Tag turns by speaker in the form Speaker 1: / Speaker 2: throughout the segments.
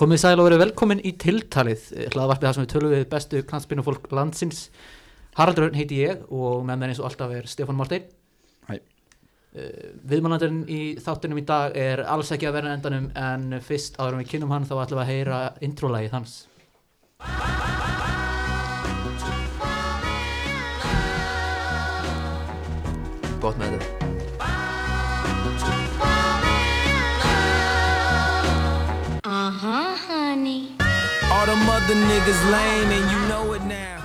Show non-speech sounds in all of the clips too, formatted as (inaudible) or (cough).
Speaker 1: Komið sæl og verið velkomin í tiltalið, eh, hlaðvarpið þar sem við tölum við bestu knallspinnu fólk landsins. Haraldur Örn heiti ég og með mér eins og alltaf er Stefán Martein.
Speaker 2: Hæ.
Speaker 1: Eh, Viðmannandurinn í þáttunum í dag er alls ekki að vera endanum en fyrst áður en við kynnum hann þá ætlum við að heyra introlægið hans.
Speaker 3: Gott með þetta
Speaker 4: Uh-huh, honey.
Speaker 5: All them other niggas lame and you know it now.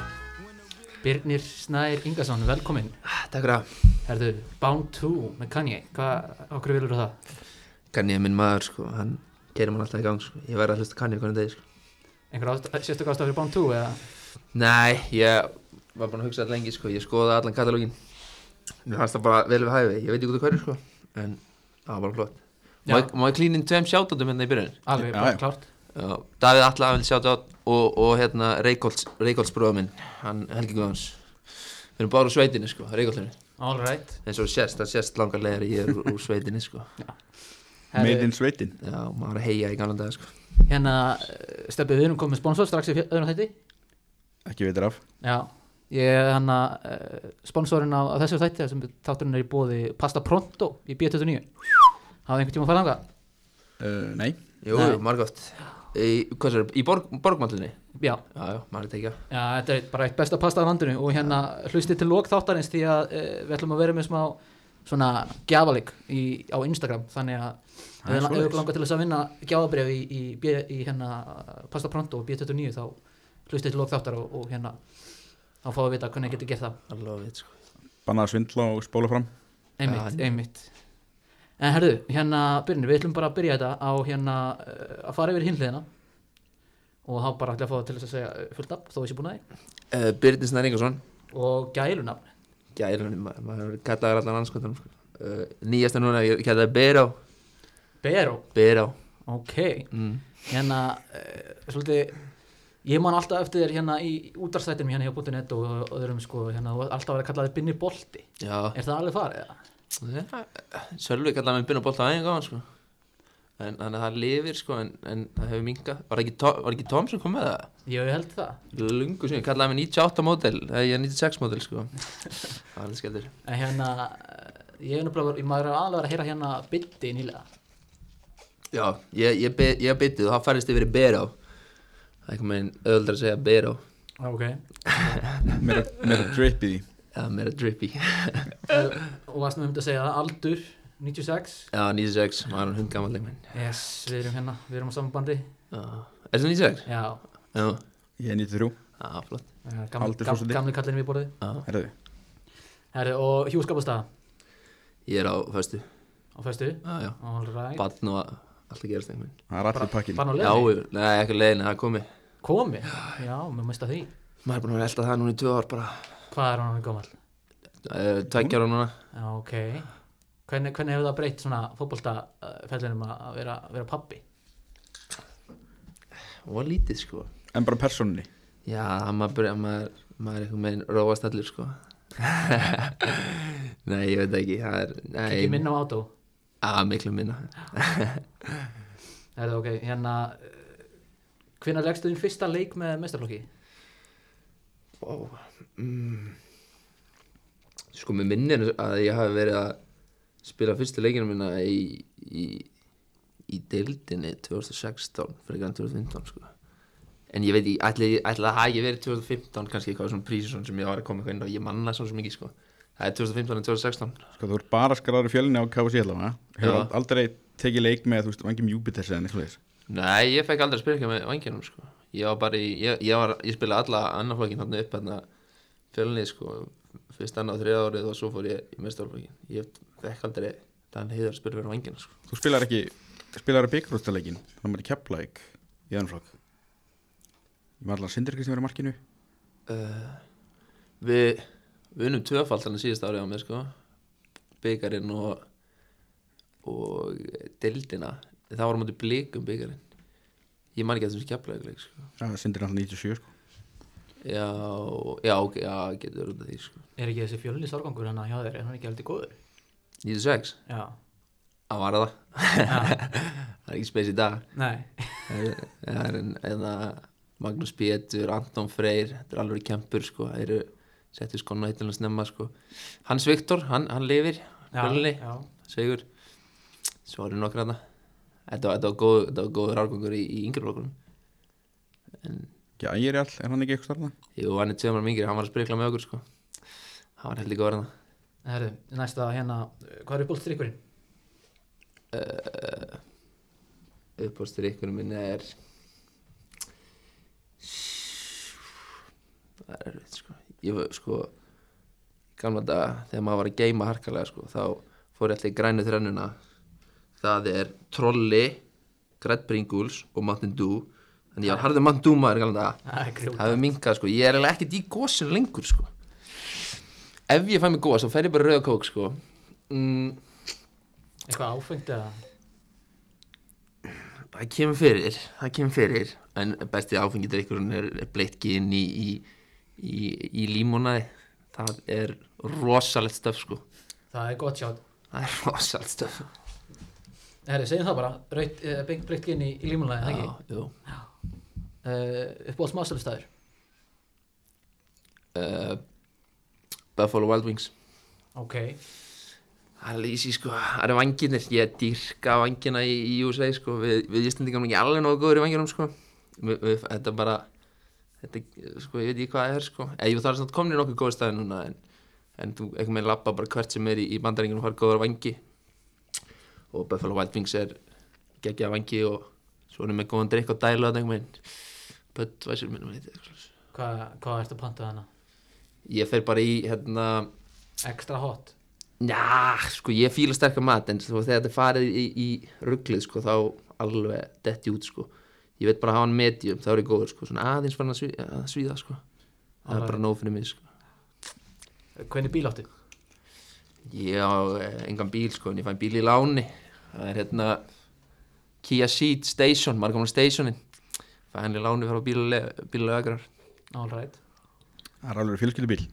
Speaker 1: Birnir Snær Ingarsson, velkomin.
Speaker 3: Takk fyrir að
Speaker 1: Herðu, Bound 2 með Kanye, hvað, okkur vilur það?
Speaker 3: Kanye er minn maður sko Hann gerir mann alltaf í gang sko Ég verði að hlusta Kanye hvernig degi sko
Speaker 1: Einhver ást, sérstaklega ástaf fyrir Bound 2 eða?
Speaker 3: Nei, ég var búinn að hugsa þetta lengi sko Ég skoða allan katalógin Mér fannst það bara vel við hæfi Ég veit ekki út af hverju sko En það var bara flott Má
Speaker 1: Já.
Speaker 3: ég- Má ég klína inn tveim sjátatum hérna í byrjun
Speaker 1: Alveg,
Speaker 2: Já,
Speaker 1: bara
Speaker 2: já.
Speaker 1: klárt.
Speaker 3: Já, Davíð Atla Afil sjátat og, og hérna Reykjólds Reykjólds bróða minn Hann Helgi Guðans Við erum bara úr sveitinni sko, Reykjóldinu
Speaker 1: All right.
Speaker 3: Eins og þú sést, það sést langar legar að ég er úr, úr sveitinni sko
Speaker 2: Made in Sveitin
Speaker 3: Já, maður er að heia í gamlan dag sko
Speaker 1: Hérna, stefið við erum komið sponsor strax í fjö- öðrum þætti
Speaker 2: Ekki veitir af
Speaker 1: Já, ég er hann að uh, sponsorinn á, á þessu þætti sem þátturinn er í bóði Pasta Pronto í B29 Hafði einhvern tíma að fara þangað?
Speaker 2: uh, Nei
Speaker 3: Jú,
Speaker 1: Nei.
Speaker 3: margótt Í, hvað sér, í borg, borgmállinni?
Speaker 1: Já,
Speaker 3: Já, já, maður er tekið á.
Speaker 1: já, þetta er bara eitt besta pasta á landinu og hérna hlustið til lok þáttarins því að uh, við ætlum að vera með smá svona gjafalik í, á Instagram þannig að ef
Speaker 2: Það er
Speaker 1: við
Speaker 2: svoleiðis.
Speaker 1: langar til þess að vinna gjafabref í, í, í, í hérna Pasta Pronto og B29 þá hlustið til lok þáttar og, og hérna þá fáum við að vita hvernig getur gert það
Speaker 3: I love it, sko
Speaker 2: Bannað að svindla og spóla fram
Speaker 1: einmitt,
Speaker 3: Já.
Speaker 1: einmitt en herðu, hérna Byrnir, við ætlum bara að byrja þetta á hérna uh, að fara yfir hinliðina og þá bara ætla að fá það til þess að segja uh, fullt af þó þessi búin að því
Speaker 3: uh, Byrnir Snær Ingersson
Speaker 1: og gælunafn
Speaker 3: Gæl, ma maður kallaði allan anskotanum sko. uh, Nýjasta núna, ég kallaði Berá
Speaker 1: Beró,
Speaker 3: Berá
Speaker 1: ok
Speaker 3: mm.
Speaker 1: hérna, uh, svolítið ég man alltaf eftir þér hérna í útarstættinum hérna hjá Bútinett og öðrum sko hérna, þú varst alltaf að vera kallaði Binni Bolti
Speaker 3: Já,
Speaker 1: er það alveg farið? eða?
Speaker 3: Eh, Sölvi kallaði mig Byrnir Bólt á aðeins gáðan, sko En þannig að það lifir, sko, en, en það hefur minga Var ekki, Tom- var ekki Tom sem kom með það?
Speaker 1: ég held það,
Speaker 3: Lungu sem, kallaði mig 98 mótel Eða ég er 96 mótel, (laughs) sko Það er skeldur
Speaker 1: en hérna eh, ég er nefnilega, ég maður er alveg að heyra hérna Bindi nýlega
Speaker 3: Já, ég, ég, be- ég byttið og það færðist yfir í Berá Það er einhvern veginn öðvöldar að segja Berá
Speaker 1: okay.
Speaker 2: Mér er- mér er drip í því
Speaker 3: eða meira drippy
Speaker 1: Eh, og varst nú um þetta að segja að aldur 96
Speaker 3: Já, 96, maður er hundgammal leikmenn
Speaker 1: yes, við erum hérna, við erum á samanbandi
Speaker 3: Já, er það 96?
Speaker 1: já, eh,
Speaker 3: Já,
Speaker 2: Ég er 93
Speaker 3: já, flott
Speaker 1: gamli,
Speaker 2: Aldur
Speaker 1: gam,
Speaker 2: forseti.
Speaker 1: gamli kallinu við borðið
Speaker 3: Já,
Speaker 2: Herðu
Speaker 1: Herri, og hjúskapastaða
Speaker 3: ég er á föstu
Speaker 1: á festu
Speaker 3: Já, já,
Speaker 1: all right
Speaker 3: bann og allt að gerast leikmenn
Speaker 2: Það er allir pakkin
Speaker 1: Bann á
Speaker 3: Já,
Speaker 1: leiðinni?
Speaker 3: ég- nei, ekki leiðin, það er komið
Speaker 1: komi, já, mér mista því
Speaker 3: Maður er búin að vera elda það núna í tvö ár bara
Speaker 1: hvað er hann gammal?
Speaker 3: Eh, Tveggja ára núna
Speaker 1: já, ok hvernig, hvernig hefur það breytt svona fótboltafellinum að vera, vera pappi?
Speaker 3: Og lítið, sko
Speaker 2: En bara persónunni
Speaker 3: Já, maður, byrja, maður, maður er einhvern veginn róast allir, sko (laughs) Nei, ég veit ekki, það er nei,
Speaker 1: ekki minna á átó
Speaker 3: Já, miklu minna
Speaker 1: Herri, ok, hérna hvernig leggstu þín fyrsta leik með mestarflokki?
Speaker 3: Ó, mm. Sko, mér minnir að ég hafi verið að spila fyrstu leikina mína í, í, í deildinni 2016 frekar en 2015, sko En ég veit, ég ætli, ætli að það hafi verið 2015 kannski eitthvað svona prísisson sem ég var að koma eitthvað inn á Ég manna svo sem ekki, sko Það er 2015 en 2016
Speaker 2: Sko þú ert bara skráður í fjölinni á KFC allavega Hefur
Speaker 3: Já.
Speaker 2: al- aldrei tekið leik með þú veist vangjum Júpiters eða neitt slúðis
Speaker 3: Nei, ég fekk aldrei að spila ekki með vanginum sko. Ég var bara í, ég, ég, var, ég spilaði alla annarflokkin þarna upp hérna fjölnið sko, fyrst annað og þriða árið og svo fór ég í mestarflokkin. Ég fekk aldrei þann heiðar að spila með vanginum sko.
Speaker 2: Þú spilar ekki Spilar að byggrústaleikin Þannig að maður er keplæk Í öðrum flokk Ég var allavega Sindri Kristján verið markinu
Speaker 3: Uh, við við unnum tvöfald þannig síðust árið á mig sko, byggarinn og, og deildina. Það var á móti blikum byggarinn. Ég man ekki að þessum skjaflega sko.
Speaker 2: Já, Sindri er alltaf 97 sko
Speaker 3: Já, já, ok, já, getur verið út af því sko.
Speaker 1: er ekki þessi fjölni sorgangur hérna hjá þér er hann ekki heldur góður?
Speaker 3: 96,
Speaker 1: já
Speaker 3: að vara það.
Speaker 1: Já,
Speaker 3: (laughs) Það er ekki spes í dag
Speaker 1: nei
Speaker 3: en, eða Magnús Pétur, Anton Freyr þetta er alveg kempur sko þeir eru settu skona eitt alveg snemma sko Hans Viktor, hann, hann lifir Fjölni,
Speaker 1: já.
Speaker 3: Sigur svo eru nokkra þarna þetta var, þetta var, góð, þetta var góður árgangur í, í yngri flokkunum
Speaker 2: Ekki ægir all, er hann ekki eitthvað þarna?
Speaker 3: jú, hann er tveimur yngri, hann var að sprikla með okkur sko hann var heldig góður þarna
Speaker 1: Herru, næsta hérna, eh, hvað er uppbólstrykkurinn?
Speaker 3: uppbóstur ykkur minn er það er erfitt sko ég var sko í gamla daga þegar maður var að geima harkalega sko þá fór ég alltaf í grænu þrennuna það er trolli Grætt Pringles og Mountain Dew þannig ég var harður Mountain Dew maður í gamla daga
Speaker 1: Það er grjót.
Speaker 3: það hefur minkað sko, ég er eiginlega ekkert í gósir lengur sko ef ég fæ mig góðast þá fer ég bara í rauða kók sko mm,
Speaker 1: Eitthvað áfengt eða?
Speaker 3: það kemur fyrir, það kemur fyrir en besti áfengið er, er bleitt gin í, í, í, í límónaði það er rosalegt stöf sko
Speaker 1: Það er gott sjátt.
Speaker 3: það er rosalegt stöf
Speaker 1: Herru, segjum það bara, raut, uh, beint breytt ginn í, í límunlega, það ekki?
Speaker 3: jú.
Speaker 1: Uh, uppbólst maðurstæður?
Speaker 3: Uh, Buffalo Wild Wings
Speaker 1: Ok,
Speaker 3: það er lísi sko, það eru vanginir ég dýrka vangina í, í USA sko við, við Íslandingum erum ekki alveg nógu góður í vanginum sko við, við, þetta er bara þetta, sko, ég veit ekki hvað það er sko eða það er svona komin í nokkuð góð staði núna en, en þú einhvern veginn lappa bara hvert sem er í, í bandaringunum og fara góður vangi og Buffalo Wild Wings er geggja vangi og svo erum við góðan drikk og dælu að einhvern veginn Budweiser minnum við eitthvað svoleiðis.
Speaker 1: hvað, hvað ertu að panta þarna?
Speaker 3: ég fer bara í hérna
Speaker 1: Extra hot?
Speaker 3: Já, sko, ég fíla sterkar mat en svo, þegar þetta er farið í, í rugglið sko, þá alveg detti út sko. ég veit bara að hafa hann medium þá er ég góður, sko, svona aðeins fann að, sví, að svíða sko. það er
Speaker 1: Alright.
Speaker 3: bara nóg fyrir mig sko.
Speaker 1: Hvernig bíl áttu?
Speaker 3: ég á eh, engan bíl, sko, en ég fæn bíl í láni það er hérna Kia Ceed Station, maður komin á stationin fæ hann í láni frá bílulega akrar
Speaker 1: All right.
Speaker 2: Það er alveg fjölskyldubíl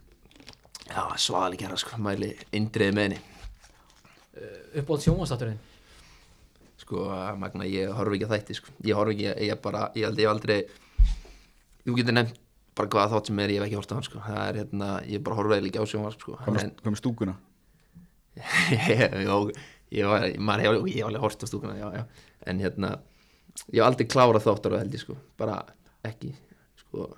Speaker 3: já, svaðalega gera, sko, mæli indriði með henni
Speaker 1: Uppbólst sjónvastátturinn?
Speaker 3: sko, magna, ég horf ekki að þætti sko. ég horf ekki, ég bara, ég held ég hef aldrei þú getur nefnt bara hvaða þátt sem er, ég hef ekki hort á hann sko. það er hérna, ég bara horfa eða ekki á sjónvarp sko.
Speaker 2: Hvað
Speaker 3: en, (laughs)
Speaker 2: með- hvað með stúkuna?
Speaker 3: já, ég var, maður hefur, ég hef alveg hort á stúkuna já, já, en hérna ég hef aldrei klárað þáttar og held ég sko bara ekki, sko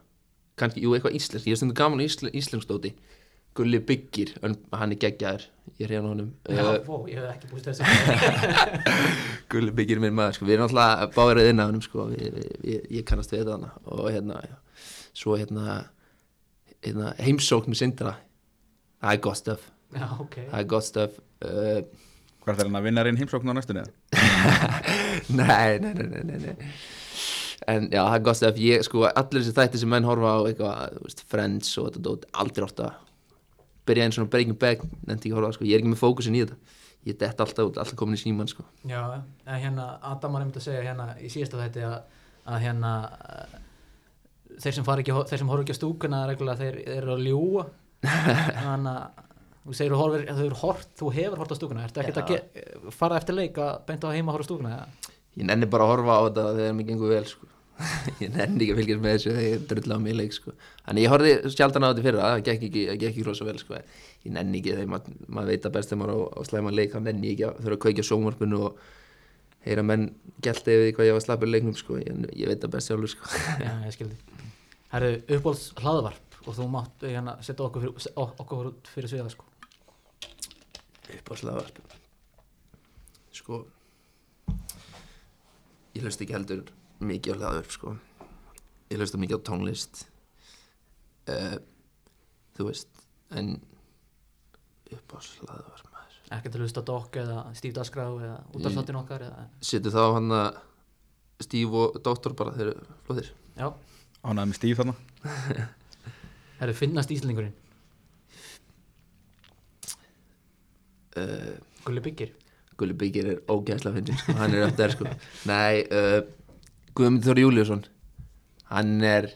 Speaker 3: kannski, jú, eitthvað íslensk, ég hef stundu gaman á ísl, íslenskstóti, Gulli Byggir en hann er geggjaður, ég reyna honum
Speaker 1: Já,
Speaker 3: Eh,
Speaker 1: vó, ég hef ekki búist (laughs) þessu.
Speaker 3: Gulli byggir minn maður, sko, við erum alltaf báðir að innanum, sko, við, við, við, ég kannast við þetta hana og hérna, já. svo hérna, hérna heimsókn með Sindra, það er gott stöf,
Speaker 1: Já, ok.
Speaker 3: það er gott stöf, uh, (laughs)
Speaker 2: Hvað er hann að vinna reyn heimsókn á næstunni? eða?
Speaker 3: nei, nei, nei, nei, nei, nei, en já, það er gott stöf, ég, sko, allir þessi þætti sem menn horfa á, eitthvað, þú veist, Friends og þetta dót, aldrei orta, byrja eins og Breaking Bad, nefndi ekki að horfa, á það, sko, ég er ekki með fókusin í þetta, ég dett alltaf út, alltaf komin í síman, sko,
Speaker 1: Já, en hérna, Adam var einmitt að segja hérna í síðasta þætti að, að hérna, eh, þeir sem, fara ekki, þeir sem horfa ekki á stúkuna reglulega, þeir, þeir eru að ljúa. Þannig að þú segir þú horfir, þú hefur hort, þú hefur hort á stúkuna, ertu ekkert að ge- fara eftir leik að beinta á heima að horfa á stúkuna? eða?
Speaker 3: ég nenni bara að horfa á þetta þegar mér gengur vel sko. (laughs) ég nenni ekki að fylgjast með þessu þegar ég drulla á mig í leik sko. þannig ég horfði sjaldan á þetta fyrir það gekk ekki, það gekk ekki rosa vel sko. ég nenni ekki þegar maður mað veit að best þegar maður á, á slæma leik þá nenni ég ekki að þurfa að kveikja á sjónvarpinu og heyra menn gælt yfir því hvað ég var slappur í leiknum sko. ég, ég veit að best sjálfur sko.
Speaker 1: Já, ég skildi. Það eru uppbólst hlaðvarp og þú mátt eh, hérna, setja okkur fyrir, se- ok- okkur út fyrir sviða, sko.
Speaker 3: upp á slagarp sko ég hlust ekki heldur mikið á hlaðarp sko ég hlusta mikið á tónlist uh, þú veist en upp á slagarp maður
Speaker 1: Ekkert að hlusta á dokk eða Steve Dasgrau eða útastáttin okkar eða,
Speaker 3: setur þá hann að Steve og Dóttor bara þeir eru flóðir
Speaker 1: já.
Speaker 2: Ánægði með stíf þarna
Speaker 1: Það eru finnast íslendingurinn,
Speaker 3: uh,
Speaker 1: Gulli Byggir.
Speaker 3: Gulli Byggir er ógæðslega fyndin sko, hann er upp þær sko nei, uh, Guðmund Þóri Júliusson hann er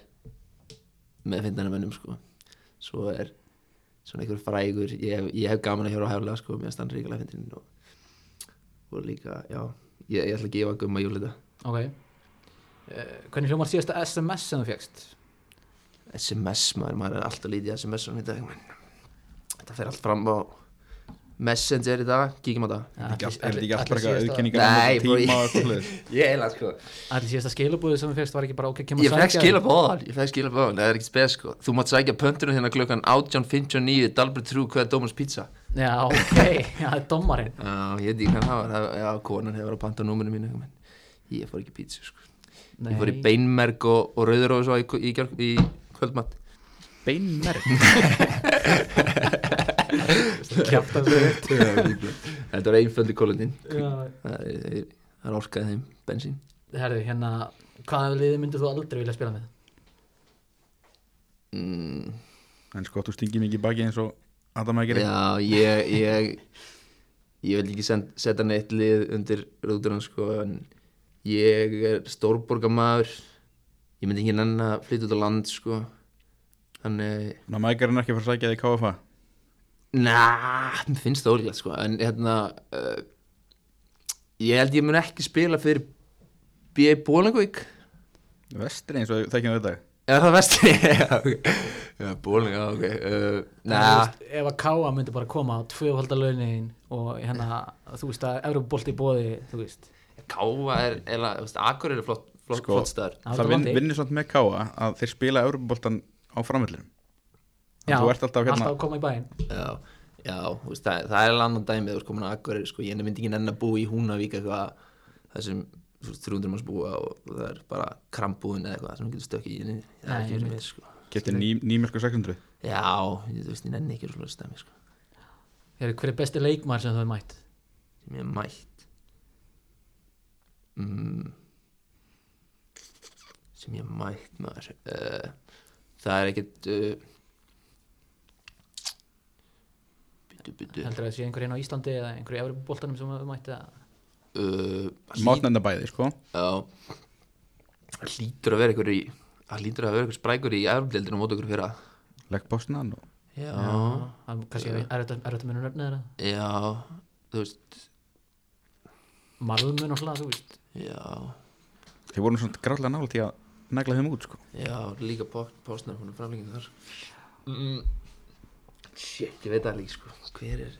Speaker 3: með fyndana mönnum sko svo er svona einhver frægur ég hef, ég hef gaman að hjóra á hefla sko mér stann ríkilega fyndin og, og líka, já ég, ég ætla að gefa Guðma Júli þetta
Speaker 1: Ok. uh, hvernig hljómar síðasta SMS sem þú fegst
Speaker 3: SMS maður, maður er alltaf lítið í SMS um í dag menn. Þetta fer allt fram á Messenger í dag, kíkjum á það
Speaker 2: Er þetta ekki allt- er þetta ekki allt bara eitthvað
Speaker 1: síðasta,
Speaker 2: auðkenningar
Speaker 3: Nei,
Speaker 2: annað
Speaker 3: bro,
Speaker 2: tíma
Speaker 3: ég-
Speaker 2: og eitthvað hlut?
Speaker 3: (laughs) Ég er alveg sko
Speaker 1: allir síðasta skilabúði sem þú fegst var ekki bara ok, kemur
Speaker 3: Ég fekk skilabóðan, ég fekk skilabóðan, það er ekkert spes sko Þú mátt sækja pöntunum hérna klukkan 18.59 Dalbert Trú, hvað er Dómars pizza?
Speaker 1: já, ok, (laughs) já, það er dommarinn
Speaker 3: Já, ég veit ekki hvað það var, það- já, konan hefur verið að panta númurinn mínu menn. Ég fór ekki í pizza sko Ég fór í beinmerg og, og rauður og svo í, í, í, í kvöldmatt
Speaker 2: Beinmerg
Speaker 1: kjátt að þetta
Speaker 3: Þetta var einföldi kólundin
Speaker 1: Já.
Speaker 3: Það er- það er orkaði þeim bensín
Speaker 1: herðu, hérna, hvaða liði myndir þú aldrei vilja spila með
Speaker 3: mm,
Speaker 2: En sko, þú stingir mikið í baki eins og Adam að gera
Speaker 3: Já, ég ég, ég vil ekki send, setja neitt lið undir rúðurinn sko, en ég er stórborgamaður ég myndi ekki nenn að flytja út á land sko. þannig
Speaker 2: Ná, mækar hann ekki að fara að sækja þig í KFA
Speaker 3: Næ, mér finnst það ólíklegt sko En hérna uh, Ég held ég mun ekki spila fyrir B.A. Bólingavík
Speaker 2: Vestri eins og þekkjum við þetta
Speaker 3: Er það vestri? (laughs) Já, ok. Já, Bólinga, ok uh, Næ,
Speaker 1: Þú veist, ef að Káa myndi bara koma á tvöfalda launin og hérna, þú veist að Evrópubolti bóði, þú veist
Speaker 3: Káa er, eða, þú veist, Akur er flott, flott,
Speaker 2: Sko,
Speaker 3: flott staður
Speaker 1: Já,
Speaker 2: Það
Speaker 1: þetta
Speaker 2: vinn,
Speaker 1: vandi.
Speaker 2: vinnir samt með KFA að þeir spila Europaboltan á framvillinu
Speaker 1: Já,
Speaker 2: Þú ert alltaf hérna-
Speaker 1: að koma í bæinn
Speaker 3: Já, já, þú veist, það, það er annan dæmi þú veist, komin að Akur sko, ég myndi ekki nenn að búa í Húnavík eitthvað það sem þú veist, 300 manns búa og það er bara krambúin eða eitthvað sem þú getur stökkið í henni það
Speaker 1: Nei,
Speaker 3: er ekki verið
Speaker 1: einmitt.
Speaker 3: mér, sko
Speaker 2: Getið ný, nýmjölku 600
Speaker 3: Já, ég, þú veist, ég nenni ekki svona stæmi, sko,
Speaker 1: Heyrðu, Hver er besti leikmaður sem þú hefur mætt?
Speaker 3: sem ég er mætt. Mm. Sem ég er mætt, maður. Uh, það er ekkert... Uh, byttu, byttu.
Speaker 1: Heldur að það sé einhver hérna á Íslandi eða einhver í Evrópuboltanum sem þú hefur mætt? eða?
Speaker 3: Uh, hlýt,
Speaker 2: Mátnenda bæði, sko
Speaker 3: já, það hlýtur að vera einhver í... Það hlýtur að vera einhver sprækur í erfdeildinu mót okkur fyrir að...
Speaker 2: Legg bósnan og
Speaker 3: Já.
Speaker 1: Það er kannski er þetta munur nefnið þeirra?
Speaker 3: Já, þú veist,
Speaker 1: Malmö náttúrulega, þú veist
Speaker 3: já...
Speaker 2: Þeir voru nú svona gráðlega nála til að negla þeim út, sko
Speaker 3: Já, líka postnar, hún er framlengið þar mm. Shit, ég veit það líka sko Hver er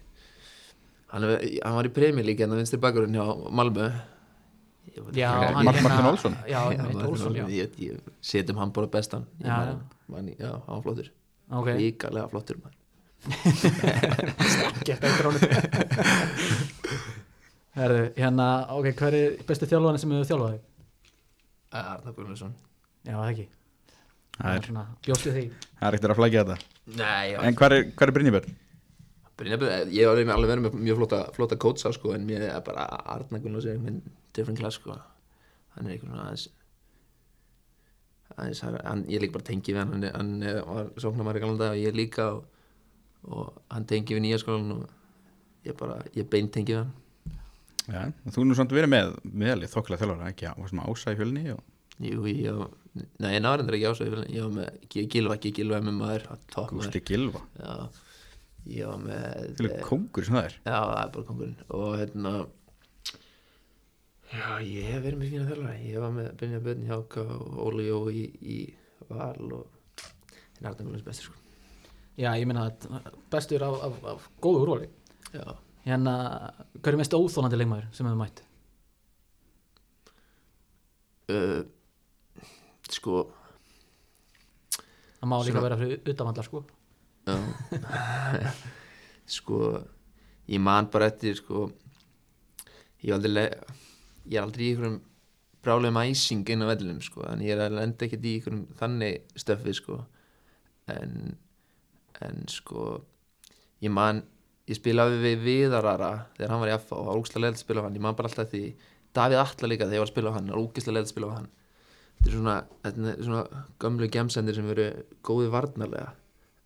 Speaker 3: Hann, er, hann var í premjör líka en það vinstri bakurinn hjá Malmö Ég veit
Speaker 1: Já,
Speaker 3: ekki-
Speaker 2: Mark-
Speaker 1: hann
Speaker 2: Mark-
Speaker 1: hérna-
Speaker 2: Martin Olsson.
Speaker 1: Já,
Speaker 3: Já,
Speaker 1: Martin
Speaker 3: Martin
Speaker 1: Olsson, já
Speaker 3: Olsson, hérna, Ég, ég setjum hann bara bestan Ég
Speaker 1: Já,
Speaker 3: man-
Speaker 1: já.
Speaker 3: man- Já, hann var flottur
Speaker 1: Ok,
Speaker 3: Ríkalega flottur man.
Speaker 1: gett eitthvað ránu (laughs) Herðu, hérna, ok, hver er besti þjálfari sem hefur þjálfaði?
Speaker 3: Arna Gunnlaugsson
Speaker 1: Já, það ekki
Speaker 2: Það er-
Speaker 1: Svona, Bjóstu því
Speaker 2: Það er ekkert að flækja þetta
Speaker 3: Nei, já
Speaker 2: En hver er, hver er Brynjabjörn?
Speaker 3: Brynjabjörn, eh, ég var alveg verið með mjög flotta, flotta kótsa sko, en mér er bara Arna Gunnars er með different class sko. hann er einhvern veginn aðeins aðeins, hann, ég líka bara tengi við hann, hann, er- hann er- var sóknarmæri galanda og ég líka og, og hann tengi við nýja skólan og ég bara, ég beint tengi við hann
Speaker 2: Já, og þú er nú samt verið með meðalið þokkilega þjálfara, ekki? Já, var svona ása í fjölni og
Speaker 3: jú, ég var, nei, ég náður endur ekki ásæði ég var með, ég gilva, ekki gilva með maður, topp maður
Speaker 2: Gústi Gilva
Speaker 3: já, ég var með
Speaker 2: Til
Speaker 3: eh,
Speaker 2: kongur sem það er
Speaker 3: Já, það er bara kongurinn og hérna Já, ég hef verið með fína þjálfara ég var með Brynja Björn í Háka og Óli Jó í, í Val og en Arna Gullins bestur sko
Speaker 1: Já, ég meina að bestur af, af, af góðu úrvali
Speaker 3: Já,
Speaker 1: Hérna, hver er mest óþólandi leikmaður sem hefur mætt?
Speaker 3: uh, sko
Speaker 1: Það má líka
Speaker 3: Svona-
Speaker 1: vera fyrir utanvallar, sko
Speaker 3: já. sko ég man bara eftir sko ég er aldrei le- ég er aldrei í einhverjum brálegum æsing inn á vellinum sko en ég er að lenda ekkert í einhverjum þannig stöffi sko en en sko ég man, ég spilaði við Viðarara þegar hann var í FA og það var ógæslega leðið að spila á hann ég man bara alltaf því, Davíð Atla líka þegar ég var að spila á hann, það var ógæslega leðið að spila á hann þetta er svona, þetta er svona gömlu gemsendir sem eru góði varnarlega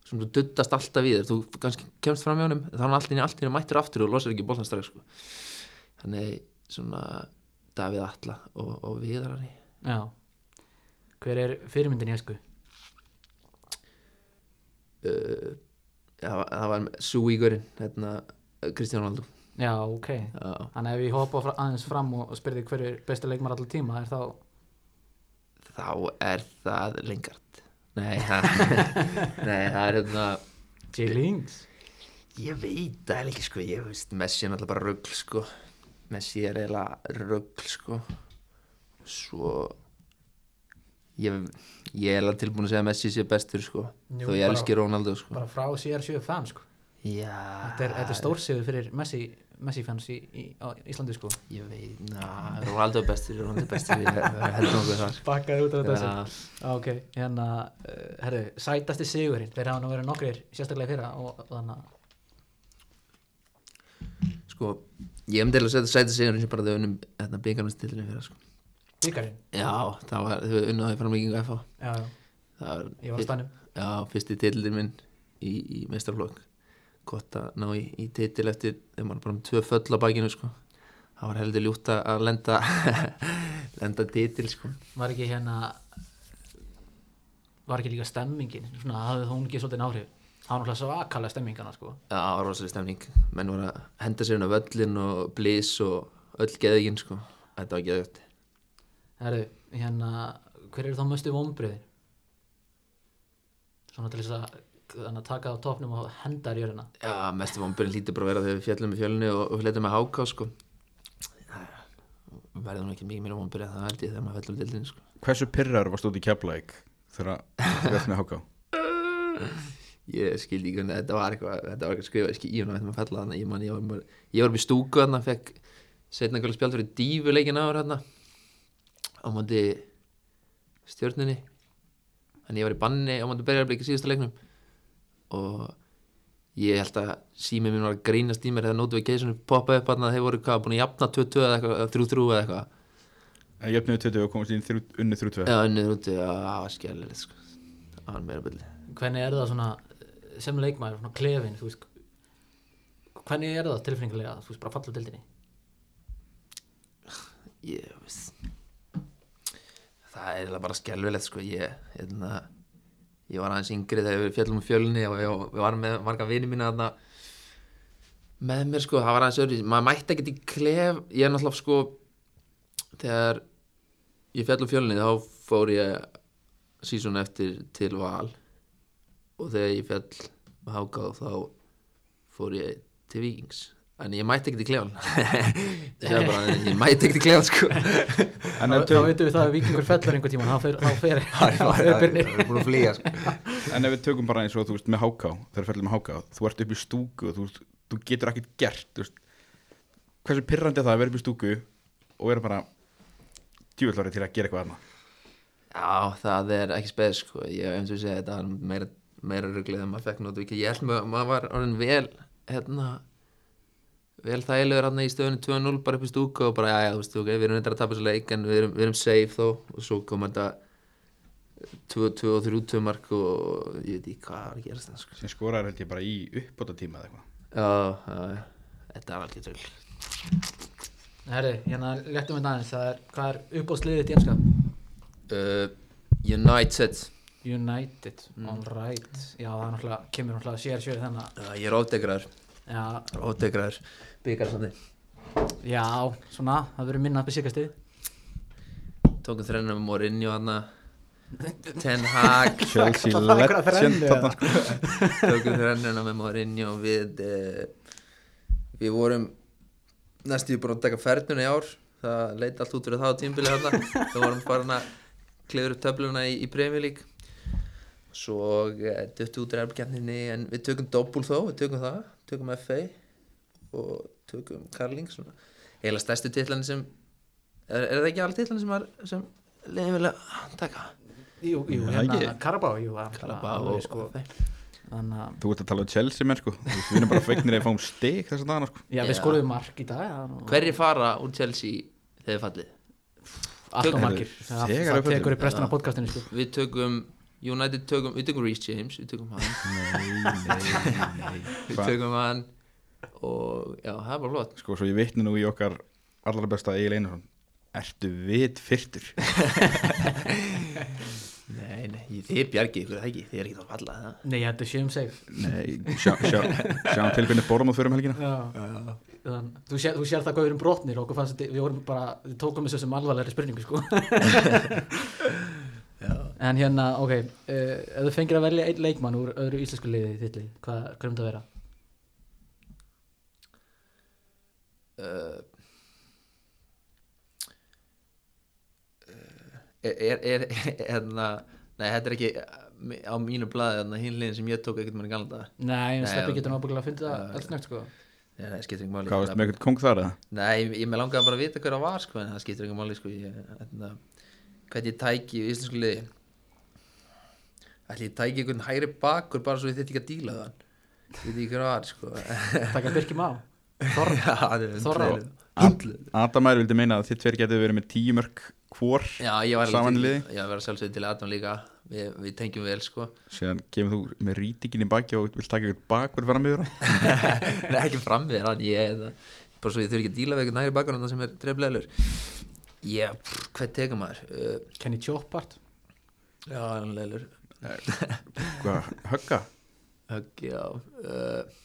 Speaker 3: sem þú duttast alltaf í þér þú kannski kemst fram í honum en þá er hann alltaf, alltaf mættur aftur og losar ekki bóltan strax sko. þannig svona Davíð Atla og, og Viðarari
Speaker 1: Já Hver er fyrirmyndin í esku?
Speaker 3: uh, það, var- það var Súígurinn, hérna Kristján Valdur
Speaker 1: Já, ok
Speaker 3: Já.
Speaker 1: Þannig ef ég hoppa fra, aðeins fram og, og spyrði hver er besti leikmaður allar tíma er þá
Speaker 3: þá er það lengart nei, það, (laughs) nei, það er hérna
Speaker 1: Jay Links
Speaker 3: ég veit það er ekki sko ég veist, Messi er náttúrulega bara rugg sko Messi er eiginlega rugg sko svo ég, ég er alveg tilbúin að segja að Messi sé bestur sko
Speaker 1: Jú,
Speaker 3: þó ég
Speaker 1: bara-
Speaker 3: elski Ronaldo sko
Speaker 1: bara frá CR7 fan sko
Speaker 3: já,
Speaker 1: þetta er, þetta er stórsigur fyrir Messi, Messi fans í, í á Íslandi sko
Speaker 3: ég veit, na, Ronaldo er bestur Ronaldo er bestur, (laughs) ég ég held nokkuð þar
Speaker 1: bakkaði út af
Speaker 3: Já.
Speaker 1: Já, ok, hérna uh, herru, sætasti sigurinn, þeir hafa nú verið nokkrir sérstaklega í fyrra og, og þannig að
Speaker 3: sko, ég hef til að setja sæti sigurinn sem bara þau hérna, unnum þetta byggarnastillinu fyrir sko
Speaker 1: byggarinn,
Speaker 3: Já, það var, þau unnaði framlíkingu FH
Speaker 1: já, já,
Speaker 3: Það var,
Speaker 1: ég var á stannum
Speaker 3: Já, fyrsti titillin minn í, í meistarflokk Gott að ná í, í titil eftir þegar maður er bara um tvö föll á bakinu sko Það var heldur ljútt að- að lenda (laughs) lenda titil sko
Speaker 1: var ekki hérna var ekki líka stemmingin svona hafði hún ekki svolítið náhrif það var náttúrulega svakalega stemmingana sko
Speaker 3: Já, það var rosalega stemning Menn voru að henda sér inn á völlin og blís og öll geðuginn sko Þetta var geðugt
Speaker 1: herru, hérna, hver eru þá möstu vonbriðin svona til þess að þannig að taka á topnum og henda í jörðina
Speaker 3: Já, mestu vonbyrðin hlýtur bara að vera þegar við fjallum í fjölunni og, og flétum með háká sko Það verður nú ekki mikið mér vonbyrðið það held ég þegar maður fellur á dildinni sko
Speaker 2: Hversu pyrrar varst út í Keflæk
Speaker 1: (laughs)
Speaker 2: þegar þú veist með háká?
Speaker 3: ég skildi ekki hvernig þetta var eitthvað þetta var eitthvað skrifað, ég skil, ég var náttúrulega að falla þarna ég, man, ég, var, bara- ég var upp í stúku þarna fekk setna eitthvað spjald fyrir dífuleikin ára þarna á móti stjörnunni þannig ég var í banni á móti berjarbliki síðasta leiknum og ég held að símið mín var að grínast í mér þegar nótum við geisunum poppaði upp þarna þeir voru hvað, búin að jafna 22 eða eitthvað, eða 33 eða eitthvað
Speaker 2: Ég öfnið 20 og komast inn þrjú, unni 32
Speaker 3: eða önnur úti, já, það var skjæðlega sko. það var meira byrli
Speaker 1: hvernig er það svona eh, sem leikmaður, svona klefin þú veist, hvernig er það tilfinningulega þú veist bara falla úr dildinni
Speaker 3: ég veist það er eiginlega bara skelvilegt sko ég, hérna, ég var aðeins yngri þegar við fjallum um fjölni og ég, ég var með marga vini mína þarna með mér sko, það var aðeins öðru maður mætti ekkert í klef, ég er náttúrulega sko þegar ég fjall um fjölni þá fór ég sísun eftir til val og þegar ég fjall með hákáð þá fór ég til vikings en ég mætti ekkert í klefan (laughs) ég, sagði bara, ég mætti ekkert í klefan sko
Speaker 2: En
Speaker 1: þá,
Speaker 2: ef
Speaker 1: þá
Speaker 2: tök-
Speaker 1: veitum við það að vikingur fellur einhver tíma þá fer, þá
Speaker 3: (laughs)
Speaker 1: fer
Speaker 3: það er búin að flýja sko.
Speaker 2: en ef við tökum bara eins og þú veist með háká þegar ferðum með háká, þú ert upp í stúku og þú, veist, þú getur ekkert gert þú veist, Hversu pyrrandi er það að vera upp í stúku og vera bara djúvillari til að gera eitthvað annað
Speaker 3: já, það er ekki spes sko. ég eins og segja þetta var meira, meira ruglið en maður fekk nót ekki, ég held maður, maður var orðin vel hérna vel þægilegur hann í stöðunni 2-0 bara upp í stúku og bara, já, já, þú veist, ok, við erum eitthvað að tapa þessu leik en við erum, við erum safe þó og svo kom þetta 2-2 og 3-2 mark og ég veit ekki hvað var að gerast það sko.
Speaker 2: sem skorar held ég bara í uppbóta tíma eða eitthvað
Speaker 3: já, já, já, þetta er alveg rugl
Speaker 1: herri, hérna léttum við aðeins það er, hvað er uppáðsliðið í enska
Speaker 3: uh, United
Speaker 1: United, all right já, það er náttúrulega, kemur náttúrulega sér sjöri þennan
Speaker 3: uh, ég er ofdegraður
Speaker 1: já,
Speaker 3: ofdegraður byggar sannig
Speaker 1: já, svona, það verður minna upp í síkastið
Speaker 3: tókum þrenna með Mourinho hana Ten Hag
Speaker 2: Chelsea
Speaker 1: Það er eitthvað að
Speaker 2: legend
Speaker 1: þrennu, eða?
Speaker 2: þarna sko
Speaker 3: tókum þrenna með Mourinho við uh, við vorum næstu búin að taka fernuna í ár það leita allt út fyrir það á tímbili hana við vorum farin að klifur upp töfluna í, í Premier League svo uh, duttu út reyfgjarninni en við tökum doppul þó, við tökum það tökum FA og tökum Karling svona, eiginlega stærstu titlan sem er, er það ekki alveg titlan sem, er- sem leiðin vilja taka
Speaker 1: jú, jú,
Speaker 2: Það
Speaker 1: hérna,
Speaker 2: ekki.
Speaker 1: Karabá jú, það er
Speaker 3: Karabá
Speaker 1: alveg,
Speaker 3: og-
Speaker 1: sko,
Speaker 3: og þeim.
Speaker 1: þannig að
Speaker 2: Þú ert að tala um Chelsea menn sko Þú veist, Við erum bara feignir að fáum stig þess að dana sko
Speaker 1: Já, við
Speaker 3: Já.
Speaker 1: skoruðum mark í dag já, og-
Speaker 3: Hverri fara úr Chelsea þegar þeir fallið?
Speaker 1: Allt og
Speaker 2: Herru,
Speaker 1: margir Það
Speaker 2: þegar
Speaker 1: það
Speaker 2: upp öllum.
Speaker 1: tekur upp restina af podcastinu sko.
Speaker 3: Við tökum United tökum, við tökum Reece James við tökum (laughs) hann, við
Speaker 2: Hva-
Speaker 3: tökum hann og já, það er bara flott
Speaker 2: Sko svo ég vitni nú í okkar allra besta Egil Einarsson Ertu vit fyrtur
Speaker 3: Nei, nei, þið bjargið ykkur það ekki þið er ekki að falla það
Speaker 1: Nei, ég hættu sjöum seg
Speaker 2: Nei, sjá, sjá, sjá til hvernig borum að fyrir um helgina
Speaker 1: Þann, Þú sér þú sér það hvað við erum brotnir og okkur fannst þetta, við vorum bara, við tókum þessu sem alvarlegri spurningu sko En hérna, ok, uh, ef þú fengir að velja einn leikmann úr öðru íslensku liði í þitt lið, hvað, hvað er um það að vera?
Speaker 3: Eh, eh, er, er, er, hérna nei, þetta er ekki eh, á mínu blaði hérna hinlegin sem ég tók ekkert mann í galda
Speaker 1: Nei, en
Speaker 3: Nei,
Speaker 1: Steppi
Speaker 3: ok.
Speaker 1: getur náttúrulega að finna
Speaker 3: Já,
Speaker 1: það allt snögt, sko.
Speaker 3: nei, nei, skiptir ekki máli
Speaker 2: Hvað varst með eitthvað kong þar eða?
Speaker 3: nei, ég, ég með langaði bara að vita hver það var sko, en það skiptir ekki máli sko, ég, hérna, hvernig ég tæki í íslensku liði ætli ég tæki einhvern hægri bakur bara svo ég þetta ekki að díla þann ég veit ekki hver það var sko
Speaker 1: Takk að byrkjum á.
Speaker 3: (laughs) Þorra,
Speaker 1: Þorra.
Speaker 3: hundlu
Speaker 2: Adamær vildi meina að þið tveir getið verið með tíu mörg hvor
Speaker 3: Já, ég var
Speaker 2: saman í liði
Speaker 3: til, já, ég var sjálfsögði til Adam líka við, við tengjum vel sko (laughs)
Speaker 2: síðan kemur þú með rýtingin í baki og vilt taka eitthvað bakverð fram yfir á
Speaker 3: Nei, ekki fram við hann ég er það bara svo ég þurfi ekki að díla við eitthvað næri bakgrunna sem er treflegalur ég, pff, hvað tekur maður uh,
Speaker 1: Kenny Chopart.
Speaker 3: já, hann leilur
Speaker 2: Hvað, högga?
Speaker 3: högg, já uh,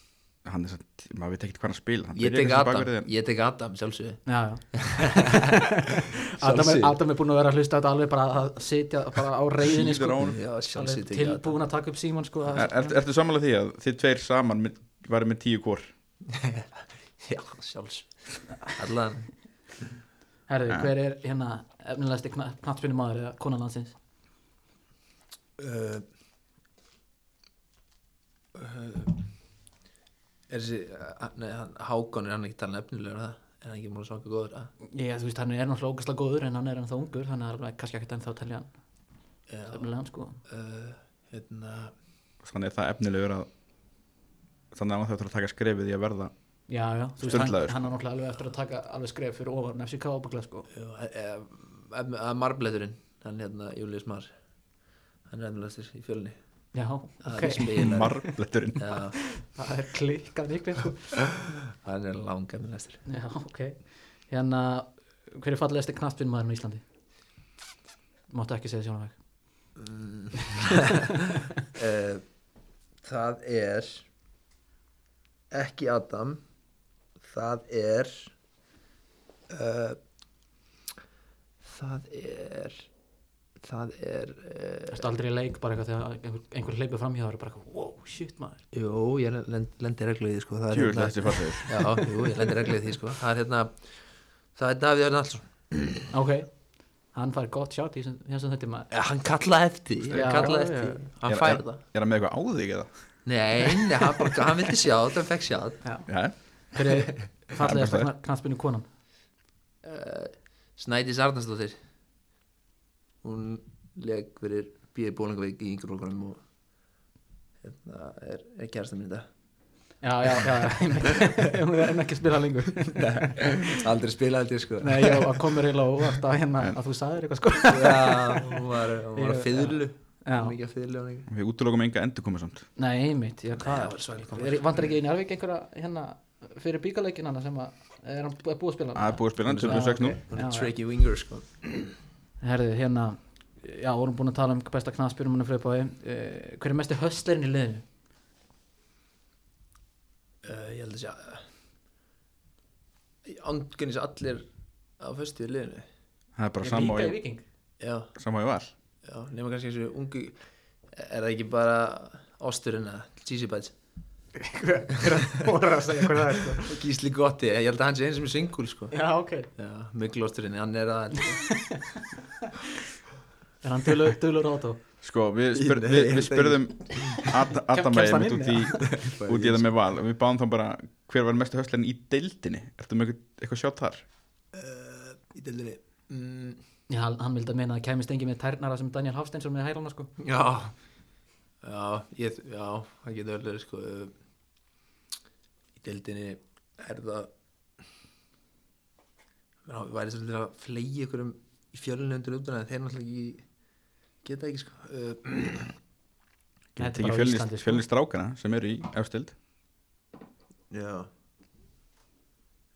Speaker 2: Hann er satt, maður veit ekkert hvað hann spila hann
Speaker 3: ég
Speaker 2: byrjar
Speaker 3: tek
Speaker 2: sem
Speaker 3: Adam,
Speaker 2: bakverðið en-
Speaker 3: ég tek Adam sjálfsögði
Speaker 1: Já, (laughs) já. Adam, er, Adam er búin að vera að hlusta á þetta alveg bara að sitja bara á reyðinni,
Speaker 2: Sýður á
Speaker 1: sko.
Speaker 2: honum.
Speaker 3: já,
Speaker 1: Hann er
Speaker 3: sjálfsögði tek ég Adam
Speaker 1: tilbúin að taka upp Simon, sko.
Speaker 2: Er- er- Ertu samanlega því að þið tveir saman mynd- væri með tíu hvor?
Speaker 3: já, sjálfsögði allan,
Speaker 1: Herðu, hver er hérna efnilegasti knattspinni maður eða konan landsins?
Speaker 3: uh, uh, er þessi uh, nei, hann, Hákon er hann ekki talað efnilegur er það, er hann ekki múin að svaka góður að
Speaker 1: Já, þú veist, hann er náttúrulega ógæslega góður en hann er ennþá ungur, þannig að það er kannski ekkert ennþá að telja hann
Speaker 3: Já.
Speaker 1: efnilegan, sko.
Speaker 3: uh, hérna
Speaker 2: Þannig er það efnilegur að þannig að hann þarf að taka skrefið í að verða
Speaker 1: Já, já, þú veist, hann,
Speaker 2: Sturlaður.
Speaker 1: hann er náttúrulega alveg eftir að taka alveg skref fyrir ofan FCK ábygglega, sko.
Speaker 3: eh, að eh, marbleturinn hann hérna Július Mar hann er ennlastur í fjölni
Speaker 1: Já,
Speaker 3: hann
Speaker 1: ok,
Speaker 3: er spilar
Speaker 2: marbletturinn
Speaker 3: Já,
Speaker 1: það er klikkað nýklið, sko.
Speaker 3: hann er langa ennlastur
Speaker 1: Já, ok. Hérna, hver er fallegasti knattspinni maðurinn á Íslandi? Máttu ekki segja sjónaveg.
Speaker 3: uh, það er ekki Adam það er uh, það er það er uh,
Speaker 1: Erstu aldrei í leik bara eitthvað þegar einhver, einhver leipur framhjá þér og bara eitthvað, wow, shit maður.
Speaker 3: jú, ég lend, lendi reglu í því sko það er
Speaker 2: Tjúvill þessi farlegur
Speaker 3: (laughs) já, jú, ég lendi reglu í því sko það er hérna það er Davíð Örn Allsson
Speaker 1: Ok, hann fær gott sjátt í þessum þessum þetta maður.
Speaker 3: Ja, hann kallaði eftir,
Speaker 1: Já,
Speaker 3: hann kallaði
Speaker 1: já.
Speaker 3: eftir hann
Speaker 2: Er-
Speaker 3: fær
Speaker 2: er-
Speaker 3: það
Speaker 2: Er hann með eitthvað á þig eða?
Speaker 3: nei, nei, hann, bara, hann vildi sjá það, hann fekk sjá það
Speaker 2: Já,
Speaker 1: Hver er fallegasta
Speaker 2: Hann er
Speaker 1: knattspinni konan?
Speaker 3: Snædís Arnarsdóttir hún leg fyrir býði bólingavík í yngur okkurum og hérna er, er kærasta mín í dag
Speaker 1: Já, já, já, já, einmitt. (laughs) hún er enn ekki að spila lengur
Speaker 3: aldrei spila aldrei sko
Speaker 1: Nei, já, að komur eiginlega óvart að hérna að þú sagðir eitthvað sko
Speaker 3: Já, hún var, hún var
Speaker 1: Ég-
Speaker 3: að fiðlu
Speaker 1: Já.
Speaker 3: hún var ekki að fiðlu hún ekki
Speaker 2: við útlökum enga endurkomu samt
Speaker 1: (laughs) Nei, einmitt, já, hvað er Vandar ekki í Njárvík einhverja hérna fyrir bíkaleikin hana sem að er hann búið búið að spila
Speaker 2: Það er
Speaker 1: hana?
Speaker 2: búið að spila hann 26 nú
Speaker 3: hún
Speaker 1: Já,
Speaker 3: er
Speaker 1: já.
Speaker 3: tricky winger sko
Speaker 1: Herðu, hérna, já, vorum búin að tala um besta knaspyrum hann er fyrir bóði uh, Hver er mesti höstlerinn í liðinu?
Speaker 3: uh, ég held að sjá andgjönis allir á föstu í liðinu
Speaker 2: Það er bara
Speaker 1: Ég
Speaker 2: sama
Speaker 1: líka
Speaker 2: og
Speaker 1: í (laughs)
Speaker 2: ég-
Speaker 1: Viking
Speaker 3: já
Speaker 2: sama og ég var
Speaker 3: Já, nema kannski þessu ungu Er það ekki bara Osturinn að Cheesy Bites
Speaker 1: Bóra að segja hver það er sko
Speaker 3: Gísli Gotti, ég held að hann sé einn sem er singul sko
Speaker 1: (laughs) Já, ok
Speaker 3: Já, miklu Osturinn, hann er að
Speaker 1: Er hann dulur, dulur átó?
Speaker 2: Sko, við, spyr,
Speaker 3: Nei,
Speaker 2: við,
Speaker 3: ég
Speaker 2: við
Speaker 3: held
Speaker 2: spurðum Ad- Adam
Speaker 1: Kemst hann
Speaker 2: Bæði
Speaker 1: inn,
Speaker 2: út í út í það með val og við báðum þá bara hver var mestu höstlinn í deildinni Ertu með eitthvað- eitthvað sjátt þar?
Speaker 3: Eh, Í deildinni mm,
Speaker 1: Já, hann hann vildi að meina að kæmist engin með tærnara sem Daniel Hafsteinsson með hælana sko
Speaker 3: Já Já, ég, já, það getur vel verið sko Í deildinni er það Já, við væri svolítið að flegi ykkur um í fjölunundur uppdana þeir náttúrulega ekki geta ekki sko uh,
Speaker 1: Þetta er
Speaker 2: Tekið
Speaker 1: bara á
Speaker 2: fjölnist,
Speaker 1: Íslandi, sko.
Speaker 2: fjölnist strákana sem eru í efstild
Speaker 3: Já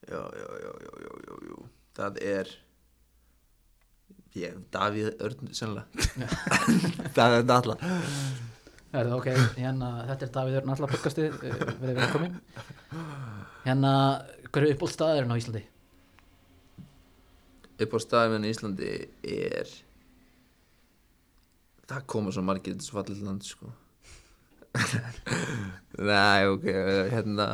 Speaker 3: Já, já, já, já, já, já, já. Það er ég, Davíð Örn sennilega Það er Nalla
Speaker 1: Herðu, ok, hérna, þetta er Davíð Örn Alla podcastið, eh, verið (laughs) velkomin Hérna, hver er uppbólt staðurinn á Íslandi?
Speaker 3: Upp á staðmenn í Íslandi er það koma svo margir til svo fallið land sko (laughs) Nei, ok, hérna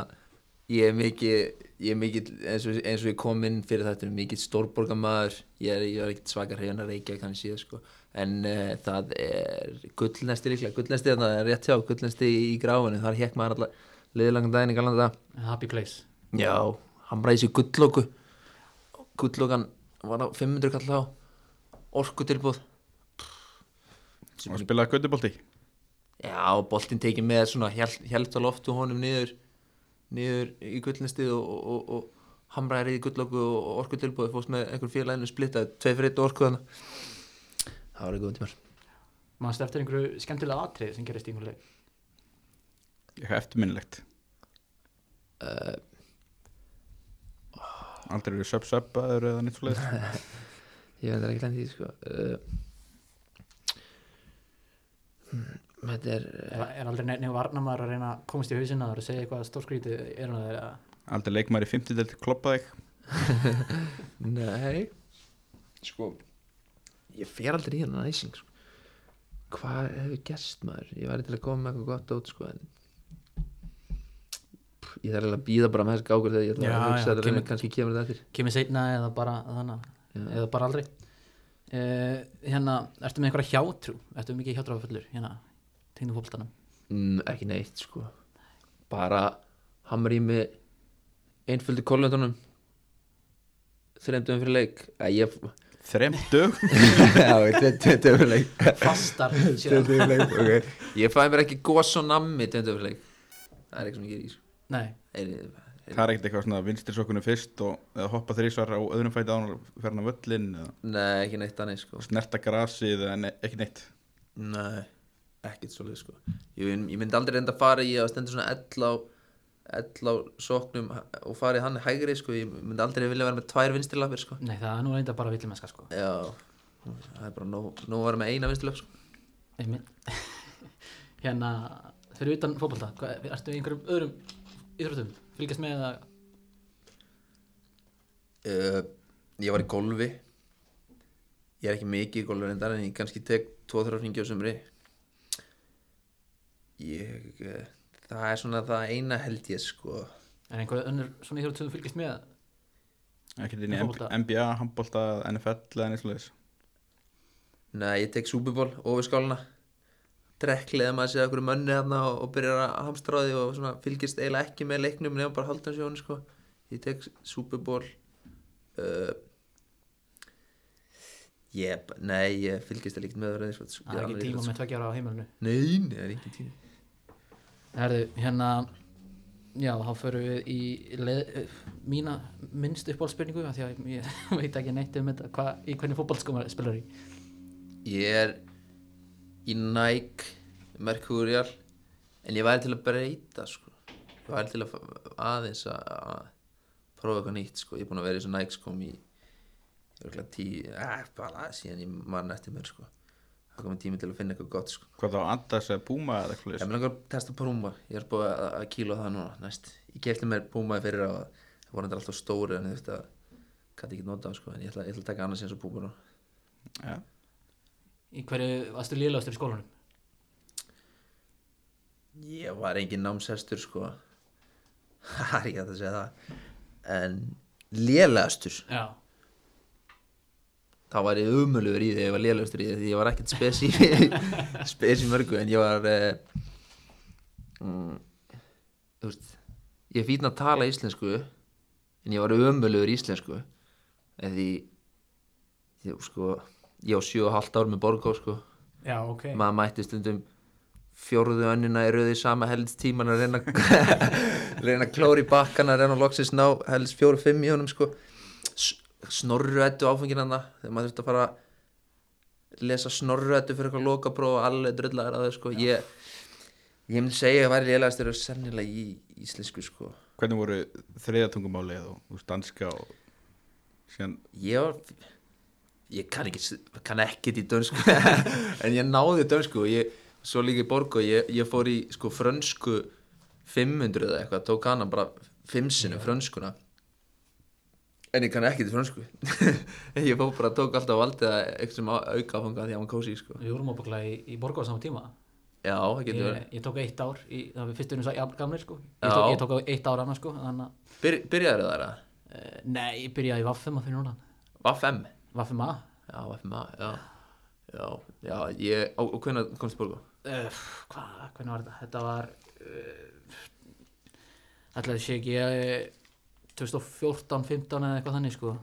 Speaker 3: ég er mikið, ég er mikið eins, og, eins og ég kom inn fyrir þetta mikið stórborgamaður, ég er, ég er ekkert svakar hérna reykja kannski síðan sko en uh, það er gullnesti líklega gullnesti þarna er rétt hjá, gullnesti í gráinu þar hekk maður alltaf liðlangan daginn í galanda dag
Speaker 1: Happy place
Speaker 3: Já, hann ræði sér gullóku Gullókan var á 500 kall á orku tilbúð
Speaker 2: og spilaði göttubolti
Speaker 3: Já, boltinn tekið með svona hjælt á loftu honum niður niður í gullnestið og, og, og, og hamraði reyði gullóku og orku tilbúð fórst með einhver félaginu splittaði tvei fyrir eitt orku þannig Það var eitthvað tímar
Speaker 1: Manstu eftir einhverju skemmtilega atrið sem gerist í einhverju leik
Speaker 2: eitthvað eftirminnilegt aldrei eru sub-subaður eða neitt svo leiðist
Speaker 3: Ég veit það ekki lenni því sko uh, hmm, Þetta er
Speaker 1: Er, er aldrei nefnir varnamaður að reyna að komast í hausinn á þér og segja eitthvað stórskrítið er hann að þeirra
Speaker 2: aldrei leikmaður í 50 delt kloppaði
Speaker 3: Nei Sko Ég fer aldrei í hennan æsing sko. Hvað hefur gerst maður? Ég væri til að koma með eitthvað gott út sko, en... Pff, Ég þarf eiginlega að býða bara með þessi gákur þegar ég ætla
Speaker 1: Já,
Speaker 3: að
Speaker 1: já,
Speaker 3: hugsa þetta
Speaker 1: kemur-
Speaker 3: kemur... kannski kemur þetta eftir
Speaker 1: kemur seinna eða bara þannig, eða bara aldrei uh, hérna, ertu með einhverja hjátrú ertu mikið hjátrúafullur hérna, tengdum fólkstanum
Speaker 3: mm, Ekki neitt sko Bara hamri í mig einföldu kollendunum þreymdum fyrir leik Æ, ég...
Speaker 2: þrem dög
Speaker 3: (laughs) Já, þetta er leik
Speaker 1: (laughs)
Speaker 3: (laughs)
Speaker 1: fastar síðan.
Speaker 3: Tveimtugurleik, ok. Ég fæði mér ekki gos og nammi tveimtugurleik Það er ekki sem ég sko. gerir
Speaker 1: nei,
Speaker 3: Nei,
Speaker 2: það er ekkert eitthvað svona vinstri sokkunum fyrst og eða hoppa þrísvar á öðrum fæti án og fer hann að völlin eða
Speaker 3: nei ekki neitt annað sko.
Speaker 2: snerta grasið eða ne ekki neitt
Speaker 3: Nei, ekkert svolítið sko. ég, vin- ég myndi aldrei reynda að fara í að stenda svona ell á ell á sóknum og fara í hann hægri sko. Ég myndi aldrei vilja vera með tvær vinstrilafir sko.
Speaker 1: nei, það er nú reynda bara villimenska sko
Speaker 3: Já, það er bara nóg, nóg að vera með eina vinstrilaf sko.
Speaker 1: Einmitt. (laughs) hérna, fyrir utan fótbolta hvað- ertu í einhverjum öðrum íþróttum fylgjast með að
Speaker 3: uh, Ég var í golfi Ég er ekki mikið í golfi reyndar en ég kannski tek 2-3 ringi á sumri Ég uh, Það er svona það eina held ég sko
Speaker 1: er einhverju önnur svona íþrótt sem þú fylgjast með
Speaker 2: ekkert inn í
Speaker 1: Fótbolta.
Speaker 2: NBA, handbolta, NFL eða neitt svo leiðis
Speaker 3: Nei, ég tek Superból ofur skálana drekklega maður séð okkur mönni þarna og, og byrjar að hamstra á því og svona fylgist eiginlega ekki með leiknum nefnum bara haldan sér honum sko ég tek Superból uh, ég, nei, ég fylgist það líkt með það sko.
Speaker 1: það er ekki tíma með tveggja ára á heimilinu
Speaker 3: Nei, nei, það er ekki tíma
Speaker 1: Herðu, hérna Já, þá förum við í leð, mína minnst uppbólspurningu af því að ég (laughs) veit ekki neitt um þetta hva, í hvernig fótballskóma spilar í
Speaker 3: Ég er í Nike Mercurial en ég væri til að breyta sko. ég væri til að fa- aðeins að- að prófa eitthvað nýtt sko. ég er búin að vera í þessu Nike skom í örgulega tíu, eh, bara síðan ég mann eftir mér sko. það komið tími til að finna eitthvað gott sko.
Speaker 2: hvað þá Adidas eða Puma eða eitthvað
Speaker 3: ég
Speaker 2: leiðis
Speaker 3: vil langar að testa Puma ég er búin að, að kíla það núna næst. ég kefti mér Puma í fyrir á það voru þetta alltaf stóri en þetta gæti ekki nota sko. en ég ætla, ég ætla að taka annars eins og Puma núna
Speaker 2: ja.
Speaker 1: Í hverju varstu liðlegastur í skólanum?
Speaker 3: Ég var engin námshestur sko (laughs) Það er ekki hægt að segja það En lélegastur
Speaker 1: Já,
Speaker 3: Þá var ég umöluður í því að ég var lélegastur í því Því ég var ekkert spes í (laughs) Spes í mörgu en ég var uh, mm, Þú veist Ég er fín að tala íslensku En ég var umöluður í íslensku En því Ég sko Ég á sjö og halvt ár með Borgó sko
Speaker 1: já, ok
Speaker 3: maður mætti stundum fjórðu önnina í röði sama helst tíman að reyna reyna (laughs) að klóra í bakkana reyna að loksins ná helst fjóru fimm í honum sko. S- snorru ettu áfengin hann þegar maður þurfti að fara að lesa snorru ettu fyrir eitthvað lokapróf og alveg drullar að það sko. ég, ég myndi segja að ég væri lélegast þegar sennilega í íslensku sko.
Speaker 2: hvernig voru þriðatungumáli eða þú veist, danska og síðan
Speaker 3: ég var ég kann ekki kann ekkit í dönsku (laughs) en ég náði dönsku og ég svo líka í borg og ég, ég fór í sko frönsku 500 eða eitthvað tók hana bara fimm sinni frönskuna En ég kann ekki til frönsku (laughs) Ég fór bara tók alltaf valdið að eitthvað sem auka áfanga því að hann kósi sko.
Speaker 1: Við vorum ábygglega í, í borgu á sama tíma
Speaker 3: Já, það getur
Speaker 1: ég,
Speaker 3: verið
Speaker 1: ég tók eitt ár í, það var fyrst unum svo gamlir sko ég
Speaker 3: Já.
Speaker 1: tók, ég tók á eitt ár annars sko þannig að
Speaker 3: Byr, Byrjaður það það?
Speaker 1: eh, nei, ég byrjaði í Vaffema fyrir núna
Speaker 3: Vaff-M
Speaker 1: Vaffema
Speaker 3: Já, Vaff-M, já Já, já, ég, og, og hvernig komst þið borgu?
Speaker 1: uh, hvað, hvernig var þetta þetta var uh, ætlaði sé ekki eh, ég 2014-15 eða eitthvað þannig sko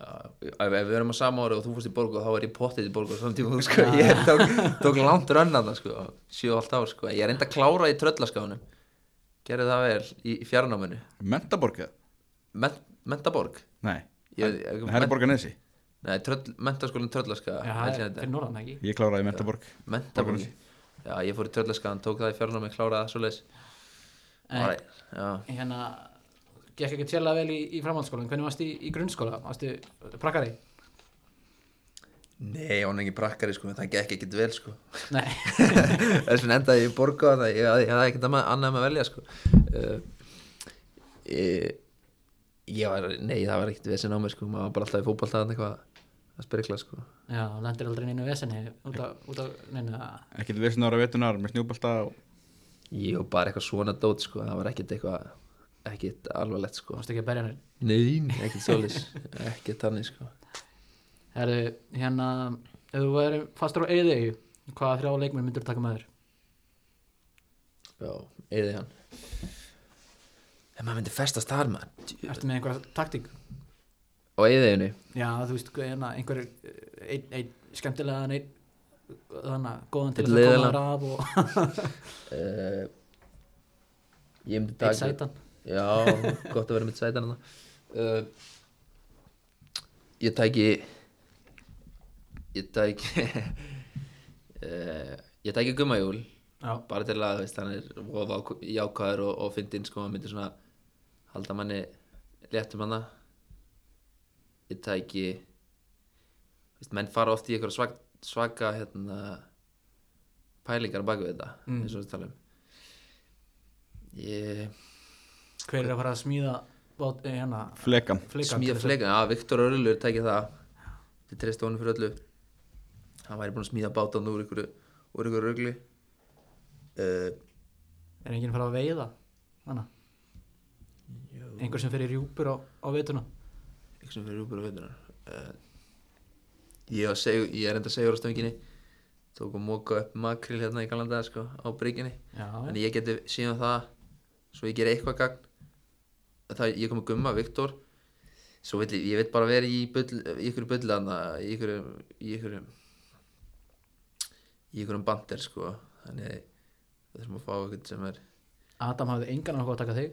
Speaker 3: Já, ef ef við erum á sama ári og þú fórst í borgu þá er ég pottið í borgu á saman tíma sko. ég tók, tók langt rönnan það sko, sjö og allt ár sko. ég reyndi að klára í tröllaskáðunum gerði það vel í, í fjarnáminu
Speaker 2: Mentaborgið?
Speaker 3: Ment, mentaborg
Speaker 2: Nei,
Speaker 3: ég, ég,
Speaker 2: Herborganesi
Speaker 3: nei, tröll, mentaskólinn tröllaska
Speaker 1: já, það er Eh, fyrir norðan ekki
Speaker 2: Ég kláraði Mentaborg
Speaker 3: mentaborg hérna. já, ég fór í tröllaskaðan, tók það í fjarnámi kláraði það svoleiðis
Speaker 1: En-
Speaker 3: Alright, já.
Speaker 1: hérna gekk ekki tjela vel í, í framhaldsskóla en hvernig varst í, í grunnskóla, varstu prakkari
Speaker 3: nei, hún er ekki prakkari sko, það gekk ekkert vel sko.
Speaker 1: (laughs) nei,
Speaker 3: þess vegna endaði ég í borga það ég ég hafði ekkert annað annað með að velja sko. uh, ég, ég var, nei það var ekkert vesen á mig sko, maður var bara alltaf í fótballta eitthvað að spyrkla sko.
Speaker 1: já, lendir aldrei neinu vesenni út af, út af neinu að-
Speaker 2: Ekki til vissin ára vetunar með snjúbalta og...
Speaker 3: ég var bara eitthvað svona dót sko, það var ekkert eitthvað ekkert alvarlegt sko.
Speaker 1: varstu ekki að berja neinu
Speaker 3: nei, ekkert svolis ekkert þannig sko.
Speaker 1: Herðu, hérna, ef þú væri fastur á eigðegi, hvaða þrjá leikmenn myndur taka með þér?
Speaker 3: já, eða hann en maður myndi festast þar maður
Speaker 1: Ertu með einhverja taktík?
Speaker 3: á eðeinu
Speaker 1: Já, þú veist, hérna, einhver, einn ein, skemmtilegan, einn, þannig að góðan til
Speaker 3: Einn
Speaker 1: þess að koma þér
Speaker 3: leiðilegan.
Speaker 1: af og
Speaker 3: (laughs) uh, ég myndi
Speaker 1: einn
Speaker 3: taka
Speaker 1: sætan.
Speaker 3: Já, gott að vera mitt sætan hann uh, Ég tæki Ég tæki (laughs) uh, Ég tæki Gummajúl
Speaker 1: Já,
Speaker 3: bara til að þú veist, hann er voða ákv- jákvæður og, og fyndinn sko, hann myndi svona halda manni léttum hann ég tæki þú veist, menn fara oft í eitthvað svag, svaka hérna, pælingar á bak við þetta
Speaker 1: Mm.
Speaker 3: eins og við tala um ég
Speaker 1: hver er að fara að smíða, bát, eh, hérna,
Speaker 2: Flekan
Speaker 1: fleikan?
Speaker 3: smíða fleika, já, Viktor Örlur tæki það við treystu honum fyrir öllu hann væri búinn að smíða bátan úr ykkur úr ykkur rugli uh,
Speaker 1: Er enginn að fara að veiða, þannig? Einhver sem fer í rjúpur á, á vituna?
Speaker 3: eitthvað sem fyrir úpur á veitunar uh, ég, var seg- ég er enda segur á stönginni tók og móka upp makril hérna í galandaði sko, á bríkinni
Speaker 1: Já,
Speaker 3: en ég geti síðan það svo ég ger eitthvað gagn það, ég kom að gumma, Viktor svo vill, ég- ég veit bara vera í, bull, í ykkur bullana í ykkur í ykkur í ykkur bandir sko þannig það þurfum að fá eitthvað sem er
Speaker 1: Adam hafði engan áhuga á að taka þig,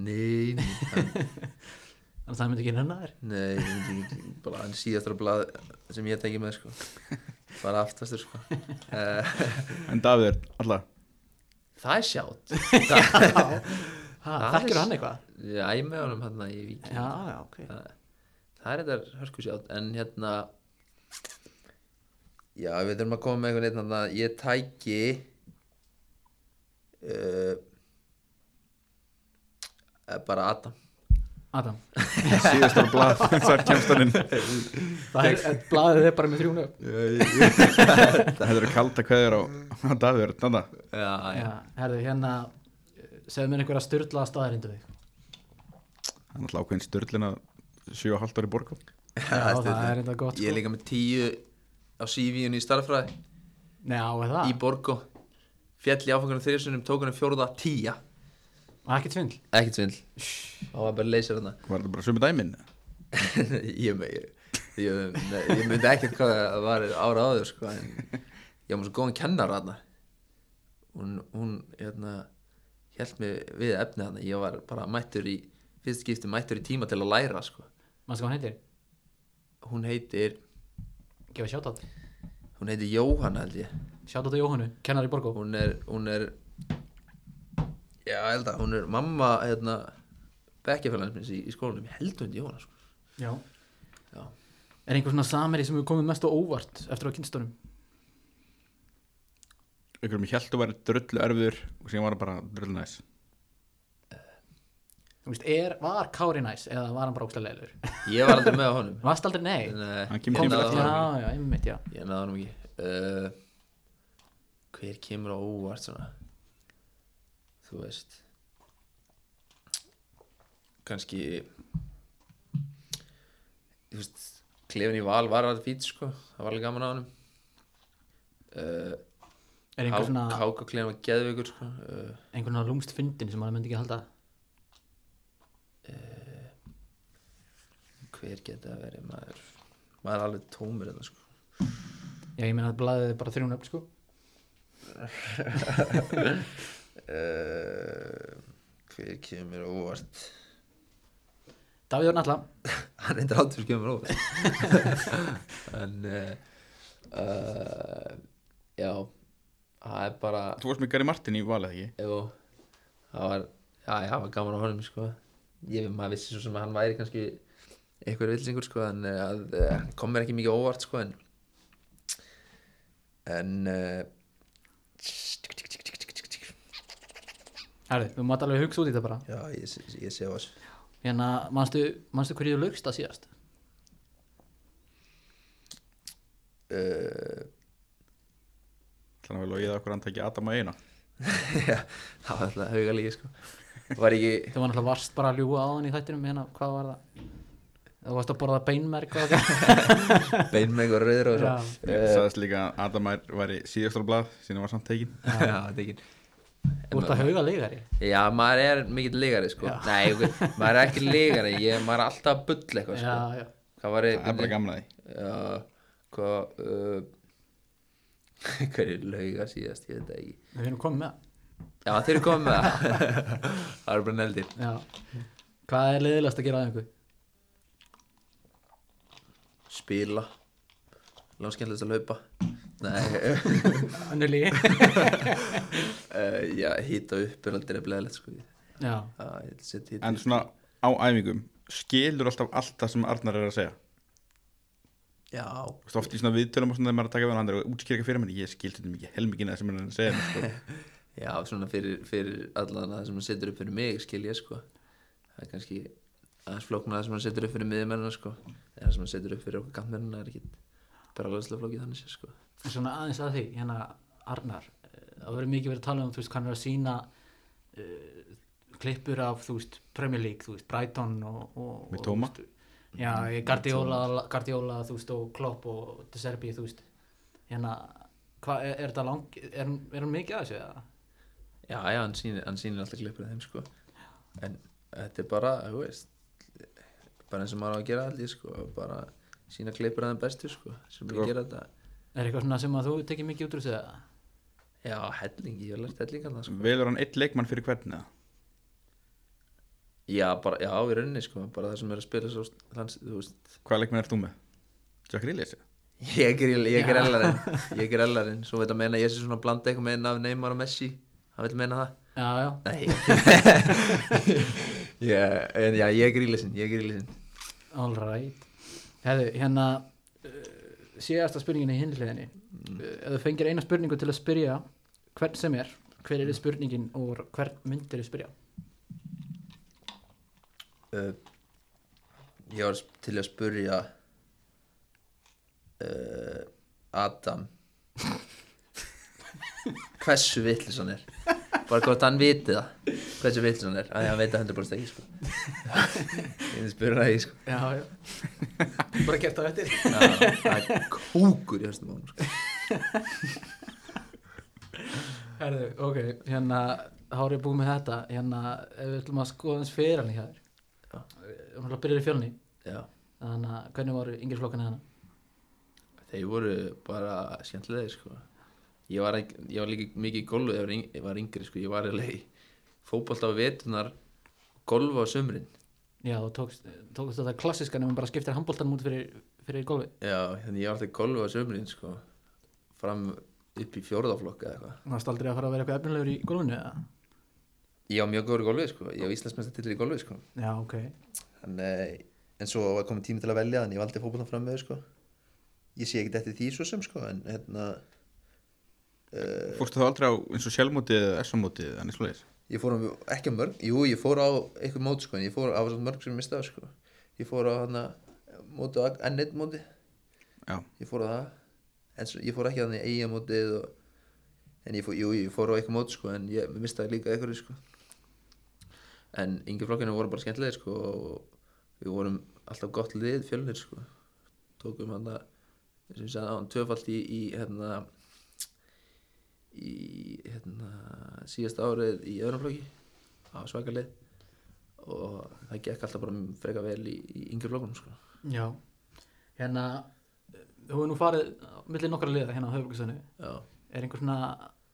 Speaker 3: nei, nei, hann-
Speaker 1: þannig að það myndi ekki hennar þér.
Speaker 3: Nei, ég myndi ekki, bara hann síðastra blað sem ég teki með sko bara aftastur sko (laughs) uh,
Speaker 2: En Davíð er alltaf
Speaker 3: Það er sjátt
Speaker 1: Ha,
Speaker 3: Það er
Speaker 1: Þekkir
Speaker 3: s-
Speaker 1: hann eitthvað?
Speaker 3: Ég æ með honum hérna í vík
Speaker 1: Já, já, ok.
Speaker 3: það, það er þetta hörsku sjátt en hérna Já, við þurfum að koma með einhvern veginn hérna ég tæki uh, eh, bara Adam (laughs)
Speaker 1: Adam.
Speaker 2: síðastar blað (laughs) þar kemst hann inn
Speaker 1: Það er, en blaðið er bara með þrjúnu
Speaker 2: Þetta eru kalda kveður á á Davíð er þarna
Speaker 3: Já, (laughs)
Speaker 1: Já, herðu, hérna eh, segðu mér einhverja styrla staðarindu þig
Speaker 2: Hann er alltaf ákveðin störlin að 7,5 ári borgum
Speaker 1: Já, það er enda gott,
Speaker 3: Ég
Speaker 1: sko.
Speaker 3: er líka með tíu á CV-unni í starffræði
Speaker 1: Nei, á eða
Speaker 3: í
Speaker 1: það,
Speaker 3: Borgo fjall í áfangunum þriðsunum, tók hann um fjórða tíja
Speaker 1: það er ekki tvindl
Speaker 3: ekkert svindl og var bara leysir hann
Speaker 2: Var þetta bara sömu dæmin?
Speaker 3: ég, me- ég, ég, nei, ég myndi ekkert hvað það var ára áður sko, en ég var með svo góðan kennar hann hún, hún hérna, held mig við efni hann ég var bara mættur í fyrst skipti mættur í tíma til að læra sko.
Speaker 1: Manstu hvað hann heitir?
Speaker 3: hún heitir
Speaker 1: Gefa sjátátt
Speaker 3: hún heitir Jóhann held ég
Speaker 1: Sjátátt á Jóhannu, kennar í Borgó
Speaker 3: hún er, hún er já, ég held að hún er mamma hérna, bekkjafélagins minns í, í skólanum ég held hún til Jóhanna sko.
Speaker 1: Já
Speaker 3: Já.
Speaker 1: Er einhver svona sameri sem hefur komið mest á óvart eftir á kynstunum?
Speaker 2: Ykkur um hjæltu væri drullu erfiður og síðan var það bara drullu næs
Speaker 1: Þú veist, er, var Kári næs eða var hann bara ógstlega leilur?
Speaker 3: Ég var aldrei með á honum eh,
Speaker 1: Varst aldrei nei?
Speaker 3: Nei,
Speaker 2: Hann
Speaker 3: ég
Speaker 2: kemur tíma
Speaker 3: náði
Speaker 1: já,
Speaker 2: eftir.
Speaker 3: honum
Speaker 1: já, einmitt, já.
Speaker 3: ekki. Ég náði honum ekki uh, Hver kemur á óvart svona Þú veist Kanski Þú veist Klefin í val var alveg fýt sko Það var alveg gaman á honum uh,
Speaker 1: Er einhver svona,
Speaker 3: Háka klefin var geðveikur sko uh,
Speaker 1: einhver svona lúmst fyndin sem maður myndi ekki halda?
Speaker 3: Hver geta verið maður Maður er alveg tómur þetta sko
Speaker 1: Já, ég meina að blaðið bara þrjún öfl, sko.
Speaker 3: uh, Hver kemur á óvart
Speaker 1: Davíð Örn Alla,
Speaker 3: (laughs) hann reyndar aldrei skjöfum róð (laughs) en uh, uh, já það er bara
Speaker 2: Þú varst með Gary Martin í valið ekki
Speaker 3: jú, það var, já, já, það var gaman á honum sko. ég maður vissi svo sem að hann væri kannski eitthvað vilsingur sko, en eh, að, uh, kom mér ekki mikið á óvart sko, en en uh,
Speaker 1: herðu, þú mátt alveg hugsa út í þetta bara.
Speaker 3: já, ég, ég, ég sé á þessu
Speaker 1: Hérna, manstu, manstu hverju þú lögst að síðast?
Speaker 3: uh,
Speaker 2: Þannig að við logið okkur hann tæki Adam að eina
Speaker 3: (laughs) já, það var alltaf hauga líka sko. var ekki
Speaker 1: Þú var náttúrulega varst bara að ljúga á hann í þættinum, hérna, hvað var það? Þú varst að borða beinmerk og það.
Speaker 3: bein með eitthvað rauður og svo
Speaker 1: Já.
Speaker 2: Ég sagðist líka að Adam að væri síðastur á blað síðan var samt tekin
Speaker 3: (laughs) já, það er ekki
Speaker 1: Þú ert að hauga leigari.
Speaker 3: Já, maður er mikill ligari sko Nei, ok, maður er ekki ligari ég, maður er alltaf að bulla eitthvað sko
Speaker 1: Já, já.
Speaker 3: Hvað var
Speaker 2: Það er bara
Speaker 3: ég?
Speaker 2: gamla því
Speaker 3: Já, hvað uh, (laughs) Hverju lauga síðast, ég veit það ekki
Speaker 1: Við erum komið með það.
Speaker 3: Já, þeir eru komið
Speaker 2: (laughs)
Speaker 3: með það Það eru bara neldir
Speaker 1: Já. Hvað er leiðilegast að gera að einhver?
Speaker 3: Spila Láskendlust að laupa
Speaker 2: (laughs)
Speaker 3: Nei,
Speaker 1: Önnur lígi.
Speaker 3: uh, já, hýta upp er aldrei að bleðilegt sko
Speaker 1: (laughs) Já.
Speaker 3: Já, ég set hýta
Speaker 2: En svona á æfingum skilur alltaf allt það sem Arnar er að segja
Speaker 3: Já,
Speaker 2: Þú veist, oft í svona viðtölum og svona þegar maður er að taka við hann hann er að útskýra eitthvað fyrir mér ég skildi þetta mikið helmingin að það sem hann er að segja mér, sko.
Speaker 3: já, svona fyrir, fyrir allan að það sem hann setur upp fyrir mig skil ég sko það er kannski aðeins flóknar það sem hann setur upp fyrir miðmennina sko en það sem hann setur upp fyrir okkur gammennina er ekki bara alveg flókið þannig sé sko
Speaker 1: En svona aðeins að því, hérna Arnar, eh, það verður mikið verið að tala um þú veist, hann er að sína uh, klippur af, þú veist, Premier League þú veist, Brighton og, og
Speaker 2: Með Tóma.
Speaker 1: og, þú veist, Já, eh, Guardiola, Guardiola, þú veist, og Klopp og De Serbi, þú veist hérna, hvað, er, er þetta lang er, er hann mikið að þessu, eða?
Speaker 3: já, já, hann sýnir, hann sýnir alltaf klippur af þeim sko en þetta er bara, þú veist bara eins og maður á að gera allir sko bara sína klippur af þeim bestu sko sem við gera þetta
Speaker 1: Er eitthvað svona sem að þú tekir mikið út úr þessu, eða?
Speaker 3: já, helling, ég hef lært helling alltaf sko
Speaker 2: Velur hann eitt leikmann fyrir hvern eða?
Speaker 3: já, bara, já, í rauninni sko bara það sem er að spila svo, þannig, þú veist
Speaker 2: Hvaða leikmann er þú með? Jack Rillis?
Speaker 3: Ég er, ég er ellarinn Ég er ellarinn Svo veit að meina að ég sé svona að blanda eitthvað meina af Neymar og Messi Hann vil meina það
Speaker 1: Já, já, (laughs)
Speaker 3: Nei yeah, En já, ég er grílisinn Ég er grílisinn
Speaker 1: all right Hefðu, hérna uh, síðasta spurningin í hinliðinni mm. ef þú fengir eina spurningu til að spyrja hvern sem er, hver er spurningin og hvern myndir þú spyrja
Speaker 3: uh, Ég var sp- til að spurja uh, Adam Hversu vitlis hann er Bara hvort hann viti það Hversu vitlis hann er Þannig að hann veit að
Speaker 1: (laughs)
Speaker 3: 100% ekki sko Ég er að spurja hann ekki sko
Speaker 1: Já, já Bara gert það eftir
Speaker 3: Já, það er kúkur í höstum á hann sko.
Speaker 1: Herðu, ok, hérna þá er ég búið með þetta hérna, ef við ætlum að skoða hans fyrir hann í hér
Speaker 3: Já.
Speaker 1: við ætlum Eh, að byrja í fjölni
Speaker 3: Já,
Speaker 1: þannig að hvernig voru yngri flokkana hérna
Speaker 3: þeir voru bara skemmtilegir sko. ég, var, ek- ég var líka mikið í golfu þegar ég var yng- ég var yngri sko. ég var eiginlega í fótbolt á vetunar golfu á sömrin
Speaker 1: Já, þú tókst, tókst þetta klassiska nefnum bara skiptir handbóltan út fyrir, fyrir golfi
Speaker 3: Já, þannig ég var alltaf í golfu á sömrin sko. fram upp í fjórðaflokka eða eitthvað
Speaker 1: Þú varst aldrei að fara að vera eitthvað efnilegur í golfinu eða?
Speaker 3: ég var mjög góður í golfi, sko. ég var íslensmesta til í golfi sko.
Speaker 1: Já, ok
Speaker 3: en, eh, en svo var komið tími til að velja þannig ég valdi fótboltan fram með sko. ég sé ekkert eftir því svo sem sko, en hérna eh,
Speaker 2: Fórstu þá aldrei á eins og sjálfmótið eða S-mótið eða nýslulegis?
Speaker 3: ég fór á, ekki á mörg, jú ég fór á eitthvað mót sko, en ég fór á það var samt mörg sem ég mistaði sko ég fór á hann að móti á N1 móti,
Speaker 2: já,
Speaker 3: ég fór á það en svo, ég fór ekki á hann í eiga mótið og, en ég fór, jú ég fór á eitthvað mót sko, en ég mistaði líka eitthvað sko en yngi flokkinu voru bara skemmtilegir sko og við vorum alltaf gott lið fjölnir sko tókum hann að sem ég sagði á hann tvöfalt í, í hérna í hérna, síðast árið í öðrumflokki á svakalið og það gekk alltaf bara freka vel í, í yngri flokkunum sko.
Speaker 1: Já, hérna þú hefur nú farið millir nokkra liða hérna á höfbruksöðinu
Speaker 3: Já.
Speaker 1: er einhver svona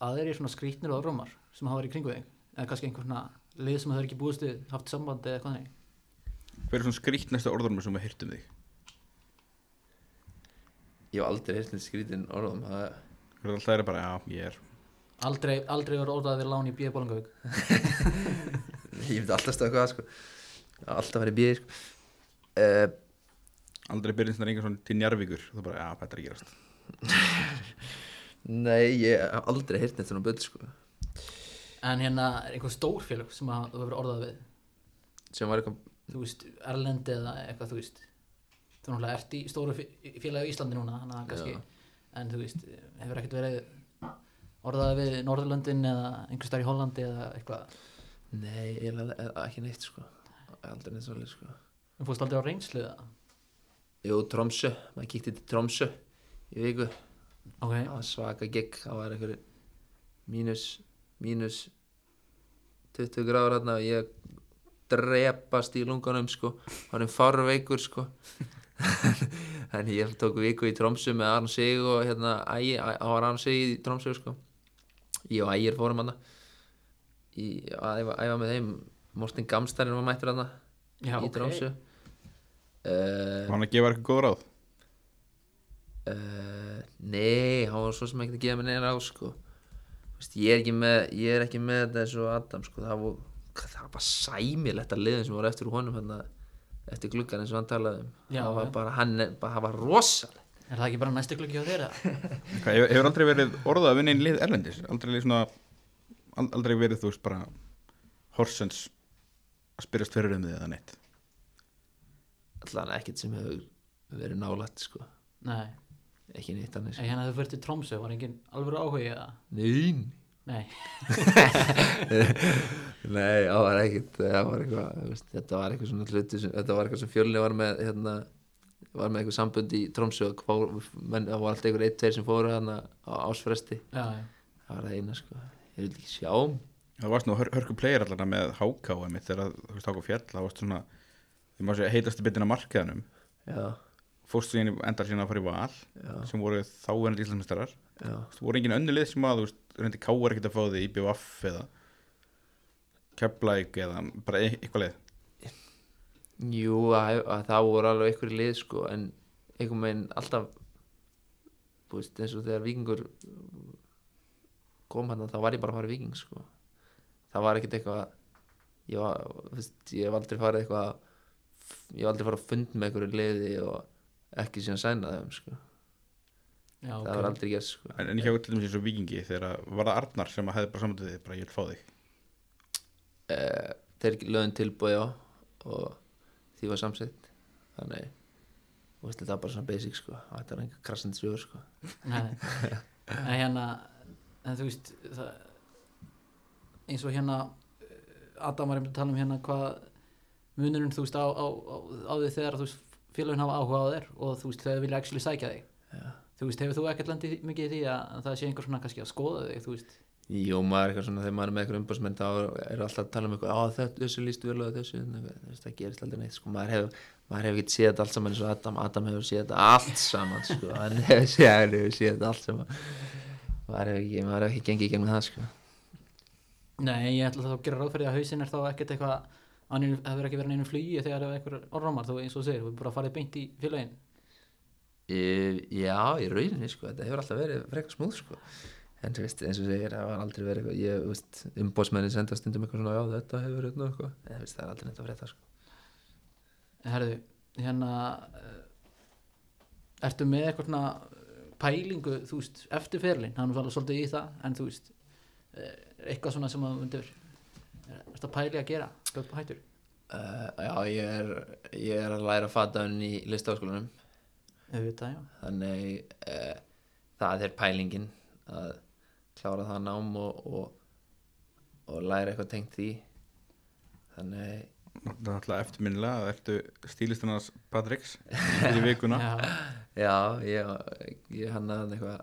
Speaker 1: aðrir svona skrýtnir og afrómar sem hafa verið í kringu þig eða kannski einhver svona lið sem það er ekki búist við haft samband eða eitthvað þannig
Speaker 2: hver er svona skrýtt næsta orðormur sem við hirtum þig
Speaker 3: Ég hef aldrei heyrt neitt skrítin orðum það,
Speaker 2: hver er alltaf er bara, já, ég er
Speaker 1: aldrei, aldrei var orðað að vera lán í B. Bólangavík
Speaker 3: ég myndi alltaf stöða hvað sko. alltaf verið bíð sko. uh,
Speaker 2: aldrei byrjins þar einhvern svona til njárvíkur og það bara, já, þetta er að gerast
Speaker 3: Nei, ég hef aldrei heyrt neitt svona bull sko.
Speaker 1: en hérna er einhver stór félag sem að þú hefur orðað við
Speaker 3: sem var eitthvað
Speaker 1: þú veist, Erlendi eða eitthvað þú veist þú náttúrulega ert í stóru fé- félagi á Íslandi núna þannig að kannski, en þú veist hefur ekkert verið orðað við Norðurlöndin eða einhver starf í Hollandi eða eitthvað,
Speaker 3: Nei, ég hef ekki neitt sko. aldrei neitt svona sko.
Speaker 1: þú fórst aldrei á reynslu eða?
Speaker 3: Jú, Tromsö, maður kíkti til Tromsö í viku
Speaker 1: ok,
Speaker 3: það var svaka gig það var einhverju mínus mínus 20 gráður hérna og ég drepast í lunganum sko var einn farveikur sko (laughs) þannig ég tók viku í Tromsu með Arn Sig og hérna Ægir, Æ- það var Arn Sig í Tromsu sko ég og Ægir fórum hana í, að æfa, æfa með þeim Morten Gamstarinn var mættur hana
Speaker 1: Já,
Speaker 3: í
Speaker 1: ok.
Speaker 3: Tromsu uh,
Speaker 2: var hann að gefa eitthvað góð ráð
Speaker 3: Uh, nei, hann var svo sem ekkert að gefa mér neina á sko Vist, ég, er ekki með, ég er ekki með þetta eins og Adam sko, það, var, það var bara sæmilegt að liðin sem voru eftir honum hana, eftir gluggan eins og hann talaði um
Speaker 1: Já,
Speaker 3: það var
Speaker 1: já.
Speaker 3: bara, hann, er- bara, það var rosaleg
Speaker 1: er það ekki bara næstu klukki á þeirra?
Speaker 2: Hvað, hefur- hefur aldrei verið orðað að vinna einn lið erlendis aldrei lið svona al- aldrei verið þú veist bara horsens að spyrjast fyrir um því eða neitt
Speaker 3: allan ekkert sem hefur verið nálægt sko,
Speaker 1: Nei,
Speaker 3: ekki neitt annars
Speaker 1: en hérna þau fyrir til Tromsö var engin alveg áhugi eða?
Speaker 3: Nein
Speaker 1: Nei,
Speaker 3: (laughs) Nei, það var ekkert það var eitthvað, þú veist, þetta var eitthvað svona hluti sem, þetta var eitthvað sem fjölni var með hérna, var með eitthvað sambund í Tromsö og fór, menn, það var alltaf einhver eitt, tveir sem fóru hann á ásfresti
Speaker 1: já, já,
Speaker 3: það var það eina sko, ég vil ekki sjá um.
Speaker 2: það varst nú hör, hörku player allavega með háká emitt þegar þú veist háká fjall það varst svona þið maður sé heitastu bitin af markaðanum
Speaker 3: já,
Speaker 2: fórstu síðan í- endar síðan að fara í val
Speaker 3: Já.
Speaker 2: sem voru þá ennald íslensmestarar
Speaker 3: já,
Speaker 2: þú voru engin önnu lið sem að þú veist reyndi káar ekkert að fá því IBF eða Keflæk eða bara e- eitthvað lið
Speaker 3: jú, að, að það voru alveg einhverju lið sko, en einhvern veginn alltaf þú veist, eins og þegar vikingur kom hann þá var ég bara að fara í viking sko. það var ekkert eitthvað ég, var, þú veist, ég hef aldrei farið eitthvað ég hef aldrei farið að fund með einhverju liði og ekki síðan sæna þeim sko.
Speaker 1: já,
Speaker 3: það var
Speaker 1: ok
Speaker 3: aldrei gert sko.
Speaker 2: En, en hjá til dæmis eins og vikingi þegar að- var það Arnar sem að hefði bara samvætið þig bara ég vil fá þig
Speaker 3: eh, þeir lögðin tilbúið á og því var samsett þannig þú veist, þetta var bara svona basic sko. þetta var einhver krassandi sögur sko.
Speaker 1: Nei, en hérna en þú veist það, eins og hérna eh, Adam var einmitt að tala um hérna hvað munurinn þú veist á, á, á, á því þegar þú veist félagin hafa áhuga á þér og þú veist þegar vilja actually sækja þig
Speaker 3: Já.
Speaker 1: þú veist hefur þú ekkert landið mikið í því að það sé einhver svona kannski að skoða þig þú veist
Speaker 3: Jó, maður er eitthvað svona þegar maður er með eitthvað umbásmenn þá er alltaf að tala um eitthvað á þetta, þessu líst vel og þessu en eitthvað, þú veist, það gerist aldrei neitt sko, maður hefur maður hefur ekki séð þetta allt saman eins og Adam Adam hefur séð þetta allt saman sko, hann hefur séð, hann hefur séð þetta allt saman maður hefur ekki, maður hefur ekki gengið í gegnum það sko.
Speaker 1: Nei, ég ætla þá að gera ráð fyrir því að hausinn er þá ekkert eitthvað hann er- hefur ekki verið neinu flugi þegar það er eitthvað orðrámar þú eins og þú segir, þú er bara farið beint í félagin
Speaker 3: Uh, já, í rauninni sko, þetta hefur alltaf verið frekar smúð sko. en þú veist, eins og segir, það var aldrei verið eitthvað, ég, þú veist, umbósmennin senda stundum eitthvað svona, já, þetta hefur verið eitthvað, en þú veist, það er aldrei neitt að frétta sko.
Speaker 1: Herðu, hérna eh, ertu með eitthvað svona pælingu, þú eh, veist, eftir ferlinn hann var alveg svolítið í það, en þú veist eh, eitthvað svona sem að þú myndir Þetta pæli að gera, skjótt hættur
Speaker 3: Uh, já, ég er, ég er að læra að fata hann í listafaskólanum
Speaker 1: Auðvitað, já
Speaker 3: þannig uh, það er pælingin að klára það nám og, og, og læra eitthvað tengt því þannig
Speaker 2: Það er alltaf eftirminnilega að ertu stílistunars
Speaker 1: (laughs)
Speaker 2: Patricks fyrir vikuna
Speaker 1: Já,
Speaker 3: Já, ég, ég hannaði eitthvað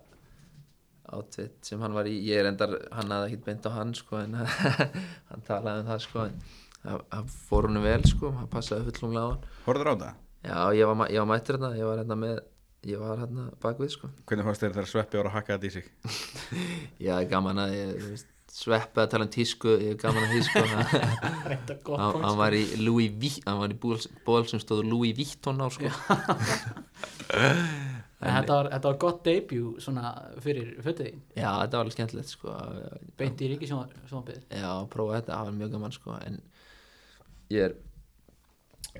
Speaker 3: outfit sem hann var í ég er endar hannaði ekkert beint á hann sko en (laughs) hann talaði um það sko en það það fór húnu vel sko hann passaði fullumlega á hann
Speaker 2: Horður á það?
Speaker 3: Já, ég var, ma- ég var mættur hérna, ég var hérna með ég var hérna bakvið sko
Speaker 2: Hvernig fannst þér þegar sveppi voru að hakka þetta í sig?
Speaker 3: Já, gaman að ég þú veist, sveppa að tala um tísku, ég er gaman að því sko hann, (laughs)
Speaker 1: þetta er gott
Speaker 3: hann- hann var í Louis Vuitton hann var í ból, ból sem stóð Louis Vuitton á sko
Speaker 1: En þetta var, þetta var gott debut svona fyrir fötiðin
Speaker 3: Já, þetta var alveg skemmtilegt sko að-
Speaker 1: Beint í ríkisjónvapið
Speaker 3: Já, prófa þetta, það var mjög gaman sko en ég er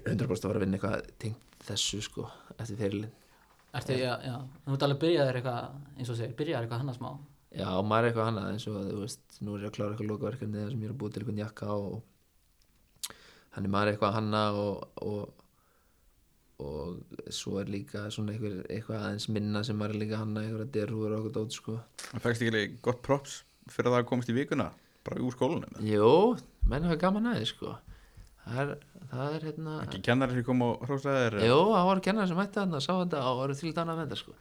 Speaker 3: 100% að fara að vinna eitthvað tengt þessu sko, eftir fyrirlin
Speaker 1: Ertu, já, já Þú ert alveg byrjaðir eitthvað, eins og segir, byrjaðir eitthvað hann að smá
Speaker 3: Já, maður er eitthvað annað eins og þú veist, nú er ég að klára eitthvað lokaverkefni þar sem ég er að búa til eitthvað jakka og hann er maður er eitthvað hanna og, og og svo er líka svona eitthvað, eitthvað aðeins minna sem maður er líka hanna eitthvað derhúður og okkur dót sko
Speaker 2: Það fækst ekki alveg gott props fyrir það að komast í vikuna bara úr skólanum eða?
Speaker 3: Jó, menn hafa gaman aðeins sko það er, það er hérna
Speaker 2: Ekki kennar sem kom og hrósaði þér
Speaker 3: Jó, það voru kennar sem mætti þarna, sá þetta og voru þvílit annað með þetta sko.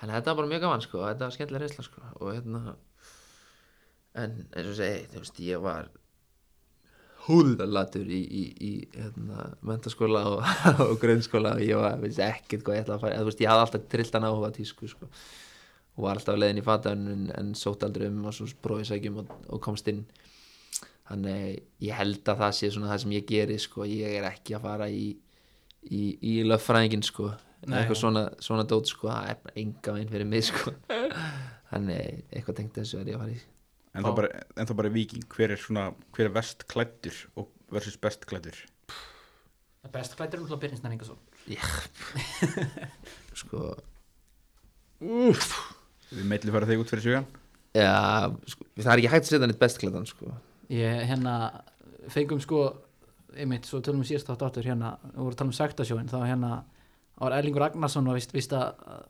Speaker 3: Þannig að þetta var bara mjög gaman sko, þetta var skemmtilega reynsla sko og hérna en eins og ég segi, þú veist, ég var húðalatur í, í, í hérna, mentaskóla og, (laughs) og grunnskóla og ég var, veist, ekkert hvað ég ætlaði að fara, eða, þú veist, ég hafði alltaf trilltan áhuga á tísku sko og var alltaf leiðin í fatan en, en sótt aldrei um og svo prófið sækjum og, og komst inn þannig ég held að það sé svona það sem ég geri sko, ég er ekki að fara í í, í löffræðingin sko
Speaker 1: Nei,
Speaker 3: eitthvað
Speaker 1: já.
Speaker 3: svona, svona dót sko það er enga veginn fyrir mig
Speaker 1: (laughs)
Speaker 3: sko þannig eitthvað tengt þessu er ég að fara í
Speaker 2: en, þá bara, en þá bara viking, hver er svona hver er vest klættur og versus best klættur
Speaker 1: Best klættur um hlá Birnir Ingason
Speaker 3: sko,
Speaker 2: Við meitlu fara þig út fyrir sjögan
Speaker 3: ja, sko það er ekki hægt að setja neitt bestklæðan sko
Speaker 1: Ég hérna fengum sko einmitt svo tölum við síðast þátt áttur hérna við vorum að tala um sektasjóin þá hérna var Erlingur Agnarsson var vist, vist að uh,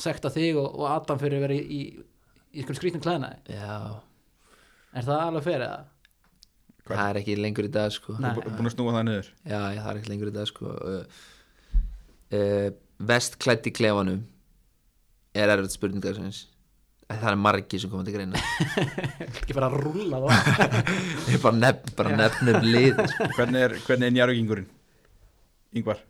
Speaker 1: sekta þig og, og Adam fyrir að vera í, í, í eitthvað skrýtnum klæðnaði
Speaker 3: já,
Speaker 1: er það alveg fyrir eða?
Speaker 2: Hvað?
Speaker 3: það er ekki lengur í dag sko
Speaker 1: Nei.
Speaker 2: og búin að snúa það niður
Speaker 3: já, já, það er ekki lengur í dag sko uh, uh, vestklætt í klefanum er erfitt spurningar sem eins það er margi sem koma til greina
Speaker 1: (laughs) ekki bara að rúlla (laughs) þá
Speaker 3: ég bara, nefn, bara nefnum lið sko.
Speaker 2: Hvernig er, hvernig er njarugingurinn? Yngvar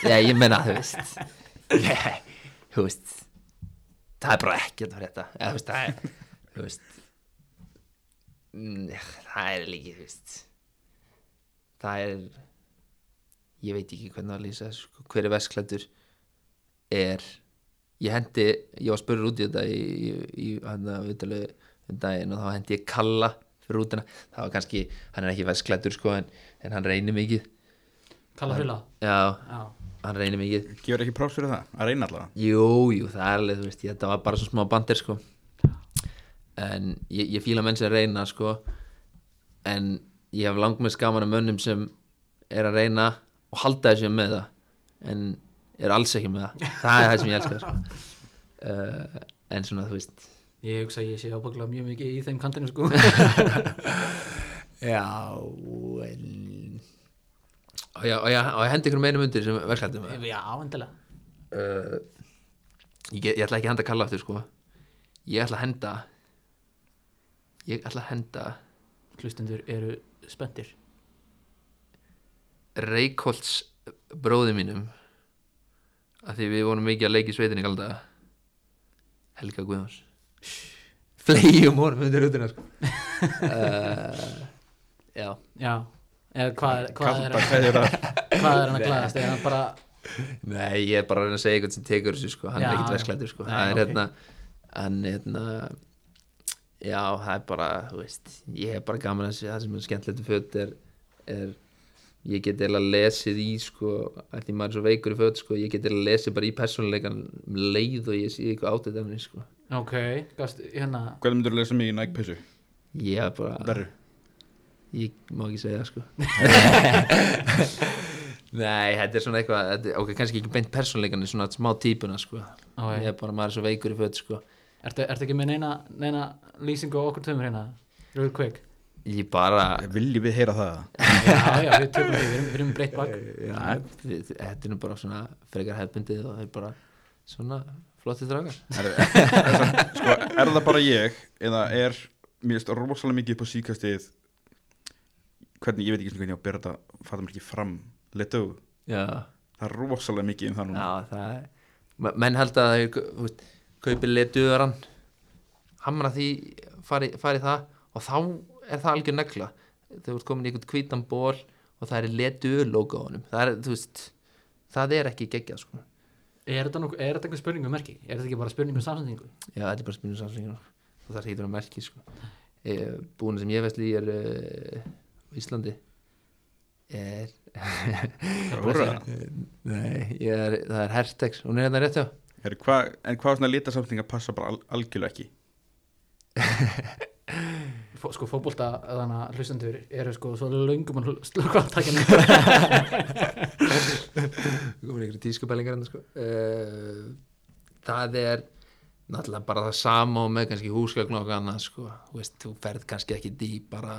Speaker 3: já, ég menna, þú veist Ég- þú veist það er bara ekkert að frétta Eða, þú veist, það er þú veist mm, það er líki, þú veist það er ég veit ekki hvernig að lýsa þessu, sko, hver er vestklættur er ég hendi, ég var spurður út í þetta í, í, í hann að viðtalegu um daginn og þá hendi ég kalla fyrir útina, það var kannski, hann er ekki vestklættur sko, en, en hann reynir mikið
Speaker 1: kalla hrulla
Speaker 3: já,
Speaker 1: já,
Speaker 3: hann reynir mikið
Speaker 2: Gefur ekki props fyrir það? Að reyna allavega
Speaker 3: Jú, jú, það er alveg, þú veist, ég, þetta var bara svona smá bandir, sko En ég, ég fíla menn sem reyna, sko En ég hef langmest gaman að mönnum sem er að reyna og halda þessu með það En er alls ekki með það Það er það sem ég elska, sko uh, En svona, þú veist
Speaker 1: ég hugsa að ég sé ábúinlega mjög mikið í þeim kantinu sko
Speaker 3: Já, en Og ég, og ég, og ég hendi ykkur meinum undir sem verklættum með
Speaker 1: (laughs) já, endilega
Speaker 3: uh, ég, get- ég ætla ekki að henda kalla aftur sko ég ætla að henda ég ætla að henda
Speaker 1: hlustendur eru spenntir
Speaker 3: Reykholts bróði mínum af því við vorum mikið að leika í sveitinni kalda Helga Guðjóns flegjum honum undir rútuna sko uh, já
Speaker 1: já, eða hvað er hvað er,
Speaker 2: Kalda kveður að
Speaker 1: hvað er hann að glæðast er hann bara,
Speaker 3: Nei, ég er bara að reyna að segja eitthvað sem tekur þessu sko, hann
Speaker 1: Já,
Speaker 3: er ekkert
Speaker 1: já.
Speaker 3: versklættur sko,
Speaker 1: Nei,
Speaker 3: hann er
Speaker 1: ok.
Speaker 3: hérna, hann er hérna, já, það er bara, þú veist, ég er bara gaman að sé það sem er skemmtilegt um föt er, er ég get eða lesið í sko, að því maður er svo veikur í föt sko, ég get eða lesið bara í persónuleikan um leið og ég sé eitthvað átið efni sko.
Speaker 1: ok, gast, hérna
Speaker 2: Hvað myndur þú lesa mig í Nike Pissu?
Speaker 3: ég er bara,
Speaker 2: Verru
Speaker 3: ég má ekki segja það sko. (laughs) nei, þetta er svona eitthvað þetta er- ok, kannski ekki beint persónuleikan en svona smá típuna sko.
Speaker 1: Á, já.
Speaker 3: ég er bara, maður er svo veikur í föt sko.
Speaker 1: ertu, ertu ekki með neina, neina lýsingu á okkur tömur hérna, real quick
Speaker 3: ég bara
Speaker 2: Viljum við heyra það?
Speaker 1: já, já, við tökum því, við erum, við erum breytt bak
Speaker 3: Já, við- þetta er nú bara svona frekar hefbundið og það er bara svona flotti dragar
Speaker 2: Sko, er það bara ég eða er, mér finnst rosalega mikið upp á síkastið hvernig, ég veit ekki einu sinni hvernig ég á að bera þetta fattum ekki fram, letu
Speaker 3: Já,
Speaker 2: það er rosalega mikið um það núna
Speaker 3: já það er me- menn held að þau kau- þú veist, kaupi letuðaran hamra því fari, fari það og þá er það algjör negla þau ert komin í einhvern hvítan ból og það er letuður logo á honum það er, þú veist, það er ekki geggjað sko.
Speaker 1: er þetta nokkuð- er þetta einhver spurning um merki, er þetta ekki bara spurning um samsendingu
Speaker 3: Já, þetta er bara spynum samslingur sko. og það er ekki verið merki sko. e, Búinu sem ég veist líði er eh, á Íslandi er (laughs)
Speaker 2: Óra.
Speaker 3: Nei, ég er, það er Hertex hún er hérna rétt hjá
Speaker 2: Heru, hva, en hvað svona litasamtinga passa bara al algjörlega ekki
Speaker 1: Fó, sko fótbolta þannig að hlustendur eru sko svo löngum að slöka áttakinu
Speaker 3: Við komum ykkur tískupælingar hérna sko. e, Það er náttúrulega bara það sama og með kannski húsgögn og eitthvað annað sko. þú, veist, þú ferð kannski ekki dý bara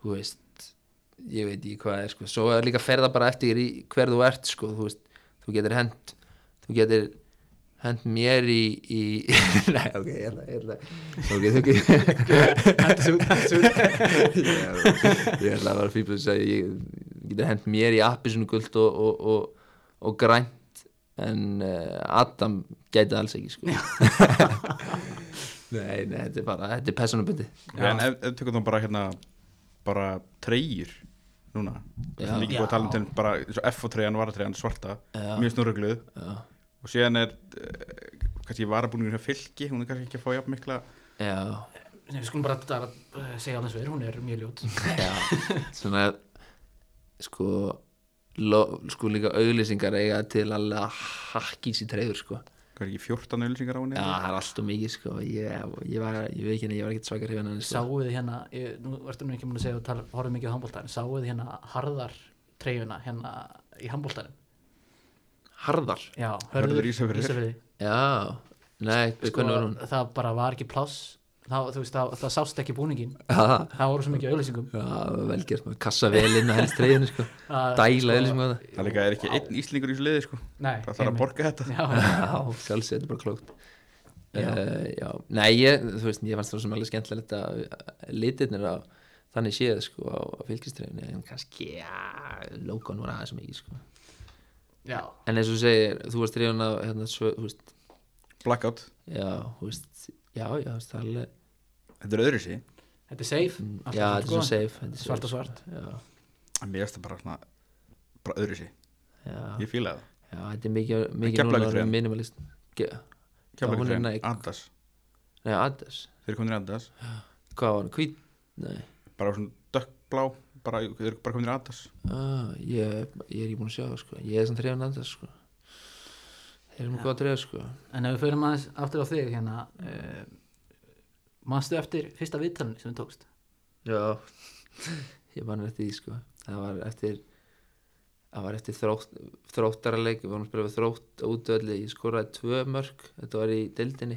Speaker 3: þú veist ég veit ekki hvað er sko. svo er líka ferða bara eftir í hver þú ert sko. þú, veist, þú getur hent þú getur hent mér í, í (laughs) nei ok, ég ætla ég ætla- ok, þú getur (laughs) ég ætla að vera fíbl að segja ég getur hent mér í appisunu guld og, og, og, og grænt en uh, Adam gæti alls ekki sko. (laughs) nei, nei, þetta er bara þetta er personabundi
Speaker 2: en ef, ef tökum þá bara hérna bara treyjur núna Það
Speaker 3: Já.
Speaker 2: er líka búið að tala um til bara eins og F-treyjan, varatreyjan, svarta
Speaker 3: Já.
Speaker 2: mjög snurrugluð og síðan er eh, kannski varabúningur hjá fylki hún er kannski ekki að fá jafn mikla
Speaker 3: já,
Speaker 1: Nei, við skulum bara að segja alveg svo er, hún er mjög ljót
Speaker 3: já svona sko lo, sko líka auðlýsingar eiga til alveg að hakki sér treyður sko
Speaker 2: hvað er ekki 14 auðlýsingar á henni
Speaker 3: já, það er alltaf mikið sko ég, ég var, ég veit ekki henni, ég var ekkert svakar hrifan henni sko.
Speaker 1: sáuði hérna, ég, nú ertu nú ekki múin að segja og tala, horfum mikið á handbólta, en sáuði hérna harðar treyjuna hérna í handbóltanum,
Speaker 3: harðar
Speaker 1: já,
Speaker 2: Hörður Ísafirði.
Speaker 1: Ísafirði.
Speaker 3: já, nei,
Speaker 1: sko,
Speaker 3: hvernig var hún
Speaker 1: það bara var ekki pláss það, þú veist, það, það sást ekki búningin
Speaker 3: já,
Speaker 1: það voru svo mikið auðlýsingum
Speaker 3: Já, velgjast maður, kassa vel inn á helst treyðinu
Speaker 1: (laughs)
Speaker 3: sko,
Speaker 1: Já,
Speaker 3: dæla vel sko það
Speaker 2: það líka er ekki einn íslingur í þessu liði sko.
Speaker 1: Nei,
Speaker 2: það þarf að
Speaker 1: einmitt.
Speaker 2: borga þetta
Speaker 1: já, (laughs)
Speaker 3: Já, sjálfsög, þetta er bara klókt já. já, nei, ég, þú veist, ég fannst það sem alveg skemmtilegt að að litirnir á þannig séð sko á, á fylgistreyfinu en kannski, já, logon var aðeins mikið sko
Speaker 1: já,
Speaker 3: en eins og þú segir, þú varst treyðin á hérna, svo, þú veist,
Speaker 2: blackout,
Speaker 3: já, þú veist já, já, þú veist, það er alveg
Speaker 2: þetta er öðru sí
Speaker 1: Mm. þetta er safe allt í
Speaker 3: já, þetta er svo
Speaker 1: góðan.
Speaker 3: safe þetta er svo
Speaker 1: svart og
Speaker 3: safe,
Speaker 1: svart
Speaker 3: sko. já,
Speaker 2: en mér finnst það bara, svona, bara öðru sí
Speaker 3: já,
Speaker 2: ég fíla það,
Speaker 3: já, þetta er mikið, mikið
Speaker 2: Keflavíkur
Speaker 3: núna
Speaker 2: treyjan.
Speaker 3: orðið minimalist Ge- Já, hún er
Speaker 2: kjálagur
Speaker 3: Nike.
Speaker 2: Adidas,
Speaker 3: Nei, Adidas
Speaker 2: þeir eru komin í Adidas
Speaker 3: Hvað var hann? Hvít? Nei
Speaker 2: bara svona dökkblá bara, þeir eru bara komin í Adidas
Speaker 3: ah, ég, ég er ekki búin að sjá það sko Ég er sem trefn andast sko Þeir eru mjög góð að trefa sko
Speaker 1: En ef við förum aðeins aftur á þig hérna uh, manstu eftir fyrsta viðtalinu sem þú tókst
Speaker 3: Já (laughs) Ég man eftir því sko Það var eftir Það var eftir þrótt, þróttaraleik Við varum að spila við þrótt útvöldi Ég skoraði tvö mörg Þetta var í deildinni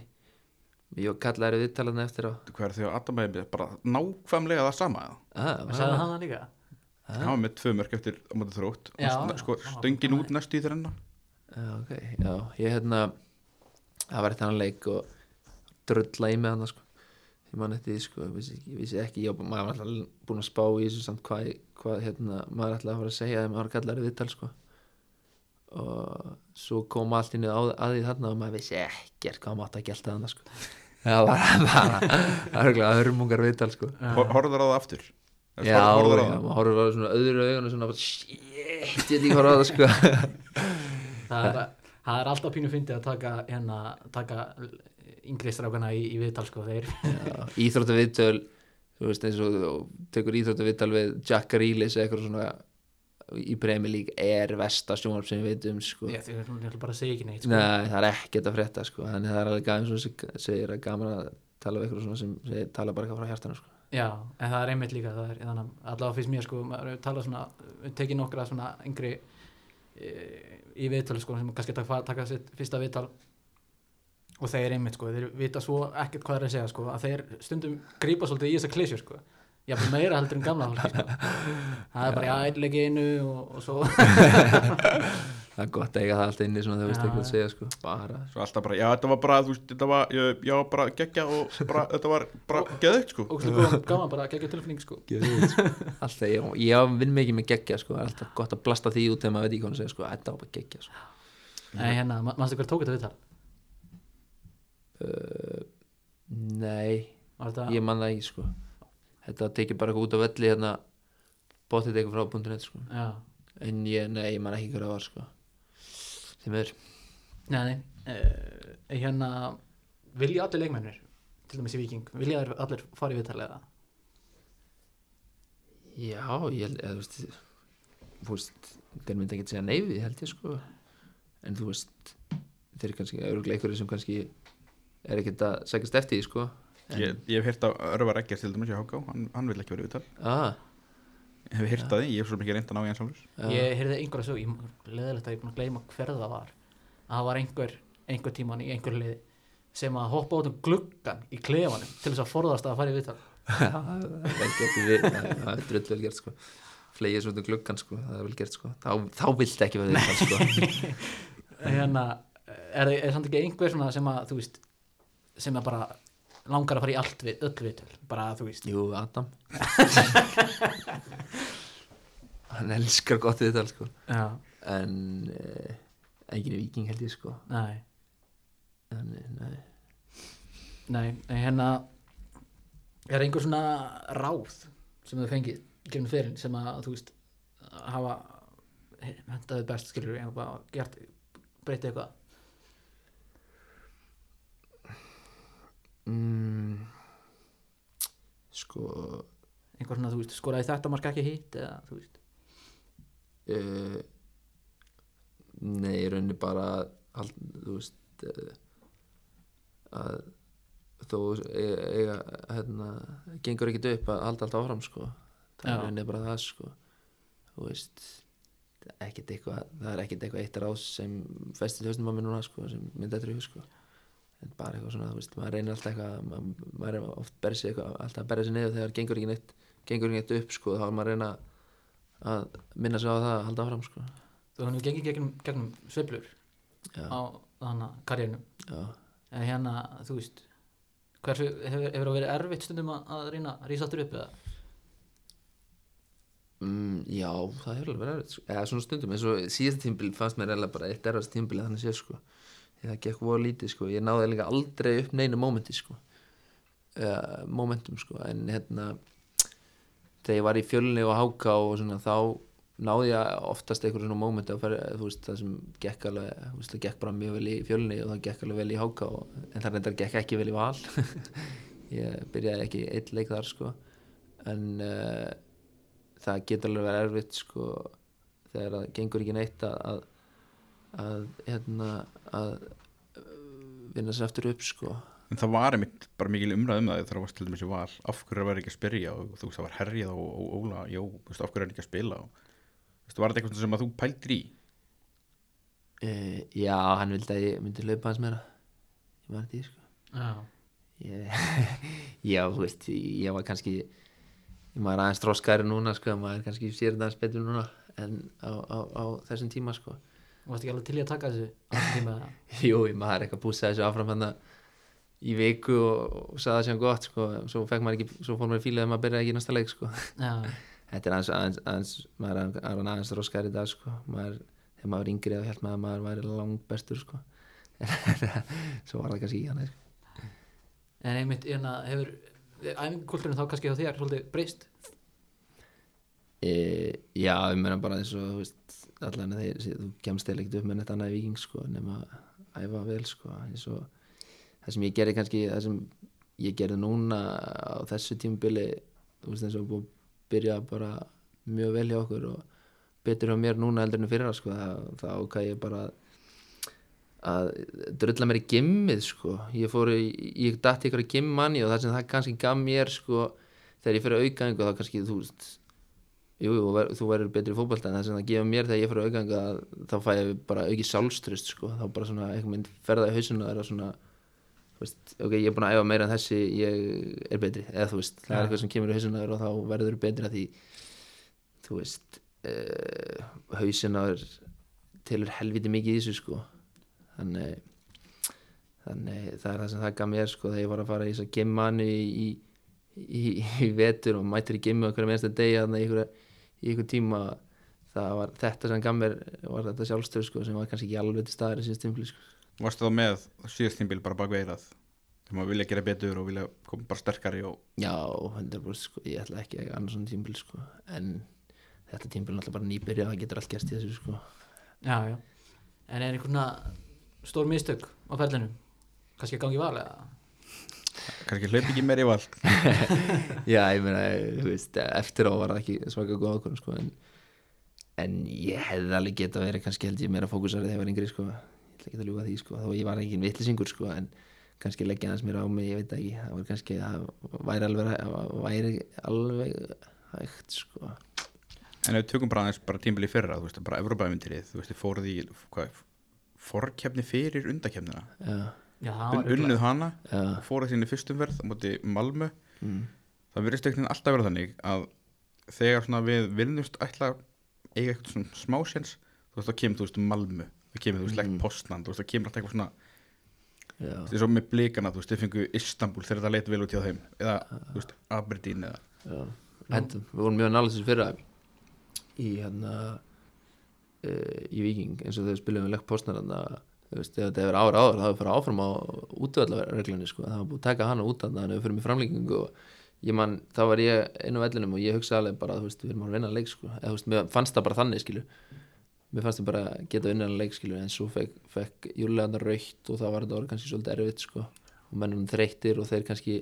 Speaker 3: Ég kallaði viðtalana eftir á
Speaker 2: hvað er því að Adam hefði bara nákvæmlega það sama eða?
Speaker 3: ah, var
Speaker 1: sagði
Speaker 3: það-
Speaker 1: hann það líka
Speaker 2: hann var með tvö mörg eftir á móti þrótt
Speaker 1: Já,
Speaker 2: Hún
Speaker 1: já.
Speaker 2: st- sko,
Speaker 1: Hann var
Speaker 2: stöngin
Speaker 1: bara-
Speaker 2: út næstu í hérna. þrenna
Speaker 3: Já, ok, já, ég hérna það var eitthvað hann leik og drulla í með hann sko. ég man eftir því, sko, ég vissi, ég vissi ekki ég, var- maður var alltaf búin að spá í þessu samt hvað, hvað hérna, maður alltaf að fara að segja þegar maður kallar viðtal sko. og svo kom allt inni á, að því þarna og maður vissi ekkert hvað maður átt að gelta þannig sko. það var (laughs) bara það var eitthvað hörmungar viðtal sko.
Speaker 2: horfður á það aftur Eða,
Speaker 3: Já,
Speaker 2: horfðir á
Speaker 3: já,
Speaker 2: það?
Speaker 3: maður horfður á það svona öðru augun og svona, bara, shit, ég veit ekki horfður á það sko.
Speaker 1: (laughs) það er, það er alltaf pínu fyndið að taka hérna, taka yngri strákana í, í viðtal sko þeir
Speaker 3: íþróttaviðtöl þú veist eins og þú tekur íþróttaviðtöl við Jack Grealish eða eitthvað svona í Premier League er versta sjónvarp sem við veitum sko.
Speaker 1: ég, ég, ég ætla bara að segja ekki neitt sko.
Speaker 3: Nei, það er ekkert að frétta sko. þannig það er alveg gaman sem seg- segir að gaman að tala við ykkur svona sem segir, tala bara eitthvað frá hjartanu sko.
Speaker 1: Já, en það er einmitt líka það er, þannig, að allavega finnst mér sko maður hefur talað svona, tekið nokkra svona yngri e, í viðtal sko sem kannski taka, taka sitt fyrsta viðtal og þeir einmitt sko þeir vita svo ekkert hvað þeir að segja sko að þeir stundum grípa svolítið í þessa klísjur sko já, meira heldur en gamla fólki sko. það er bara já, einn leik í einu og, og svo
Speaker 3: það er gott að eiga það allt inni svona
Speaker 1: Já,
Speaker 3: þegar þú veist eitthvað
Speaker 1: já.
Speaker 3: að segja sko. bara,
Speaker 2: Svo alltaf bara, já þetta var bara, þú veist, þetta var, ég, já bara geggja og
Speaker 1: (laughs)
Speaker 2: bara, þetta var bara geðugt sko
Speaker 1: og svo gaman bara að gegja tilfinning sko
Speaker 3: alltaf, ég, ég vinn mikið með geggja sko. það er alltaf gott að blasta því út þegar maður veit ekki hvað hann segja sko. þetta var bara geggja sko.
Speaker 1: Nei, hérna, ma- manstu hver tók þetta viðtal?
Speaker 3: nei,
Speaker 1: Var þetta-
Speaker 3: ég man það ekki sko. þetta tekið bara eitthvað út á velli hérna, bóttið eitthvað frá búndunett sko.
Speaker 1: Já,
Speaker 3: en ég, nei, ég man ekki hvað það var sko. þeim er
Speaker 1: nei, nei uh, hérna, vilja allir leikmennir til dæmis í Viking, vilja þeir allir fara í viðtal eða?
Speaker 3: Já, ég held, eða, þú veist, þú veist, þeir myndi ekki segja nei við, held ég, sko, en þú veist, þeir kannski, örgulega einhverju sem kannski er ekkert að sækast eftir, því, sko,
Speaker 2: Ég, ég hef heyrt að Örvar Eggers til dæmis í Háká, hann, hann vil ekki verið viðtal
Speaker 3: ah,
Speaker 2: Ég hef heyrt að því, ég hef svo mikið reynd að ná í hans sjálfur
Speaker 1: Ég heyrði einhverja sög, ég leðilegt að ég er búin að gleyma hver það var að það var einhver, einhver tíman í einhver liði sem að hoppa út um gluggan í klefanum til þess að forðast að fara í viðtal
Speaker 3: það er vel gert við, það það er drull vel gert, sko, flegið svona út um gluggan, sko, það er vel gert, sko, þá, þá vilt ekki verið það, sko,
Speaker 1: hérna, er, er samt ekki einhver svona sem að, þú veist sem að bara langar að fara í allt við, öll viðtal, bara þú veist
Speaker 3: jú, Adam, hann elskar gott við þetta, sko,
Speaker 1: Já,
Speaker 3: en, eh, enginn er viking, held ég, sko,
Speaker 1: nei
Speaker 3: en, nei,
Speaker 1: Nei, nei hérna er einhver svona ráð sem þau fengið gefnum fyrir sem að þú veist hafa hentaði best skilur en bara gert breytið eitthvað
Speaker 3: mm, sko
Speaker 1: einhver svona þú veist skoraði þetta mark ekki hitt eða þú veist
Speaker 3: uh, nei, í rauninni bara all, þú veist uh, að þó eiga, eiga hérna, gengur ekkit upp að halda allt áfram sko,
Speaker 1: Já.
Speaker 3: það er í rauninni bara það sko, þú veist ekkit eitthvað, það er ekkit eitthvað eitt ráð sem festið höstum að mér núna sko, sem myndi þetta ríðu sko en bara eitthvað svona, þú veist, maður reynir alltaf eitthvað maður, maður er oft berið sig eitthvað alltaf að berið sig niður þegar gengur ekki neitt gengur ekki neitt upp sko, þá er maður að reyna að minna sig á það að halda áfram sko.
Speaker 1: þú hann hefur gengið gegnum, gegnum sveiflur
Speaker 3: Já.
Speaker 1: á þannig karjörnum
Speaker 3: já,
Speaker 1: en hérna þú veist hversu hefur, hefur það verið erfitt stundum að, að reyna að rísa aftur upp eða
Speaker 3: mm, já það hefur alveg verið erfitt, sko. eða svona stundum eins og síðast tímbil fannst mér eða bara eitt erfast tímbil þannig sé sko, Því það gekk voða lítið sko, ég náði líka aldrei upp neinu mómenti sko uh, momentum sko, en hérna þegar ég var í fjölunni og háka og svona þá náði ég oftast einhver svona mómenti að fara, þú veist, það sem gekk alveg, þú veist, það gekk bara mjög vel í fjölunni og það gekk alveg vel í háka og, en það reyndar gekk ekki vel í val (laughs) ég byrjaði ekki eitt leik þar sko, en uh, það getur alveg verið erfitt sko, þegar það gengur ekki neitt að, að að hérna að uh, vinna sér aftur upp sko
Speaker 2: En það var einmitt bara mikil umræð um það þegar það var til dæmis í val, af hverju var ekki að spyrja og þú veist það var herjað og, og Óla, jó, þú veist, af hverju er hann ekki að spila og þú veist, var þetta eitthvað sem að þú pældir í?
Speaker 3: Uh, já, hann vildi að ég myndi laupa hans meira Ég var þetta í sko
Speaker 1: já,
Speaker 3: ég, (laughs) Já, þú veist, ég var kannski Ég maður aðeins þróskari núna sko Maður kannski sér þetta aðeins betur núna En á, á, á þessum tíma sko (laughs)
Speaker 1: þú varst ekki alveg til í að taka þessu allan tíma eða
Speaker 3: Jú, ég maður eitthvað bússaði þessu áfram hann Í viku og, og sagði það sem gott sko Svo fekk maður ekki, svo fór maður í fílið Þegar maður byrjaði ekki í næsta leik sko (laughs)
Speaker 1: já,
Speaker 3: Þetta er aðeins, aðeins, aðeins maður er aðeins- er aðeins þróskari í dag sko. maður, þegar maður er yngri þá held maður að maður væri langbestur sko. (laughs) svo var það kannski í hann sko.
Speaker 1: En einmitt, hérna, hefur æfingkulturinn þá kannski á þér svolítið breyst?
Speaker 3: e, Já, ég meina bara eins og þú veist, allan að þeir, þú kemst eða ekkert upp með neitt annað í viking sko, nema að æfa vel sko, eins og það sem ég gerði kannski, það sem ég gerði núna á þessu tímubili þú veist eins og búið að byrja bara mjög vel hjá okkur og betur hjá mér núna heldur en í fyrra sko, það, það ákvað ég bara að drulla mér í gimmið sko. ég fór, í, ég datt í ykkur að gimm manni og það sem það kannski gaf mér sko, þegar ég fyrir aukaðingu þá kannski þú veist jú, jú, ver, þú verður betri í fótbolta en það sem það gefur mér þegar ég fyrir aukaðingu að, þá fæ ég bara auki sálstrust sko. þá bara svona einhvern veginn ferða í hausuna þeirra svona þú veist, ok, ég er búin að æfa meira en þessi ég er betri, eða þú veist, það er eitthvað sem kemur í hausuna þér og þá verður betri að því þú veist uh, hausinn á þér telur helviti mikið í þessu sko þannig þannig það er það sem það gaf mér sko þegar ég var að fara í þess að gemmanni í, í, í vetur og mættir í gemmu okkur með einsta degi þannig í einhver, í einhver tíma það var þetta sem gaf mér var þetta sjálfstöð sko sem var kannski ekki alveg til staðar í síðan stimfli sko
Speaker 2: Varstu þá með síðast tímbil bara bakveirað þegar maður vilja gera betur og vilja koma bara sterkari og
Speaker 3: Já, 100% sko, ég ætla ekki að eiga annars svona tímbil sko, en þetta tímbil er náttúrulega bara nýbyrja, það getur allt gerst í þessu sko.
Speaker 1: já, já. En er einhverna stór mistök á ferlinu? Kannski að gangi val eða?
Speaker 2: kannski hlaup ekki meir í vald
Speaker 3: Já, ég meina, þú veist, eftir á var það ekki svaka góð okkur sko, en, en ég hefði alveg getað verið kannski held ég meira fókusarið þegar ég var yngri sko, ég ætla ekki að ljúga því sko, þó ég var engin vittlisingur sko, en kannski leggja aðeins mér á mig, ég veit það ekki, það var kannski, það væri alveg, það væri alveg hægt sko.
Speaker 2: En ef við tökum bara aðeins bara tímbil í fyrra þú veist, bara Evrópaðmyndirið, þú veist, þið fóruð í hvað, forkefni fyrir undakefnina
Speaker 3: Já,
Speaker 1: Já, það var
Speaker 2: Un, unnuð hana,
Speaker 3: Já. Mm.
Speaker 2: og fóruð sinni fyrstumverð á móti Malmö það verðist ekkert alltaf verið þannig að þegar svona við vinnust ætla að eiga eitthvað svona smásjens þú veist, þá kemur þú veist Malmö þá kemur þú veist legt postnand, þú veist, þá kemur alltaf eitthvað svona
Speaker 3: Mm. já.
Speaker 2: þess að með blikana, þú veist, þið fengu Istanbul þegar það leit vel út hjá þeim eða, þú veist, Aberdeen eða
Speaker 3: Já, Þetta, við vorum mjög nálægt þessu fyrra í hérna uh, í Viking eins og þegar við spilum við lekk postnar hérna, þú veist, ef þetta hefur ára áður þá hefur farið áfram á útvöldarreglunni sko, það var búið að taka hana út þannig að við fyrir með framlengingu og ég man, þá var ég inn á vellinum og ég hugsaði alveg bara, þú veist, við erum að vinna leik sko, eða þú veist, mér fannst það bara þannig skilu mér fannst það bara að geta unnæðan leik skilur en svo fekk, fekk júlegaðan raukt og það var þetta orð kannski svolítið erfitt sko og mennum þreyttir og þeir kannski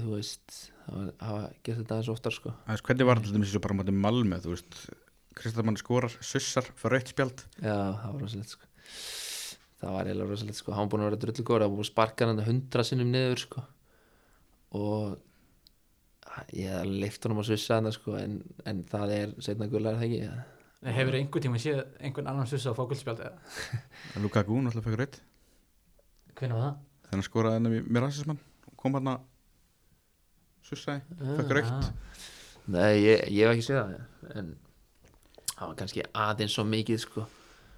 Speaker 3: þú veist hafa, hafa gert þetta aðeins oftar sko
Speaker 2: Aðeins, hvernig var þetta þessu bara á móti Malmö, þú veist Kristamann skorar, sussar, fara eitt spjald
Speaker 3: já, það var rosalegt sko það var eiginlega rosalegt sko, hann búin að vera drullu góður það var búin að sparka hann hundra sinnum niður sko og ég leifti honum að svissa hann sko en, en það er setna gullar það ekki ja.
Speaker 1: Nei, Hefur einhvern tíma séð einhvern annan sussa á fókulspjald eða?
Speaker 2: Lukaku, náttúrulega fækur eitt
Speaker 1: Hvernig var það?
Speaker 2: þannig að skoraði henni með rasismann og kom hérna hann að sussaði, fækur eitt
Speaker 3: nei, ég, ég hef ekki séð það ja. en það var kannski aðeins svo mikið sko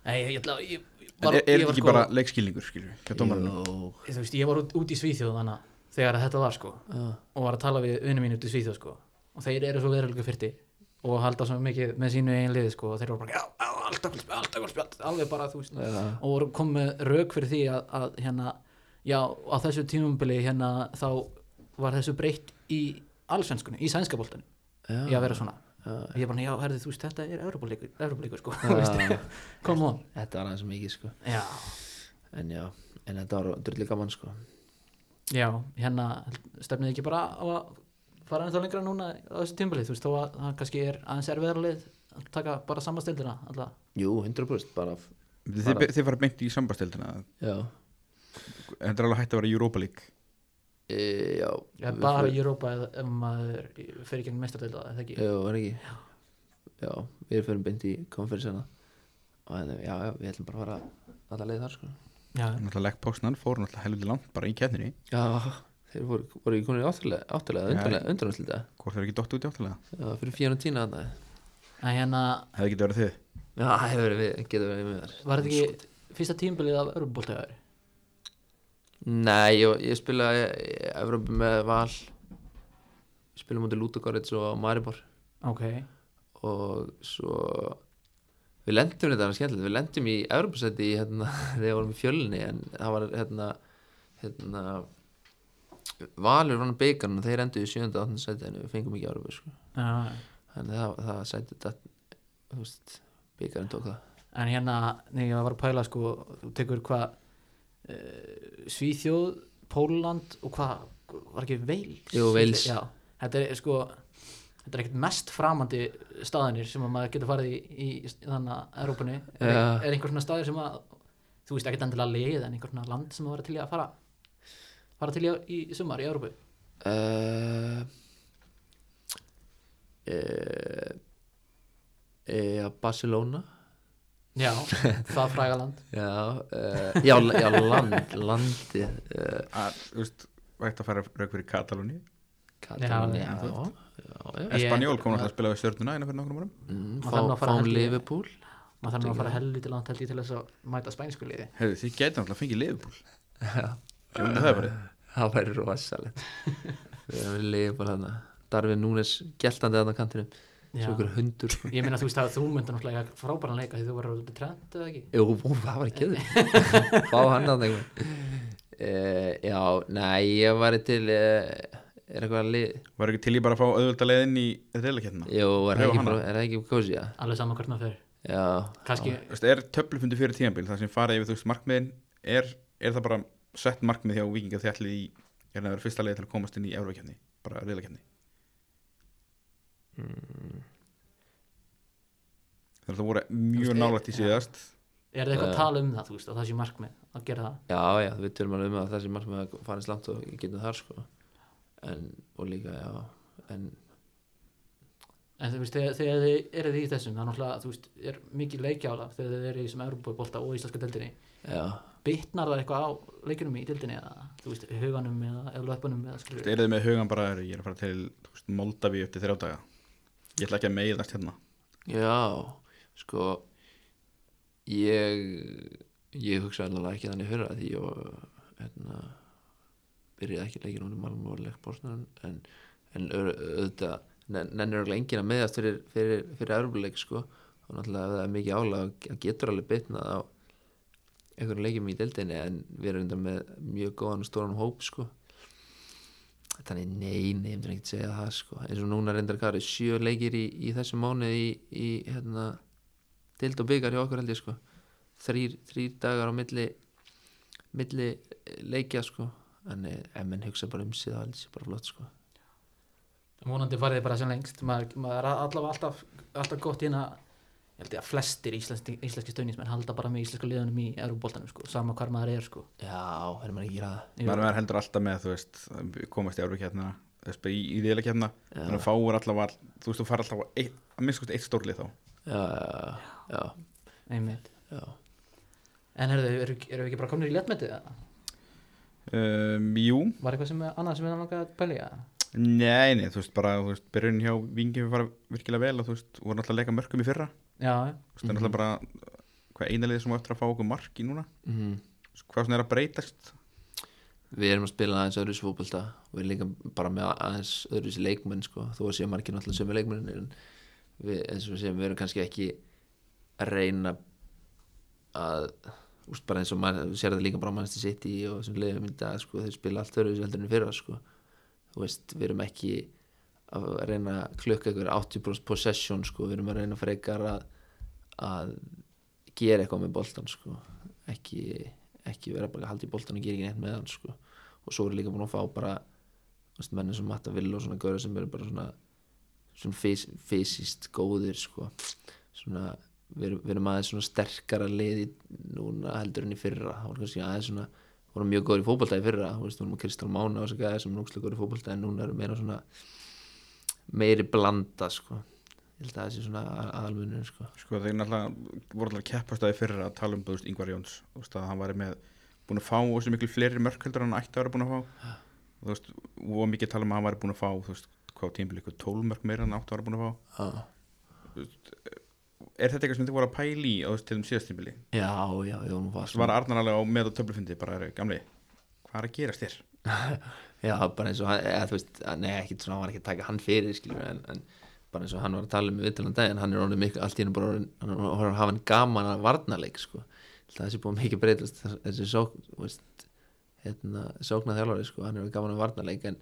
Speaker 1: Nei, ég, ég, ætla- ég, ég,
Speaker 2: En
Speaker 1: var,
Speaker 2: er, er
Speaker 1: ég var
Speaker 2: ekki
Speaker 1: sko,
Speaker 2: bara leikskilningur, skilju, hjá dómarinu
Speaker 3: Jó,
Speaker 1: Þú veist, ég var út, út í Svíþjóð þannig að þegar að þetta var sko
Speaker 3: Já.
Speaker 1: og var að tala við vinnum mínu út í Svíþjóð sko og þeir eru svo verulega fyrti og halda svo mikið með sínu eigin liði sko og þeir voru bara, já, já, alltaf gulspjald, alltaf gulspjald alveg bara, þú veist og voru komið með rauk fyrir því að, að hérna, já, á þessu tímumbili hérna þá var þessu breytt í allsvenskunni, í sænskaboltanum í að vera svona og ég bara, já, herðu, þú veist, þetta er Evropalíkur, Evropalíkur, sko, (laughs) þú veist, come on
Speaker 3: þetta var aðeins mikið sko
Speaker 1: já,
Speaker 3: en já, en þetta var drulli gaman sko
Speaker 1: já, hérna stefnið ekki bara á að fara ennþá lengra núna á þessu tímubili, þú veist, þó að það kannski er aðeins erfiðara lið að taka bara samastildina, alltaf
Speaker 3: jú, 100% bara f-
Speaker 2: Þið, þið, þið fara beint í sambastildina
Speaker 3: já,
Speaker 2: Þetta er alveg hægt að vera Europa League
Speaker 3: e, já
Speaker 1: Já,
Speaker 3: við
Speaker 1: bara
Speaker 3: fórum-
Speaker 1: í Europa ef- ef maður fer í gegn mestardelda, eða ekki?
Speaker 3: já, var ekki já, við fyrir beint í konferensina og en, já, já, við ætlum bara að fara alla leið þar sko
Speaker 1: Já,
Speaker 2: Náttúrulega legg pósnan, fór náttúrulega helviti langt bara í keppninni,
Speaker 3: já, þeir voru, voru í konur í áttalega, áttalega undanúslita,
Speaker 2: hvort þeir ekki dottu út í áttalega
Speaker 3: já, fyrir fjónu tína þarna
Speaker 1: en hérna,
Speaker 2: Hefði getið verið þið
Speaker 3: já, það hefur verið, við- getur verið með þar
Speaker 1: Var þetta ekki fyrsta tímbilið af Örbóltæðar?
Speaker 3: Nei, ég, ég spilaði Evrópu með Val spilum mútið Lútogorits og Maribor
Speaker 1: Ok,
Speaker 3: og svo við lendum þetta var skemmtilegt, við lendum í Evrópusæti í, hérna, (laughs) þegar við vorum í fjölni en það var hérna, hérna Valur vann beikarn og þeir enduðu í 7. og 8. sæti en við fengum ekki Evrópu sko.
Speaker 1: uh,
Speaker 3: þannig það, það sæti þetta þú veist, beikarn tók það
Speaker 1: en hérna, nei, ég var að pæla sko, þú tekur hvað uh, Svíþjóð, Pólland og hvað, var ekki Veils?
Speaker 3: Jú, Wales.
Speaker 1: Já, þetta er sko, þetta er ekkert mest framandi staðanir sem að maður getur farið í, í, í þannig að Európunni er,
Speaker 3: Já.
Speaker 1: er einhver svona staður sem að þú veist ekkert endilega leið en einhver svona land sem að vera til í að fara fara til í, í, í sumar í Európu
Speaker 3: Uh, uh, uh, Barcelona (laughs)
Speaker 1: já, það fræga land
Speaker 3: Já, uh, já, já land, landið uh,
Speaker 2: að, þú veist, vægt að fara rauk fyrir Katalóni
Speaker 3: Katalóni,
Speaker 1: Já,
Speaker 3: já,
Speaker 1: þú
Speaker 3: já, já.
Speaker 1: Ég-
Speaker 2: Espanjól kom náttúrulega að spila við stjörnuna einu fyrir nokkrum árum
Speaker 3: Mm,
Speaker 1: maður
Speaker 3: Fá,
Speaker 1: þarf nú að fara
Speaker 3: fáum
Speaker 1: að hella í-
Speaker 3: Liverpool
Speaker 1: maður þarf nú að fara helviti langt held ég til þess að mæta spænsku liði
Speaker 2: hefði þið gæti náttúrulega að fengið Liverpool Ég myndi það bara
Speaker 3: Það væri rosalegt (laughs) Við erum Liverpool hana Darfin Núnes geltandi þarna á kantinum
Speaker 1: Já.
Speaker 3: Svo ykkur hundur sko.
Speaker 1: ég meina þú veist að þú myndir náttúrulega eiga frábæran leika því þú verður út í trend eða ekki
Speaker 3: Jú, ó, það
Speaker 1: (laughs)
Speaker 3: var ekki þau Fá hann að það Eh, Já, nei, ég var til uh, Er eitthvað lið
Speaker 2: Var ekki til ég bara að fá auðvölda leiðin í reylakettina
Speaker 3: Jú, er
Speaker 2: Jú,
Speaker 3: það ekki,
Speaker 2: hana.
Speaker 3: bara- er það ekki kósi, já
Speaker 1: alveg saman hvort maður fer
Speaker 3: Já,
Speaker 1: kannski,
Speaker 2: Er töflufundi fyrir tíðanbíl þar sem farið yfir þú veist markmiðin er, er það bara sett markmið hjá vikinga því allir í er það að vera fyrsta leið til að komast inn í Eurókefni bara reylakefni
Speaker 1: Mm.
Speaker 2: Þannig að það voru
Speaker 1: Þú
Speaker 2: mjög
Speaker 1: veist,
Speaker 2: nálægt í síðast
Speaker 1: er það eitthvað að tala um það þú veist að það sé markmið að gera það
Speaker 3: Já, já, við tölum alveg um að þessi markmið að fara eins langt og getum þar sko en, og líka, já en,
Speaker 1: En þú veist, þegar, þegar þið eru í þessum, það er náttúrulega, þú veist, er mikið leikjála þegar þið eru í þessum Európa-bólta og íslenska deildinni.
Speaker 3: já,
Speaker 1: Bitnar það eitthvað á leikunum í deildinni eða, þú veist, huganum eða, eða löpunum eða skilur?
Speaker 2: Er þið með hugan bara "Heyrðu, ég er að fara til þú veist, Moldavíu upp til þrjá daga Ég ætla ekki að meiðast hérna
Speaker 3: já sko ég ég hugsa alveg ekki þannig hörra því ég var, hérna byrjaði ekki leikir núna í Malmö og leik Bosnan en, en au- auðvitað nen- nennir alveg enginn að meðast fyrir, fyrir, fyrir erfuleik sko og náttúrulega ef það er mikið álag að getur alveg bitnað á einhverjum leikjum í deildinni en við erum þetta með mjög góðan og stóran hóp sko þannig nei, nei, ég myndi ekki segja það sko eins og núna reyndar hvað eru sjö leikir í, í þessu mánu í, í hérna dild og byggar hjá okkur held ég sko þrýr, þrýr dagar á milli milli leikja sko en eh, ef menn hugsa bara um sig það held ég sé bara flott sko
Speaker 1: Vonandi farið þið bara sem lengst, maður, maður er allavega alltaf, alltaf gott hérna, ég held ég að flestir íslenski, íslenski stöðnismenn halda bara með íslenska liðunum í Európa-bóltanum, sko, sama hvar maður er, sko.
Speaker 3: já, erum maður ekki að gera það
Speaker 1: Jú.
Speaker 2: maður verður heldur alltaf með þú veist að komast í árvíkjarnina í, í liðleikjarnina þannig að fáur alltaf all, þú veist þú fara alltaf á eitt, að minnst eitt stórlið þá
Speaker 3: já, já, já,
Speaker 1: Einmitt.
Speaker 3: já, já.
Speaker 1: En herðu, eru eru við ekki bara komin í léttmetið? eða?
Speaker 2: um, Jú,
Speaker 1: Var eitthvað sem, annað sem við langaði að pælja?
Speaker 2: nei, nei, þú veist bara þú veist, byrjun hjá vingi var virkilega vel og þú veist, voru alltaf að leika mörgum í fyrra þú
Speaker 1: Já,
Speaker 2: veist, það er alltaf bara hvað eina liðið sem á eftir að fá okkur mark í núna
Speaker 3: Mhm.
Speaker 2: Þú veist, hvað svona er að breytast
Speaker 3: við erum að spila aðeins öðruvísi fótbolta og við erum líka bara með aðeins öðruvísi leikmenn sko, þó að séu margir náttúrulega sömu leikmenn en við, eins og við séum, við erum kannski ekki að reyna að úst, bara eins og mann, við sér það líka bara mannstu sitt í og sem leiðum í dag, sko, þeir spila allt öðruvísi heldur en fyrra, sko þú veist, við erum ekki að reyna að klukka ykkur 80% possession, sko, við erum að reyna frekar að, að gera eitthvað með boltan sko. ekki, ekki vera bara að halda í boltan og gera ekki neitt með hann sko. og svo er líka búin að fá bara þú veist, menn sem Matta Vill og svona gaur sem eru bara svona, svona fys, fysiskt góðir sko. svona, við, erum- við erum aðeins svona sterkara liði núna heldur enn í fyrra það voru kannski aðeins svona voru mjög góður í fótbolta í fyrra, þú veist, vorum að Kristján Mána og þess að gæða sem núkslega góður í fótbolta en núna eru meira svona meiri blanda sko, ég held að það sé svona aðalmunum sko,
Speaker 2: sko, þeir náttúrulega voru alltaf að keppast að í fyrra að tala um þú veist, Ingvar Jóns þú veist, að hann væri með búin að fá og miklu fleiri mörk heldur en hann ætti að vera búin að fá og þú veist, og mikið að tala um að hann væri búin að fá þú veist, hvað tímpil ykkur 12 mörk meira en hann átti að vera búin að fá
Speaker 3: já
Speaker 2: er þetta eitthvað sem þið voru að pæli í á þess til um síðast tímpili
Speaker 3: Já, já, já, hún var
Speaker 2: var Arnar alveg á með á töflufundi bara er gamli, hvað er að gerast þér
Speaker 3: Já, bara eins og hann, eða, þú veist, að- nei, ekki svona, hann var ekki að taka hann fyrir, skiljum en, en bara eins og hann var að tala um viðtalan daginn, hann er orðið mikil, allt í hennu bara orðin, hann er orðin að hafa hann gaman að varnarleik, sko, Ég held að þessi búið mikið breytast, þess- þessi sók, þú veist, hérna, sóknað þjálfari, sko, hann er orðið gaman að varnarleik, en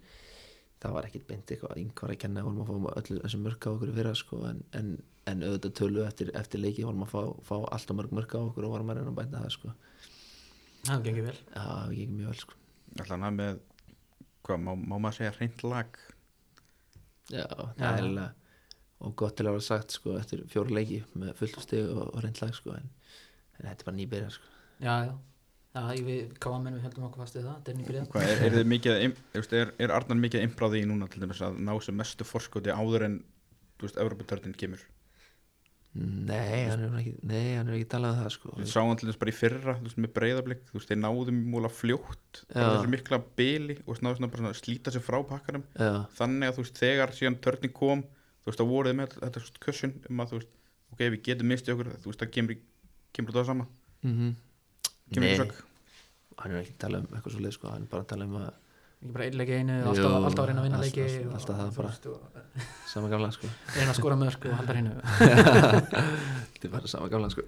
Speaker 3: það var ekkit beint eitthvað að yngvar að kenna, vorum að fá öllu þessu mörk á okkur í fyrra, sko, en, en, en auðvitað tölu eftir, eftir leiki, vorum að fá, fá alltaf mörg mörk á okkur og vorum að reyna að bæta það, sko,
Speaker 1: það gengir vel.
Speaker 3: já, það gekk mjög vel, sko.
Speaker 2: alltaf hann með, hvað má, má maður segja hreint lag
Speaker 3: Já, það er eiginlega og gott til að vera sagt sko eftir fjóra leiki með fullt stig og, og reynd lag sko en, en þetta er bara nýbyrjar sko
Speaker 1: já, já, já, ég við káamenn við höldum okkur fast við það, þetta er nýbyrjað
Speaker 2: Hvað, er, er, þið mikið, að im- þú veist, er, er Arnar mikið að impra því núna til dæmis að ná sem mestu forskoti áður en þú veist, Evropatörnin kemur
Speaker 3: Nei, hann er ekki, nei, hann er ekki talað um það sko
Speaker 2: Við sáum til dæmis bara í fyrra, þú veist, með breyðablík þú veist, þeir náðu múla fljótt bara
Speaker 3: Já.
Speaker 2: þessu mikla bili og náðu svona bara svona að slíta sér frá pakkarum
Speaker 3: Já,
Speaker 2: þannig að þú veist, þegar síðan törnin kom þú veist, þá voruð þið með þetta svona kussin um að þú veist, ok, við getum mistið okkur þú veist, það kemur, í- kemur það sama
Speaker 3: mm
Speaker 2: kemur
Speaker 3: Nei.
Speaker 2: í sök
Speaker 3: hann er ekki talað um eitthvað svo leið sko hann er bara að tala um að
Speaker 1: ekki bara einn leik í einu, alltaf,
Speaker 3: Jú,
Speaker 1: alltaf að reyna að vinna
Speaker 3: allt-
Speaker 1: leiki
Speaker 3: allt-
Speaker 1: og-
Speaker 3: alltaf það
Speaker 1: þú
Speaker 3: bara.
Speaker 1: veist, og
Speaker 3: sama gamla (laughs) sko
Speaker 1: reyna að skora mörg og halda hreinu
Speaker 3: Þetta er bara sama gamla sko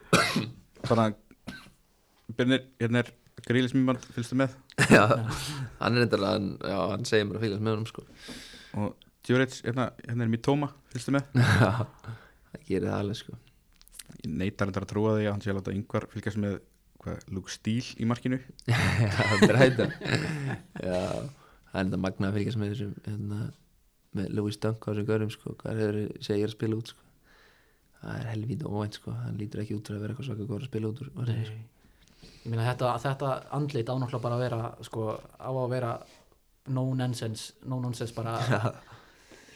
Speaker 2: bara, Bernir, hérna er grílis mjög fylgstu með
Speaker 3: (laughs) Já, hann er eitthvað hann, já, hann segir mér að fylgjast með honum sko
Speaker 2: og Djurits, hérna, hérna er mér tóma fylgstu með,
Speaker 3: (laughs) Já, það gerir það alveg sko
Speaker 2: ég neitar þetta að trúa því að hann sé að láta yngvar fylgjast með hvað, Luke Steele í markinu
Speaker 3: Já, bræta Já, það er þetta magna að fylgjast með þessum hérna, með Louis Dunk á þessum görum sko, hvað hefur segir að spila út sko Það er helvítið óvænt sko, hann lítur ekki út fyrir að vera eitthvað svaka góður að spila út úr orðinni, sko.
Speaker 1: ég meina þetta, þetta andlit á náttúrulega bara að vera sko, á að vera no nonsense no nonsense
Speaker 3: (laughs)
Speaker 1: bara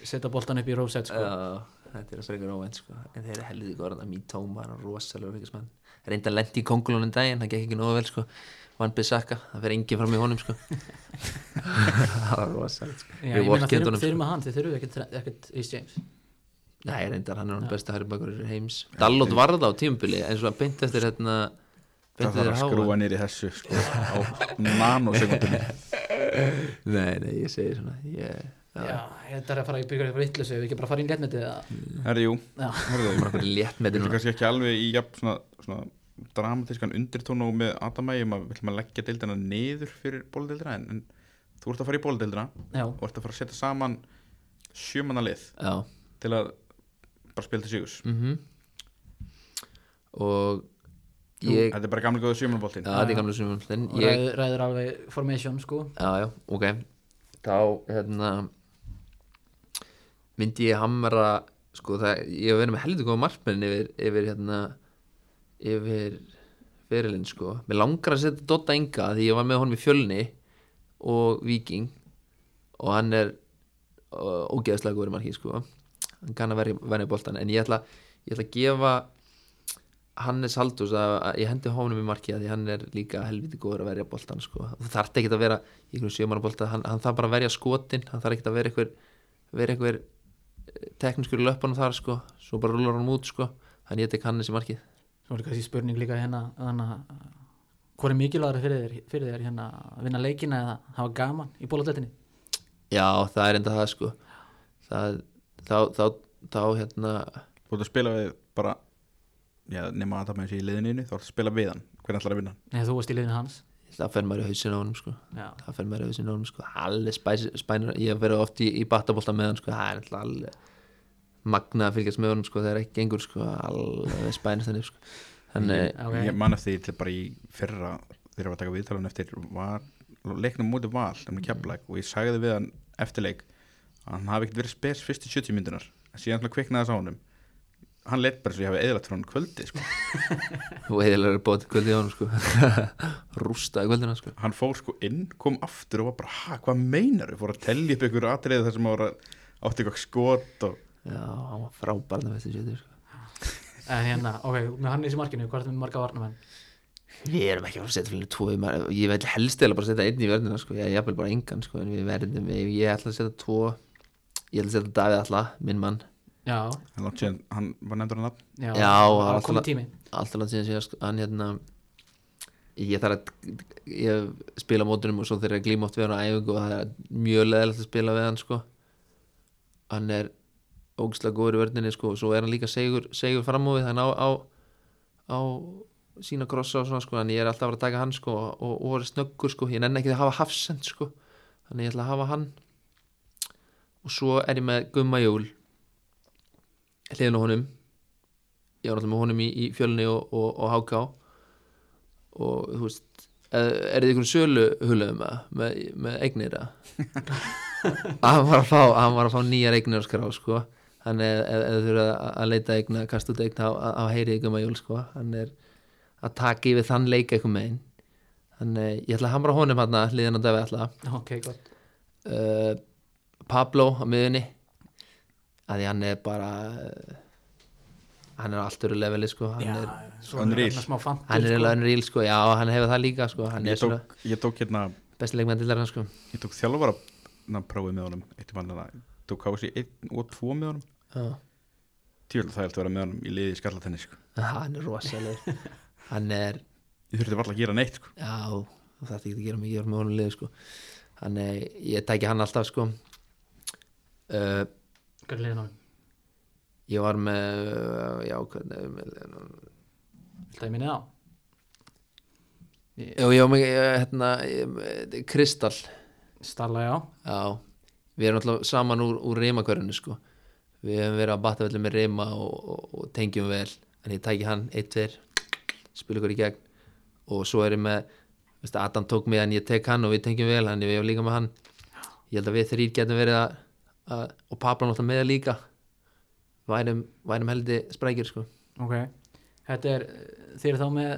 Speaker 1: setja boltan upp í róset sko.
Speaker 3: Já, þetta er að frekar óvænt sko En þeir eru helvítið góður, hann mít tóma, hann er rosalur fylgjastmann Reynda lendi í kongulónum daginn, hann gekk ekki nógu vel sko Van Bissaka, það fer engin fram í honum
Speaker 1: (laughs)
Speaker 3: sko Það var rosalur sko
Speaker 1: Já,
Speaker 3: Við
Speaker 1: ég meina
Speaker 3: vorkenndi
Speaker 1: þeir,
Speaker 3: honum,
Speaker 1: þeir
Speaker 3: sko.
Speaker 1: eru með hann, þeir þurfu ekkert, ekkert Ís James
Speaker 3: Nei, reyndar, hann er hann besta hærubakur heims Dallot varð á tímbili eins og að beint eftir hérna
Speaker 2: það
Speaker 3: beint
Speaker 2: þarf að
Speaker 3: eftir háan
Speaker 2: skrúa niður í þessu sko, á nanosekundinu
Speaker 3: Nei, nei, ég segi svona ég,
Speaker 1: Já, þetta er að fara í byggjum fyrir vittlusu ef við ekki bara fara inn léttmyndið
Speaker 3: Mm.
Speaker 2: herri, jú,
Speaker 1: Já.
Speaker 2: herri,
Speaker 3: Bara okkur létt með
Speaker 2: Þetta er
Speaker 3: þetta
Speaker 2: kannski ekki alveg í jafn, svona, svona dramatískan undirtónu og með Adamægjum að viljum að leggja deildina niður fyrir bóladeildina en, en þú ert að fara í bóladeildina
Speaker 1: Já,
Speaker 2: og ert að fara að setja saman sjömanna lið
Speaker 3: Já,
Speaker 2: til að bara spila til sigurs
Speaker 3: mhm Og ég
Speaker 2: Þetta er bara gamlega góðu sjömannabóltin
Speaker 3: Já, þetta er gamla sumum
Speaker 1: og
Speaker 3: Ég,
Speaker 1: ræður, ræður alveg formation sko
Speaker 3: já, já, ok Þá, hérna myndi ég hamra sko, það, ég hef verið með heldur góða markmenn yfir, yfir hérna yfir fyrirlinn sko mér langar að setja Dotta Inga því ég var með honum í fjölni og Viking og hann er uh, ógeðslega góður í marki sko hann kann að verja, verja boltan en ég ætla, ég ætla að gefa Hannes Haldús að, að ég hendi honum í marki að því hann er líka helviti góður að verja boltan sko það þarf ekki að vera í einhverjum sjömanna bolta hann, hann þarf bara að verja skotin hann þarf ekki að vera einhver, vera einhver eh, teknískur í löpunum þar sko svo bara rúlar hann út sko þannig ég tek Hannes í markið
Speaker 1: Svo er kannski spurning líka hérna hana, hvað er mikilvægur fyrir þér, fyrir þér hérna, að vinna leikina eða hafa gaman í bóladöldinni
Speaker 3: Já, það er enda það sko það, þá, þá, þá hérna
Speaker 2: Þú ert að spila við bara já, nema Adamægjum sé í liðinu þá ert að spila við hann, hvernig ætlar að vinna hann
Speaker 1: Nei, þú varst í liðinu hans
Speaker 3: það fer maður í hausin á honum sko
Speaker 1: Já,
Speaker 3: það fer maður í hausin á honum sko allir spæs, spænur, ég hef verið oft í, í battabolta með hann sko, það er alltaf alveg magnað að fylgjast með honum sko, það er ekki gengur sko, alveg spænur þannig sko þannig,
Speaker 1: ok
Speaker 2: Ég man eftir því til bara í fyrra þegar ég var að taka viðtalan eftir var, leiknum mútið val um keflag og ég sagði við hann eftir leik að hann hafi ekkert verið spes fyrstu 70 myndunar en síðan svona kviknaði sá honum hann leitt bara svo ég hafi eðlagt frá hann kvöldi
Speaker 3: (laughs)
Speaker 2: sko.
Speaker 3: og eðilega er bótið kvöldið á honum sko (laughs) rústaði kvöldina sko
Speaker 2: hann fór sko inn, kom aftur og var bara, ha, hvað meinar við fór að tellja upp ykkur atriði þar sem hann var að átti eitthvað skot og
Speaker 3: já, hann var frábærna með þessu sétu sko
Speaker 1: En hérna, ok, með Hannes í markinu, hvað er þetta með marga varnamenn?
Speaker 3: Við erum ekki að fara að setja fyrir tvo í maður Ég vil helst eða bara setja einn í verðina sko. Ég er bara engan sko. En við verðum, ég, ég ætla að setja tvo Ég ætla að setja Davíð Alla, minn mann
Speaker 1: Já,
Speaker 2: hann, langt síðan, hann var nefndur hann nafn
Speaker 1: já,
Speaker 3: Já,
Speaker 1: það var
Speaker 3: hann
Speaker 1: komið
Speaker 3: alltaf-
Speaker 1: tími
Speaker 3: Alltaf langt síðan síðan sko. Hann hérna Ég þarf að ég spila á mótunum og svo þegar ég glíma oft við hann á æfingu og það er mjög leðilegt að spila við hann sko. Hann er ógislega góður í verðinni sko. og svo er hann líka segur, segur fram á við hann á, á, á sína krossa og svona sko, en ég er alltaf að fara að taka hann sko, og, og voru snöggur sko, ég nenni ekki að hafa hafsend sko, þannig ég ætla að hafa hann og svo er ég með Gumma Jól hliðin á honum ég var alltaf með honum í, í fjölni og, og, og háká og e, þú veist eh, er þið einhvern sölu hulaðum með, með eignir að hann var að fá, hann var að fá nýjar eignarskrá sko hann er, ef ef þið þurfa að- að leita eigna, kasta út eigna á, á heyrið ykkur maður jól sko hann er að taka yfir þann leika ykkur megin hann er, ég ætla að hamra á honum hann að hliðan á Davi alltaf
Speaker 1: ok, gott
Speaker 3: uh, Pablo á miðunni að því hann er bara uh, hann er allt öru leveli sko hann
Speaker 1: Já,
Speaker 3: er,
Speaker 1: svo
Speaker 2: hann er
Speaker 1: er
Speaker 2: ill.
Speaker 1: smá fantur
Speaker 3: hann er
Speaker 1: sko.
Speaker 3: eiginlega unreal sko, já hann hefur það líka sko hann
Speaker 2: ég
Speaker 3: er svona
Speaker 2: tók, ég tók hérna
Speaker 3: besti leikmenn til þarna sko
Speaker 2: ég tók þjálfara na, prófið með honum eitt um hann tók KFC 1 og 2 með honum
Speaker 3: já.
Speaker 2: tjóðlega það er að vera með honum í liði í skallatenni sko.
Speaker 3: hann er (laughs) rosalegur hann er,
Speaker 2: ég þurfti varla að gera neitt sko.
Speaker 3: já það þetta ekki að gera mikið með honum lið sko hann er, ég tæki hann alltaf sko uh,
Speaker 1: Hvað er liðin á hann?
Speaker 3: ég var með uh, já, hvernig er með liðin honum?
Speaker 1: Viltu að ég minni á?
Speaker 3: Jú, ég var með, eh, hérna eh, Kristall
Speaker 1: Stalla, já
Speaker 3: Já, við erum alltaf saman úr, úr reymakörunni sko Við hefum verið að batta vellu með reyma og, og, og tengjum vel En ég tæki hann, eitt, tver, spila ykkur í gegn Og svo er ég með, veist, Adam tók mig en ég tek hann og við tengjum vel Þannig við hefum líka með hann Ég held að við þrýr getum verið að, að og papla náttúrulega með líka Værum, værum heldi sprækir sko
Speaker 1: Ok, þetta er, þeir eru þá með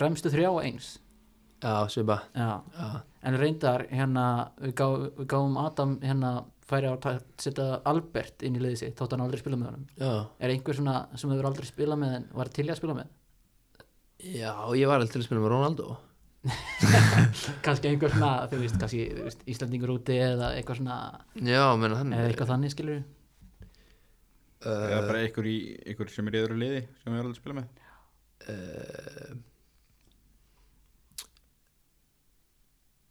Speaker 1: fremstu þrjá eins
Speaker 3: Já, svipa,
Speaker 1: Já,
Speaker 3: já,
Speaker 1: en reyndar hérna, við, gá, við gáum Adam hérna færi á að ta- setja Albert inn í liðið sitt, þótt hann aldrei spila með honum
Speaker 3: já
Speaker 1: Er einhver svona sem hefur aldrei spila með en var til í að spila með?
Speaker 3: Já, ég var alltaf til að spila með Ronaldo
Speaker 1: Kannski einhver svona, þú veist, kannski þú veist, Íslandingur úti eða eitthvað svona
Speaker 3: Já, menn hann
Speaker 1: eða eitthvað þannig skilur
Speaker 3: Eh.
Speaker 2: eða bara einhver, í, einhver sem er í öðru liði sem við erum að spila með
Speaker 3: eh,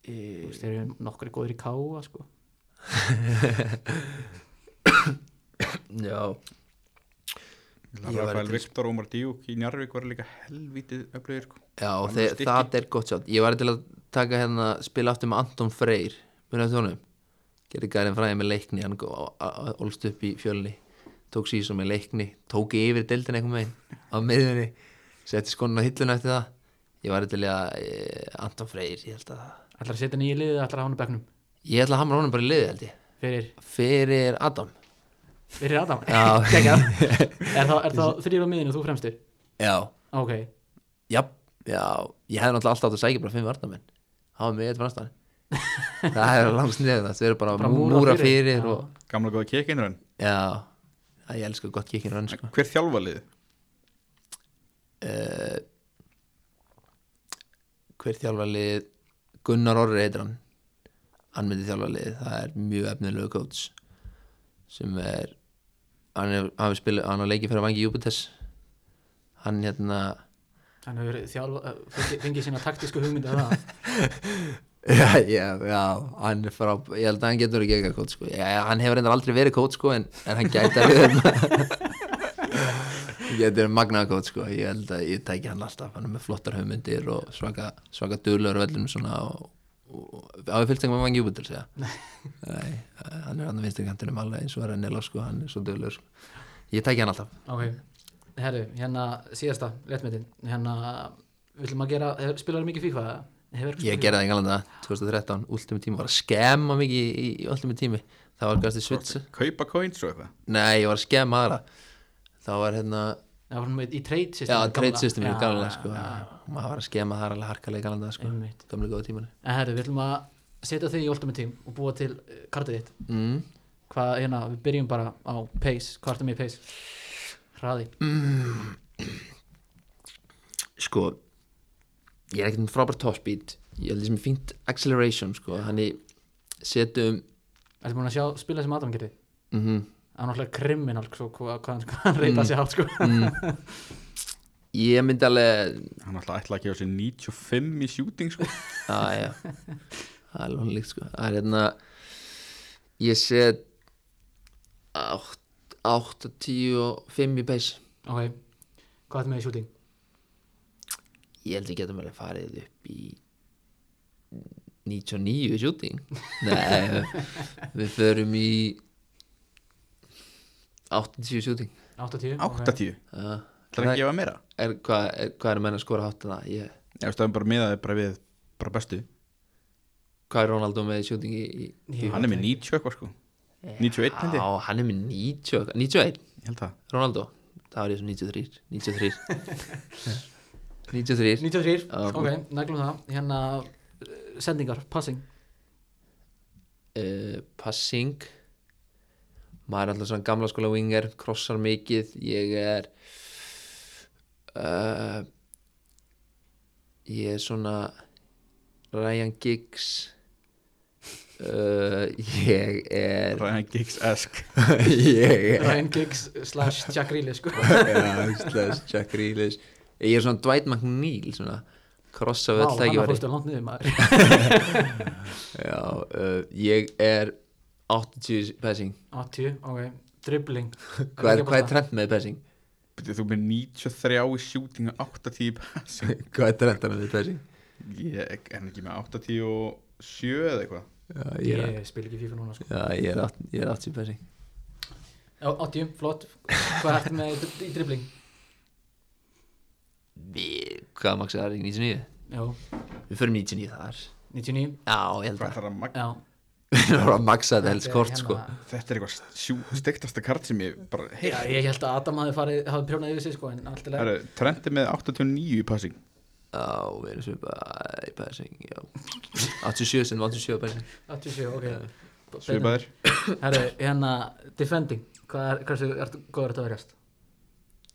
Speaker 1: Þú veist, þeir eru nokkri góðir í káa sko
Speaker 3: eh, Já, Ég væri
Speaker 2: Rafael
Speaker 3: til-
Speaker 2: Viktor og Omar Díuk í Njarvík var líka helvítið öflugir sko.
Speaker 3: Já,
Speaker 2: Hann
Speaker 3: þeir,
Speaker 2: var stykki.
Speaker 3: það er gott sjátt Ég var til að taka hérna spila aftur með Anton Freyr Mér eftir honum Gerði gæðin fræði með leikni Hann gó- á- á- ólst upp í fjölni Tók síðan með leikni Tók ég yfir deildin einhvern veginn Á miðunni Setti skonun á hilluna eftir það Ég var til að eh, Anton Freyr Ég held að
Speaker 1: Ætlar að setja hann í liðið, ætlar að hafa hann á bekknum
Speaker 3: Ég ætla að hamra honum bara í liði held ég
Speaker 1: fyrir,
Speaker 3: Fyrir Adam
Speaker 1: fyrir Adam
Speaker 3: (laughs) Já.
Speaker 1: Geggjað. Er þá, er þá þrýr á miðinu, þú fremstir?
Speaker 3: Já,
Speaker 1: Ok,
Speaker 3: já, já Ég hefði náttúrulega alltaf átt að sækja bara fimm varnamenn Hafa mig eitt frastan Það er langt sniðið það Þau eru bara,
Speaker 1: Bara
Speaker 3: bara
Speaker 1: múra
Speaker 3: múra
Speaker 1: fyrir.
Speaker 3: fyrir
Speaker 1: Já.
Speaker 3: og
Speaker 2: gamla góða kekinur hann
Speaker 3: Já, já, ég elska gott kikkinu hann sko.
Speaker 2: hver þjálfa liði?
Speaker 3: Eh, Hver þjálfar lið Gunnar Orri heitir hann Hann myndi þjálfar lið, það er mjög efnilegu coach sem er hann er, hann er spila, hann er leikið fyrir vangi Júpiters hann hérna
Speaker 1: hann hefur þjálfa, eh, fengið, fengið sína taktísku hugmyndu að það
Speaker 3: já, já, já, hann er frá ég held að hann getur ekki eitthvað coach sko. já, já, hann hefur reyndar aldrei verið coach sko, en, en hann gæti að vera (laughs) getur magnaða coach sko. ég held að ég tæki hann alltaf hann er með flottar hugmyndir og svaka svaka duðlur vellum svona og, og, og á ég fylgst ekki með vangi úbutil nei, hann er hann að vinstri kantinum alveg eins og er ennil sko, hann er svo duðlur sko. ég tæki hann alltaf
Speaker 1: Ok, herru, hérna síðasta, réttmyndin hérna, villum að gera, hefur- spilarðu mikið FIFA? eða? Hefur eitthvað
Speaker 3: ég
Speaker 1: spilað?
Speaker 3: gerði það í Englanda 2013 últimi tími, var að skemma mikið í, í, í últimi tími það var gæsti svitsa
Speaker 2: kaupa coins og eitthvað
Speaker 3: Nei, ég var að skemma aðra þá var hérna
Speaker 1: Það var hann með í trade system
Speaker 3: Já, trade system í gamla sko maður var að skemma það alveg harkalega í galanda sko
Speaker 1: Einmitt.
Speaker 3: gamlega góða tímanu
Speaker 1: En herru, villum að setja þig í Ultimate Team og búa til eh, kartið þitt
Speaker 3: mm.
Speaker 1: Hvað, hérna, við byrjum bara á pace, hvað ertu með í pace? Hraði,
Speaker 3: Sko ég er ekkert með frábært topspeed ég held því sem er fínt acceleration sko þannig setjum
Speaker 1: ertu búin að sjá spila sem Adam gerði?
Speaker 3: mm
Speaker 1: Það er náttúrulega kriminal sko, hvað, hvað hann- hvað hann reyta sig hátt sko
Speaker 3: ég myndi alveg
Speaker 2: hann alltaf ætlaði að gefa sér 95 í shooting sko.
Speaker 3: Já, (laughs) já Það er lónlíkt sko Það er hérna Ég set 8, 10 og 5 í pace
Speaker 1: Ok, hvað ertu með í shooting?
Speaker 3: Ég held við getum alveg farið upp í 99 í shooting Nei, við förum í 80 shooting
Speaker 1: 80 ok.
Speaker 2: 80,
Speaker 3: uh,
Speaker 2: það er að gefa meira
Speaker 3: er, hvað, er, hvað er menn að skora hátt en það? Ég,
Speaker 2: ég veist það er bara miðaði bara við bara bestu
Speaker 3: hvað er Ronaldo með í shooting í, í
Speaker 2: Hann er með 90 eitthvað sko
Speaker 3: Eh,
Speaker 2: 91 held
Speaker 3: Já,
Speaker 2: ég,
Speaker 3: hann er með 90 og- 91,
Speaker 2: ég held það
Speaker 3: Ronaldo Það var ég svo 93 93
Speaker 2: (laughs)
Speaker 3: 93
Speaker 1: 93,
Speaker 3: Já.
Speaker 1: ok, neglum það hérna, eh, sendingar, passing
Speaker 3: uh, Passing Maður er alltaf svona gamla skóla winger Krossar mikið Ég er uh, Ég er svona Ryan Giggs uh, Ég er
Speaker 2: Ryan Giggs-esk
Speaker 3: (laughs) Ég er
Speaker 1: Ryan Giggs slash Jack Reilly sko.
Speaker 3: (laughs) Já, slags Jack Grealish Ég er svona Dwight McNeil svona krossa
Speaker 1: Vá,
Speaker 3: við öll
Speaker 1: hann
Speaker 3: tækifæri
Speaker 1: fórstu langt niður maður
Speaker 3: Já, uh, ég er 80 passing
Speaker 1: 80, ok, dribbling
Speaker 3: Hvað er, hvað er trend með passing?
Speaker 2: Byrju, Þú er með 93 í shooting og 80 í passing
Speaker 3: (laughs) Hvað er trendan með passing?
Speaker 2: Ég er ekki með 87 eða eitthvað
Speaker 3: Já, ég er,
Speaker 1: Ég spil ekki FIFA núna sko.
Speaker 3: já, ég er, 80, ég er 80 passing
Speaker 1: Já, 80, flott, hvað ertu með í dri- í dribbling?
Speaker 3: Við, Hvað maksar það í 99?
Speaker 1: Já,
Speaker 3: Við förum 99 þar
Speaker 1: 99
Speaker 3: Já, ég held
Speaker 2: Hvað
Speaker 3: (laughs) að
Speaker 2: ætlar að magna?
Speaker 1: Já,
Speaker 3: Við erum að maksa þetta helst
Speaker 1: Þetta er
Speaker 3: kort
Speaker 1: hérna-
Speaker 3: sko
Speaker 2: Þetta er eitthvað stektasta kart sem ég bara
Speaker 1: Já,
Speaker 2: heyrt.
Speaker 1: ég held að Adam hafi farið, hafi prjónað yfir sig sko, en allt í
Speaker 2: Það
Speaker 1: lagi.
Speaker 2: eru Trent er með 89 í passing
Speaker 3: Já, við erum svipað í passing Já (laughs) 87 sem 87 passing
Speaker 1: 87, ok.
Speaker 2: Svipaðir
Speaker 1: Herru, hérna, defending, hvað er, hversu, ertu góður þetta að verjast?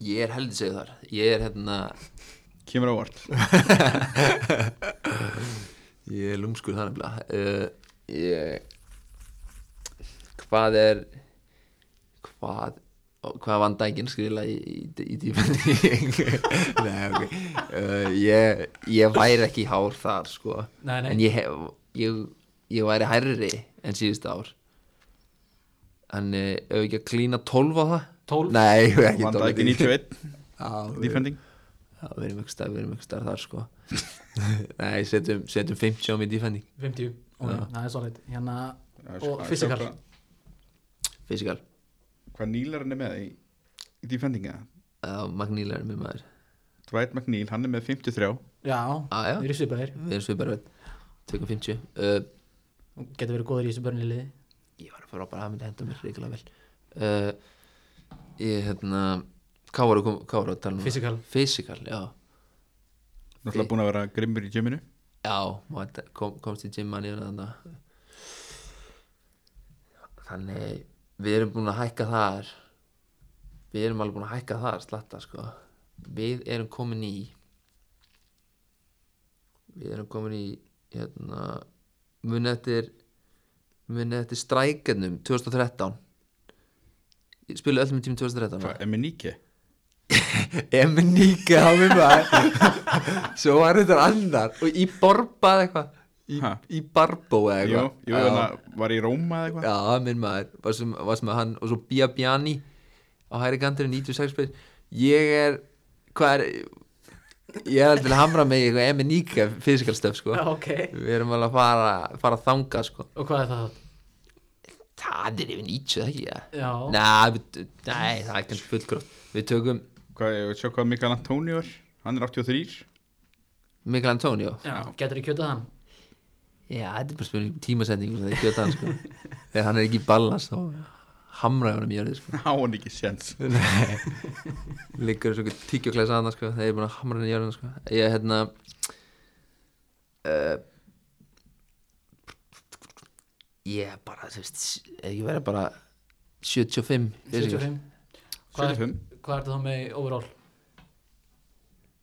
Speaker 3: Ég er heldur segið þar Ég er hérna
Speaker 2: Kemur á vart
Speaker 3: Ég er lúmskur þar nefnilega uh, Ég Hvað er Hvað ó, Hvað vann dækin skrila í, í, í tífandi (laughs) Nei, ok uh, ég, ég væri ekki hár þar sko
Speaker 1: Nei, nei.
Speaker 3: En ég, hef, ég, ég væri hærri en síðust ár Þannig, ef ekki að klína 12 á það
Speaker 1: 12?
Speaker 3: Nei, ég hef ekki
Speaker 2: Van Dijk er 91
Speaker 3: Já,
Speaker 2: Defending
Speaker 3: Já, við erum ekki starf, við erum ekki starf þar sko Nei, setjum, setjum 50 á mig í defending
Speaker 1: 50, ok,
Speaker 3: Já.
Speaker 1: það er solid. Hérna,
Speaker 2: Já, sko,
Speaker 1: og
Speaker 2: að sjá
Speaker 1: fysikal,
Speaker 2: hvað-
Speaker 3: Fysikal
Speaker 2: Hvað Nílarinn er með í, í defending eða?
Speaker 3: Já, Magníla er með maður
Speaker 2: Dwight McNeil, hann er með 53
Speaker 1: já,
Speaker 3: Ah, já.
Speaker 1: þeir eru svipaðir,
Speaker 3: Við erum svipaður veit 2.50 uh,
Speaker 1: getur verið góður í þessu börnliði.
Speaker 3: Ég var að fara bara að myndi henda mér reikulega vel uh, Ég hérna Hvað voru kom- hvað voru að tala um?
Speaker 1: Physical.
Speaker 3: Physical, já
Speaker 2: Náttúrulega búin að vera grimmur í gyminu
Speaker 3: Já, maður kom, komst í gymman í hana Þannig Við erum búin að hækka þar Við erum alveg búin að hækka þar slatta sko Við erum komin í Við erum komin í hérna Muni eftir Muni eftir strækarnum 2013 Ég Spilu öllum tími 2013
Speaker 2: Hvað, er með Nike?
Speaker 3: Eminíka á mér maður Svo var þetta annar Og í borba eða eitthvað Í,
Speaker 2: Ha?
Speaker 3: í barbó eða
Speaker 2: Jú,
Speaker 3: eitthvað
Speaker 2: jú, hérna.
Speaker 3: Já.
Speaker 2: hann var í Róma eða eitthvað
Speaker 3: Já, minn maður var sem, var sem að hann, Og svo Bia Bjani Á hæri kanturinn 96 spil Ég er Hvað er Ég er aldrei að hamra mig í eitthvað Eminíka physical stuff sko
Speaker 1: Já, ok.
Speaker 3: Við erum alveg að fara, fara að þanga sko
Speaker 1: (laughs) Og hvað er það þátt?
Speaker 3: Það er yfir 90 það ekki það
Speaker 1: Já.
Speaker 3: Nei, við- nei, það er kannski fullgrótt Við tökum
Speaker 2: Hvað, ég veit sjá hvað Mikael Antonio er Hann er 83
Speaker 3: Mikael Antonio
Speaker 1: Já, getur þið kjötað hann?
Speaker 3: Já, þetta er bara spurning um tímasending það er gjöta hann sko þegar hann er ekki í ballast þá hamraði hann um jörðið sko
Speaker 2: (laughs) Há hann ekki séns
Speaker 3: liggur svo tíkjóklæs aðna sko þegar ég er búin að hamra hann í jörðina sko ég er hérna uh, ég er bara þú veist ef ég verið bara 75 fysical.
Speaker 1: 75? Hvað er,
Speaker 2: 75.
Speaker 1: hvað er það þá með í overall?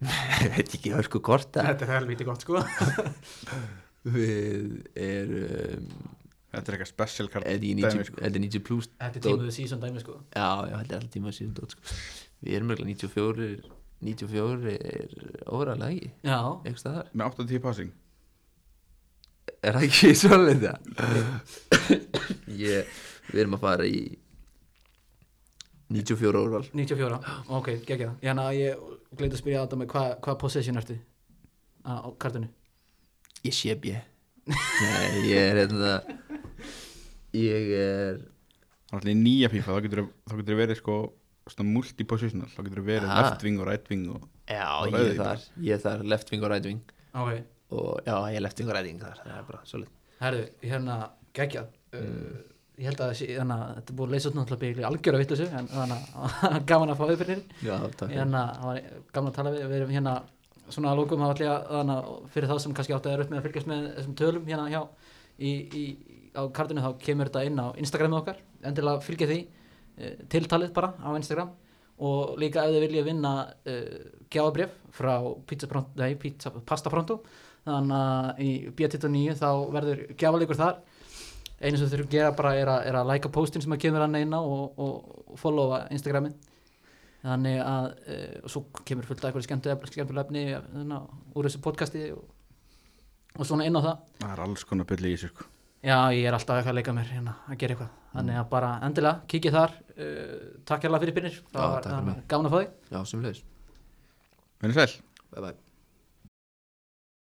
Speaker 3: (laughs) ég veit ekki hörku korta
Speaker 1: Þetta er helvítið gott sko
Speaker 3: við erum
Speaker 2: Þetta er eitthvað special card
Speaker 3: þetta er í
Speaker 2: dæmi,
Speaker 3: 90,
Speaker 2: sko.
Speaker 3: þetta er 90 plus
Speaker 1: Þetta er
Speaker 3: dót.
Speaker 1: tímuðu season dæmi sko
Speaker 3: Já, já, þetta er alltaf tíma síðan dót, sko. Við erum eiginlega 94 94 er óralega ekki
Speaker 1: Já,
Speaker 3: Eitthvað staðar
Speaker 2: Með 80 passing
Speaker 3: Er það ekki svolítið það? (coughs) Ég, við erum að fara í 94 óral
Speaker 1: 94, ok, geggja það Hérna, ég gleyndi að spyrja Adam hvað hva possession ertu á á kartinu?
Speaker 3: Ég sé bjö Nei, ég er hérna Ég
Speaker 2: Hann
Speaker 3: er
Speaker 2: er alltaf í nýja pífa Þá getur þá getur verið sko Svona multi-positional Þá getur verið
Speaker 3: Aha.
Speaker 2: left wing og right wing og
Speaker 3: Já,
Speaker 2: Og
Speaker 3: ég er
Speaker 2: rauðvín.
Speaker 3: þar Ég er þar left wing og right wing
Speaker 1: Ok,
Speaker 3: og já, ég er left wing og right wing þar Það er bara svolítið
Speaker 1: Herru, hérna, geggjað uh, Ég held að það sé, hérna, þetta er búið að leysa út náttúrulega byggli algjör að vittu þessu en þannig að (laughs) gaman að fá auðbyrnir
Speaker 6: Já, takk
Speaker 1: hérna, það var gaman að tala við við erum hérna, svona að lókum að allega þannig að fyrir þá sem kannski áttu að er upp með að fylgjast með þessum tölum hérna hjá í, í, á kartinu þá kemur þetta inn á Instagramið okkar, endilega fylgja því eh, tiltalið bara á Instagram og líka ef þið viljið vinna uh, gjáðabref frá pizza, Pronto- nei, pizza, pasta pronto þannig að í B29 þá verður gjáðalegur þar einu sem þurfum að gera bara er að, er að læka postin sem að kemur hann inn á og, og followa Instagramin þannig að e, og svo kemur fullt af eitthvað skemmtilega skemmtilega efni þarna úr þessu podcasti og, og svona inn á það
Speaker 2: það er alls konar byrli í þessu sko.
Speaker 1: já, ég er alltaf eitthvað að leika mér hérna að gera eitthvað þannig að bara endilega, kikið þar e, takk hérlega fyrir byrnir,
Speaker 6: Já, takk fyrir
Speaker 1: var
Speaker 6: mig.
Speaker 1: gaman að fá þig
Speaker 6: Já, sem leis
Speaker 2: Vinni sæl
Speaker 6: Bye bye